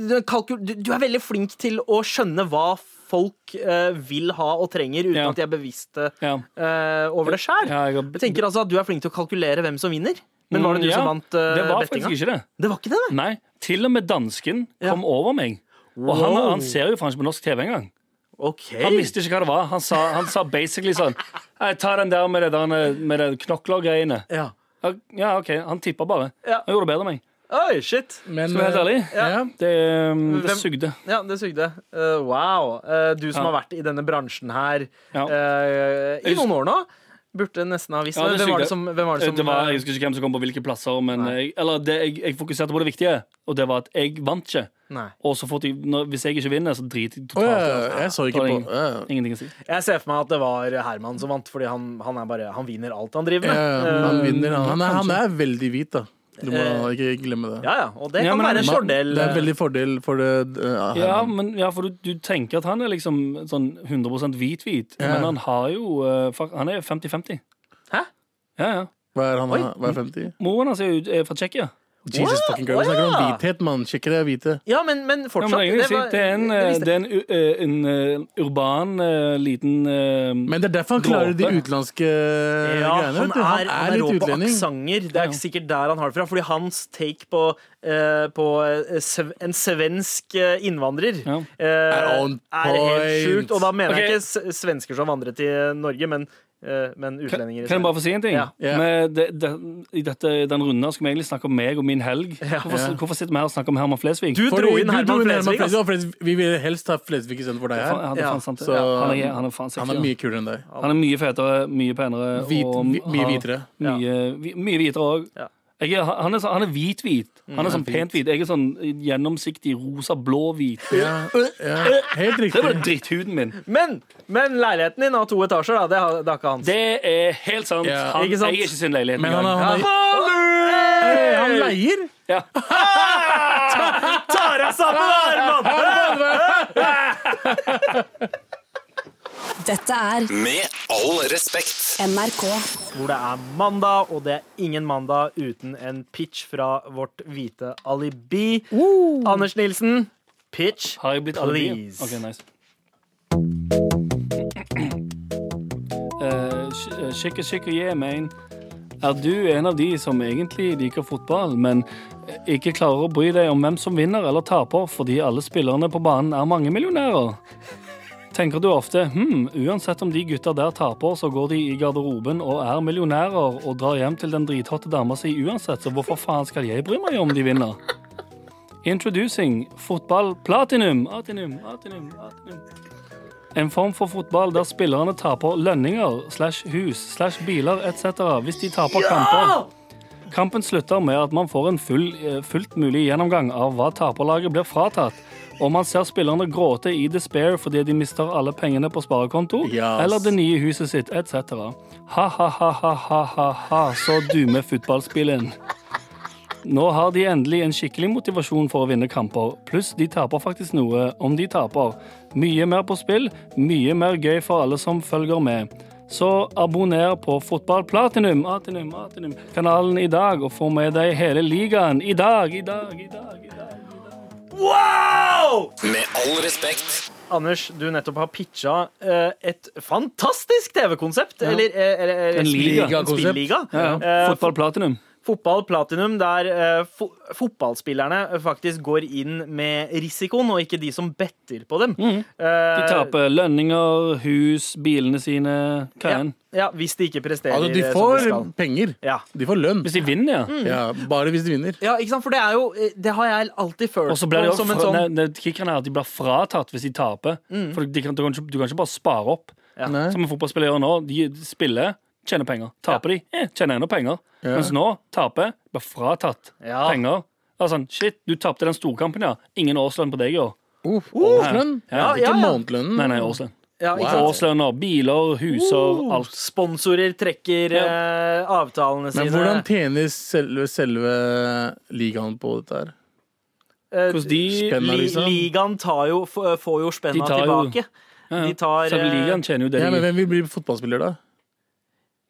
[SPEAKER 3] du, kalkul- du du er veldig flink til å skjønne hva folk eh, vil ha og trenger, uten
[SPEAKER 6] Ja.
[SPEAKER 3] at de er bevisste
[SPEAKER 6] Ja.
[SPEAKER 3] eh, over det sjøl.
[SPEAKER 6] Ja, jeg har- Mm,
[SPEAKER 3] Jeg tenker altså at du er flink til å kalkulere hvem som vinner. Men var det du
[SPEAKER 6] Ja,
[SPEAKER 3] som vant eh,
[SPEAKER 6] Det var
[SPEAKER 3] bettinga?
[SPEAKER 6] faktisk ikke det.
[SPEAKER 3] Det var ikke det, nei.
[SPEAKER 6] Nei, til og med dansken kom over meg. Og han, han ser jo faen ikke på norsk TV engang.
[SPEAKER 3] OK.
[SPEAKER 6] Han visste ikke hva det var. Han sa, han sa basically sånn «Nei, Ta den der med det, der, med det knokler-greiene.
[SPEAKER 3] Ja.
[SPEAKER 6] Ja, OK. Han tippa bare.
[SPEAKER 3] Ja.
[SPEAKER 6] Han gjorde det bedre enn meg.
[SPEAKER 3] Oi, shit.
[SPEAKER 5] Men,
[SPEAKER 6] Skal vi være helt ærlig?
[SPEAKER 5] eh, ja.
[SPEAKER 6] Det, um, det
[SPEAKER 3] Hvem-
[SPEAKER 6] sugde.
[SPEAKER 3] Ja, det sugde. Eh, wow. Eh, du som
[SPEAKER 6] Ja.
[SPEAKER 3] har vært i denne bransjen her
[SPEAKER 6] Ja.
[SPEAKER 3] eh, i
[SPEAKER 6] Jeg husker-
[SPEAKER 3] noen år nå, burde nesten ha visst
[SPEAKER 6] Ja,
[SPEAKER 3] det.
[SPEAKER 6] det
[SPEAKER 3] Hvem var
[SPEAKER 6] sugde. Eh,
[SPEAKER 3] det som, hvem var det som eh,
[SPEAKER 6] Det var, jeg husker ikke hvem som kom på hvilke plasser, men jeg, eller det, jeg, jeg fokuserte på det viktige, og det var at jeg vant ikke.
[SPEAKER 3] Nei.
[SPEAKER 6] Og så fort jeg, når, hvis jeg ikke vinner, så driter jeg
[SPEAKER 5] Å
[SPEAKER 6] totalt. i
[SPEAKER 5] ja,
[SPEAKER 6] det.
[SPEAKER 5] jeg så
[SPEAKER 6] Da
[SPEAKER 5] ikke
[SPEAKER 6] har
[SPEAKER 5] på
[SPEAKER 6] jeg ingen- Ingenting å si.
[SPEAKER 3] Jeg ser for meg at det var Herman som vant, fordi han, han, er bare, han vinner alt han driver
[SPEAKER 5] Ja,
[SPEAKER 3] med. Eh,
[SPEAKER 5] ja, Han vinner, han. Han er, han er veldig hvit, da. Du må ikke glemme det.
[SPEAKER 3] Ja, ja, Og det
[SPEAKER 6] Ja,
[SPEAKER 3] kan
[SPEAKER 6] men
[SPEAKER 3] være en
[SPEAKER 6] han-
[SPEAKER 3] fordel.
[SPEAKER 5] Det er en veldig fordel for det eh,
[SPEAKER 6] Ja,
[SPEAKER 5] her.
[SPEAKER 6] men, ja for du, du tenker at han er liksom sånn 100 hvit-hvit,
[SPEAKER 5] Ja.
[SPEAKER 6] men han har jo eh, fak- Han er 50-50.
[SPEAKER 3] Hæ?
[SPEAKER 6] Ja, ja.
[SPEAKER 5] Hva er han, da? hva er 50?
[SPEAKER 6] Moren hans er jo er fra Tsjekkia.
[SPEAKER 5] Jesus
[SPEAKER 3] Wow,
[SPEAKER 5] fucking girl.
[SPEAKER 3] å
[SPEAKER 5] Vi snakker om
[SPEAKER 3] ja.
[SPEAKER 5] hvithet, mann. Sjekker det er hvite.
[SPEAKER 3] Ja, men, men
[SPEAKER 6] Ja,
[SPEAKER 3] fortsatt.
[SPEAKER 6] men jeg vil si,
[SPEAKER 3] var-
[SPEAKER 6] det er en,
[SPEAKER 3] det
[SPEAKER 6] eh,
[SPEAKER 3] visste
[SPEAKER 6] det er en, u- eh, en, eh, urban, eh, liten eh,
[SPEAKER 5] Men det er derfor han klarer de
[SPEAKER 6] Dråpe.
[SPEAKER 5] utenlandske eh,
[SPEAKER 3] Ja, han
[SPEAKER 5] greiene. vet
[SPEAKER 3] er,
[SPEAKER 5] du.
[SPEAKER 3] han er rå
[SPEAKER 5] litt
[SPEAKER 3] på
[SPEAKER 5] utlending.
[SPEAKER 3] aksanger. Det er ikke sikkert der han har det fra. Fordi hans take på, eh, på eh, sve- en svensk eh, innvandrer
[SPEAKER 6] Ja.
[SPEAKER 3] eh,
[SPEAKER 5] Er on
[SPEAKER 3] er helt
[SPEAKER 5] point.
[SPEAKER 3] sjukt. Og da mener
[SPEAKER 6] Ok.
[SPEAKER 3] jeg ikke s- svensker som vandret til Norge, men, eh, men utlendinger. i
[SPEAKER 6] Kan jeg bare
[SPEAKER 3] Sverige.
[SPEAKER 6] få si en ting?
[SPEAKER 3] Ja.
[SPEAKER 5] Ja.
[SPEAKER 6] Med det, det, I dette, den runden her skal vi egentlig snakke om meg og min helg. Hvorfor,
[SPEAKER 5] Ja.
[SPEAKER 6] hvorfor sitter vi her og snakker om Herman Flesvig?
[SPEAKER 3] Du
[SPEAKER 5] Fordi
[SPEAKER 3] dro inn
[SPEAKER 5] du dro
[SPEAKER 3] Herman
[SPEAKER 5] inn Herman
[SPEAKER 3] Flesvig.
[SPEAKER 5] Flesvig,
[SPEAKER 3] ass.
[SPEAKER 5] og Flesvig- Vi vil helst ha Flesvig istedenfor deg
[SPEAKER 6] Han,
[SPEAKER 5] her.
[SPEAKER 6] han,
[SPEAKER 3] Ja.
[SPEAKER 6] faen sant.
[SPEAKER 5] Så-
[SPEAKER 6] han, er, han er faen
[SPEAKER 5] Han er
[SPEAKER 6] mye,
[SPEAKER 5] mye kulere enn deg.
[SPEAKER 6] han er mye fetere, mye penere.
[SPEAKER 5] Hvit,
[SPEAKER 6] og
[SPEAKER 5] vi- mye
[SPEAKER 6] har
[SPEAKER 5] hvitere.
[SPEAKER 6] Mye, vi- mye hvitere òg.
[SPEAKER 3] Ja.
[SPEAKER 6] Han er, så- han er hvit-hvit. Han er sånn pent-hvit. Jeg er sånn gjennomsiktig rosa-blå-hvit. Det
[SPEAKER 5] Ja, ja. Helt
[SPEAKER 6] er bare
[SPEAKER 5] riktig.
[SPEAKER 6] dritthuden min.
[SPEAKER 3] Men, men leiligheten din har to etasjer, da. Det har, det har ikke hans.
[SPEAKER 6] Det er helt sant.
[SPEAKER 5] Ja.
[SPEAKER 6] Han
[SPEAKER 3] Ikke sant?
[SPEAKER 6] eier ikke sin leilighet
[SPEAKER 5] Men han,
[SPEAKER 6] engang.
[SPEAKER 5] er- han, er-
[SPEAKER 3] Hallo!
[SPEAKER 5] han leier.
[SPEAKER 6] Ja.
[SPEAKER 3] Tar deg sammen, da, Herman!
[SPEAKER 2] Dette er
[SPEAKER 1] Med all respekt.
[SPEAKER 2] NRK.
[SPEAKER 3] Hvor det er mandag, og det er ingen mandag uten en pitch fra vårt hvite alibi. Anders Nilsen, pitch,
[SPEAKER 6] Har jeg blitt alibi?
[SPEAKER 3] please.
[SPEAKER 6] Ok, nice. Uh, Sjekk og sjekk og gi, man. Er du en av de som egentlig liker fotball, men eh, ikke klarer å bry deg om hvem som vinner eller taper fordi alle spillerne på banen er mangemillionærer? Tenker du ofte hm, uansett om de gutta der taper, så går de i garderoben og er millionærer og drar hjem til den drithotte dama si uansett, så hvorfor faen skal jeg bry meg om de vinner? Introducing fotball platinum. Platinum, platinum, platinum. En form for fotball der spillerne taper lønninger slash hus slash biler etc. hvis de taper kamper. Kampen slutter med at man får en full, eh, fullt mulig gjennomgang av hva taperlaget blir fratatt, og man ser spillerne gråte i despair fordi de mister alle pengene på sparekonto
[SPEAKER 5] Yes.
[SPEAKER 6] eller det nye huset sitt etc. Ha-ha-ha-ha-ha-ha, så dume fotballspillen. Nå har de endelig en skikkelig motivasjon for å vinne kamper, pluss de taper faktisk noe om de taper. Mye mer på spill, mye mer gøy for alle som følger med. Så abonner på Fotball Platinum, Atinum, Atinum, kanalen i dag, og få med deg hele ligaen i dag, i dag, i dag. i dag.
[SPEAKER 3] Wow!
[SPEAKER 1] Med all respekt.
[SPEAKER 3] Anders, du nettopp har pitcha eh, et fantastisk TV-konsept. Eller, eh, eller, eller
[SPEAKER 6] En liga.
[SPEAKER 3] En spilliga.
[SPEAKER 6] Ja, ja.
[SPEAKER 3] Eh,
[SPEAKER 6] Fotball Platinum.
[SPEAKER 3] Fotball platinum, der eh, fo fotballspillerne faktisk går inn med risikoen, og ikke de som better på dem.
[SPEAKER 6] Mm.
[SPEAKER 3] Eh,
[SPEAKER 6] De taper lønninger, hus, bilene sine, hva
[SPEAKER 3] ja,
[SPEAKER 6] enn.
[SPEAKER 3] ja, hvis de ikke presterer
[SPEAKER 5] Altså, de
[SPEAKER 3] eh,
[SPEAKER 5] får
[SPEAKER 3] som de skal.
[SPEAKER 5] penger.
[SPEAKER 3] Ja. Mm.
[SPEAKER 5] De får lønn.
[SPEAKER 6] Hvis de vinner, ja.
[SPEAKER 5] Ja, bare hvis de vinner.
[SPEAKER 3] ja, ikke sant? For det er jo eh, Det har jeg alltid følt
[SPEAKER 6] Og så blir de
[SPEAKER 3] på sånn-
[SPEAKER 6] jo fra, nei, nei, kickeren er at de blir fratatt hvis de taper. For de kan, du, kan ikke, du kan ikke bare spare opp.
[SPEAKER 3] Mm. Ja.
[SPEAKER 5] Nei.
[SPEAKER 6] Som en fotballspiller gjør nå. De spiller, tjener penger. Taper de, eh, tjener enda penger.
[SPEAKER 5] Ja.
[SPEAKER 6] Mens nå taper, blir fratatt
[SPEAKER 3] Ja.
[SPEAKER 6] penger. Det er sånn, shit, du tapte den storkampen, ja. Ingen årslønn på deg i år.
[SPEAKER 5] Uff, årslønn?
[SPEAKER 6] Ja,
[SPEAKER 3] Uh!
[SPEAKER 5] Ikke
[SPEAKER 3] ja, ja.
[SPEAKER 5] månedslønnen.
[SPEAKER 6] Nei, nei, årslønn.
[SPEAKER 3] ja, ikke
[SPEAKER 5] Wow.
[SPEAKER 3] sant? Uh,
[SPEAKER 6] Årslønner, biler, huser, alt.
[SPEAKER 3] Sponsorer trekker eh, avtalene sine.
[SPEAKER 5] Men hvordan tjener selve, selve ligaen på dette her?
[SPEAKER 3] Eh,
[SPEAKER 6] Hvordan de
[SPEAKER 5] Spenn-
[SPEAKER 3] li,
[SPEAKER 5] liksom?
[SPEAKER 3] ligaen tar jo, f- eh, får jo spenna
[SPEAKER 6] De tar jo-
[SPEAKER 3] tilbake.
[SPEAKER 6] ja,
[SPEAKER 3] De tar
[SPEAKER 6] Selve
[SPEAKER 3] eh,
[SPEAKER 6] ligaen tjener jo det
[SPEAKER 5] Ja, men
[SPEAKER 6] de
[SPEAKER 5] Hvem vil bli fotballspiller, da?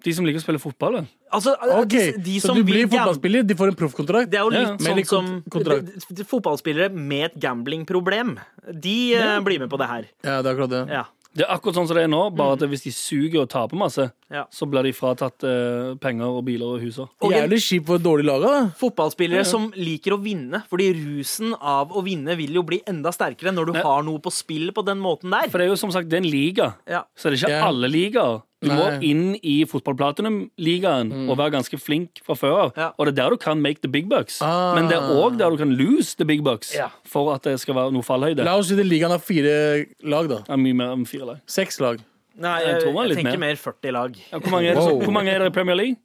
[SPEAKER 6] De som liker å spille fotball, vel.
[SPEAKER 3] Altså,
[SPEAKER 5] Ok,
[SPEAKER 3] de, de
[SPEAKER 5] Så
[SPEAKER 3] som
[SPEAKER 5] du blir
[SPEAKER 3] vil gam-
[SPEAKER 5] fotballspiller, de får en proffkontrakt?
[SPEAKER 3] Det er jo
[SPEAKER 6] Ja,
[SPEAKER 3] litt
[SPEAKER 6] ja.
[SPEAKER 5] Men i
[SPEAKER 3] sånn som
[SPEAKER 5] kont- kontrakt.
[SPEAKER 3] d- d- d- Fotballspillere med et gamblingproblem, de eh, blir med på det her.
[SPEAKER 5] Ja, det er akkurat det.
[SPEAKER 3] Ja.
[SPEAKER 6] Det er akkurat sånn som det er nå, bare at hvis de suger og taper masse,
[SPEAKER 3] Mm. Ja.
[SPEAKER 6] så blir de fratatt eh, penger og biler og huser.
[SPEAKER 3] Og en
[SPEAKER 5] Jævlig kjipt for dårlig laga, da.
[SPEAKER 3] fotballspillere som liker å vinne, fordi rusen av å vinne vil jo bli enda sterkere når du
[SPEAKER 6] Ja.
[SPEAKER 3] har noe på spill på den måten der.
[SPEAKER 6] For det er jo som sagt det er en liga,
[SPEAKER 3] Ja.
[SPEAKER 6] så det er ikke
[SPEAKER 5] Ja.
[SPEAKER 6] alle ligaer. Du må
[SPEAKER 5] Nei. Mm.
[SPEAKER 6] inn i fotballplatinum-ligaen og være ganske flink fra før av.
[SPEAKER 3] Ja.
[SPEAKER 6] Og det er der du kan make the big bucks,
[SPEAKER 5] Ah.
[SPEAKER 6] men det er òg der du kan lose the big bucks
[SPEAKER 3] Ja.
[SPEAKER 6] for at det skal være noe fallhøyde.
[SPEAKER 5] La oss si det ligaen har fire lag, da.
[SPEAKER 6] Det er mye mer enn fire lag.
[SPEAKER 5] Seks lag.
[SPEAKER 3] Nei,
[SPEAKER 6] Jeg
[SPEAKER 3] jeg,
[SPEAKER 6] tror det var
[SPEAKER 3] jeg
[SPEAKER 6] litt
[SPEAKER 3] tenker
[SPEAKER 6] mer.
[SPEAKER 3] mer 40 lag.
[SPEAKER 6] Ja, hvor, mange er det, som-
[SPEAKER 5] Wow.
[SPEAKER 6] hvor mange er det i Premier League?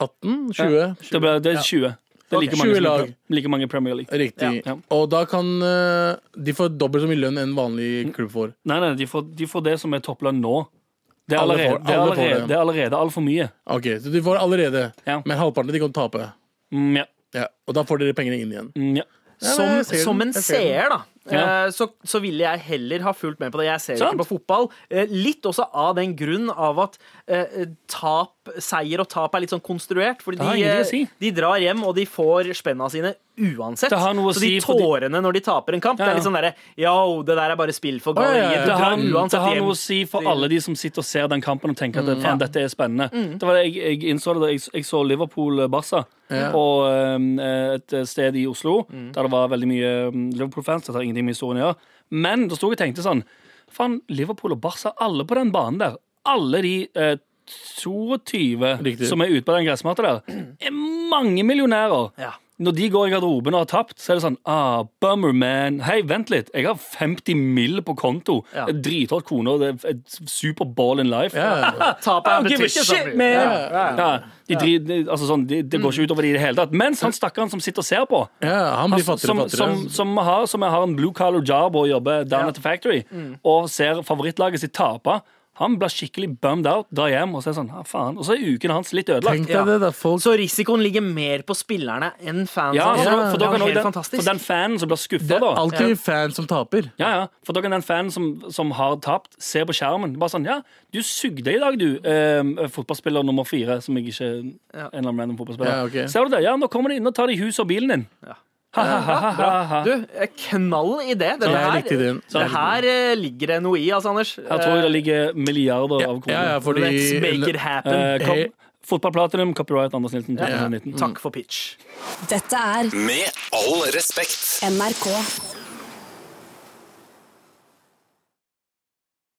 [SPEAKER 5] 18? 20?
[SPEAKER 6] Det, blir- det er 20. Det er like,
[SPEAKER 5] Ok.
[SPEAKER 6] mange
[SPEAKER 5] 20
[SPEAKER 6] som-
[SPEAKER 5] lag.
[SPEAKER 6] like mange i Premier League.
[SPEAKER 5] Riktig.
[SPEAKER 6] Ja.
[SPEAKER 5] Og da kan eh, de få dobbelt så mye lønn
[SPEAKER 3] Mm.
[SPEAKER 5] enn vanlig klubb får.
[SPEAKER 6] Nei, nei, de får, de får det som er topplønn nå. Det er
[SPEAKER 5] Alle
[SPEAKER 6] allerede,
[SPEAKER 5] får-
[SPEAKER 6] det er
[SPEAKER 5] alle får
[SPEAKER 6] allerede,
[SPEAKER 5] det.
[SPEAKER 6] det er allerede altfor mye.
[SPEAKER 5] Ok, Så de får allerede,
[SPEAKER 6] Ja.
[SPEAKER 5] men halvparten de kan tape.
[SPEAKER 6] Mm, ja.
[SPEAKER 5] Ja, og da får dere pengene inn igjen.
[SPEAKER 6] Mm, ja.
[SPEAKER 5] Ja,
[SPEAKER 3] Som,
[SPEAKER 5] jeg ser den.
[SPEAKER 3] som en
[SPEAKER 5] Jeg ser den.
[SPEAKER 3] seer, da. eh,
[SPEAKER 6] Ja.
[SPEAKER 3] Så, så ville jeg heller ha fulgt med på det. Jeg ser jo
[SPEAKER 6] Sant.
[SPEAKER 3] ikke på fotball. Eh, Litt også av den grunn av at eh, tap, seier og tap er litt sånn konstruert. Fordi
[SPEAKER 6] Det har
[SPEAKER 3] de,
[SPEAKER 6] ingenting å
[SPEAKER 3] eh,
[SPEAKER 6] si.
[SPEAKER 3] de drar hjem, og de får spenna sine uansett.
[SPEAKER 6] Det har noe å
[SPEAKER 3] Så de
[SPEAKER 6] si, fordi-
[SPEAKER 3] tårene når de taper en kamp,
[SPEAKER 6] Ja,
[SPEAKER 3] det
[SPEAKER 6] ja.
[SPEAKER 3] er litt sånn derre Yo, det der er bare spill for
[SPEAKER 5] ja, ja.
[SPEAKER 3] galleriet. Du
[SPEAKER 6] Det
[SPEAKER 3] drar
[SPEAKER 6] har, det
[SPEAKER 3] uansett
[SPEAKER 6] har
[SPEAKER 3] hjem.
[SPEAKER 6] noe å si for alle de som sitter og ser den kampen og tenker at faen, dette er spennende. Det var det jeg, jeg innså det da jeg, jeg så Liverpool-Barca på eh, et sted i Oslo der det var veldig mye eh, Liverpool-fans. Dette har ingenting med historien å gjøre. Men da sto jeg og tenkte sånn Faen, Liverpool og Barca, alle på den banen der. Alle de eh, 22
[SPEAKER 5] Riktig.
[SPEAKER 6] som er ute på den gressmatta der, er mange millionærer.
[SPEAKER 3] Ja.
[SPEAKER 6] Når de går i garderoben og har tapt, så er det sånn ah, Bummer, man. Hei, vent litt. Jeg har 50 mill. på konto.
[SPEAKER 3] Ja.
[SPEAKER 6] Ja. Drithot kone og det er et super ball in life. *laughs*
[SPEAKER 5] Ja.
[SPEAKER 3] Tapet
[SPEAKER 6] I
[SPEAKER 3] er
[SPEAKER 6] don't give a
[SPEAKER 3] betyr ikke så
[SPEAKER 6] shit,
[SPEAKER 3] mye.
[SPEAKER 6] man!
[SPEAKER 3] Ja.
[SPEAKER 6] Ja, de dri- de, altså sånn, de, det går ikke utover de i det hele tatt. Mens han stakkaren som sitter og ser på,
[SPEAKER 5] Ja, han
[SPEAKER 3] Altså,
[SPEAKER 5] blir
[SPEAKER 6] som,
[SPEAKER 5] fattigere
[SPEAKER 6] som,
[SPEAKER 5] og fattigere.
[SPEAKER 6] som, vi har, som har en blue collar job og jobber down at the factory, og ser favorittlaget sitt tape, han blir skikkelig bummed out, drar hjem og så er det sånn, ah, faen. Og så er uken hans litt ødelagt.
[SPEAKER 5] Tenk deg det, da. Folk
[SPEAKER 3] Så risikoen ligger mer på spillerne enn fansen.
[SPEAKER 6] Ja, for,
[SPEAKER 3] Altså,
[SPEAKER 6] for, da
[SPEAKER 3] det er
[SPEAKER 6] kan
[SPEAKER 3] jo
[SPEAKER 6] også
[SPEAKER 3] helt
[SPEAKER 6] den,
[SPEAKER 3] fantastisk.
[SPEAKER 6] for den fanen som blir
[SPEAKER 5] Det
[SPEAKER 6] skuffa,
[SPEAKER 5] er
[SPEAKER 6] da.
[SPEAKER 5] alltid fans som taper.
[SPEAKER 6] Ja, ja, for da kan den fanen som, som har tapt, se på skjermen. Bare sånn, ja, du sugde i dag, du. Eh, fotballspiller nummer fire, som jeg ikke En eller annen random fotballspiller.
[SPEAKER 5] Ja, ok.
[SPEAKER 6] Ser du det? Ja, nå kommer de inn og tar de huset og bilen din. Ha, ha, ha, ha, ha.
[SPEAKER 3] Du, eh, knall idé. Dette
[SPEAKER 5] Ja,
[SPEAKER 3] her,
[SPEAKER 5] riktig det.
[SPEAKER 3] det her eh, ligger det noe i, altså, Anders.
[SPEAKER 6] Her tror jeg det ligger milliarder av
[SPEAKER 5] Ja, ja,
[SPEAKER 6] kroner.
[SPEAKER 5] fordi
[SPEAKER 3] Let's make it happen.
[SPEAKER 6] Eh, kom-
[SPEAKER 5] He-
[SPEAKER 6] Fotballplatinum, copyright Anders Nilsen 2019.
[SPEAKER 3] Takk for pitch.
[SPEAKER 2] Dette er
[SPEAKER 1] Med all respekt.
[SPEAKER 2] NRK.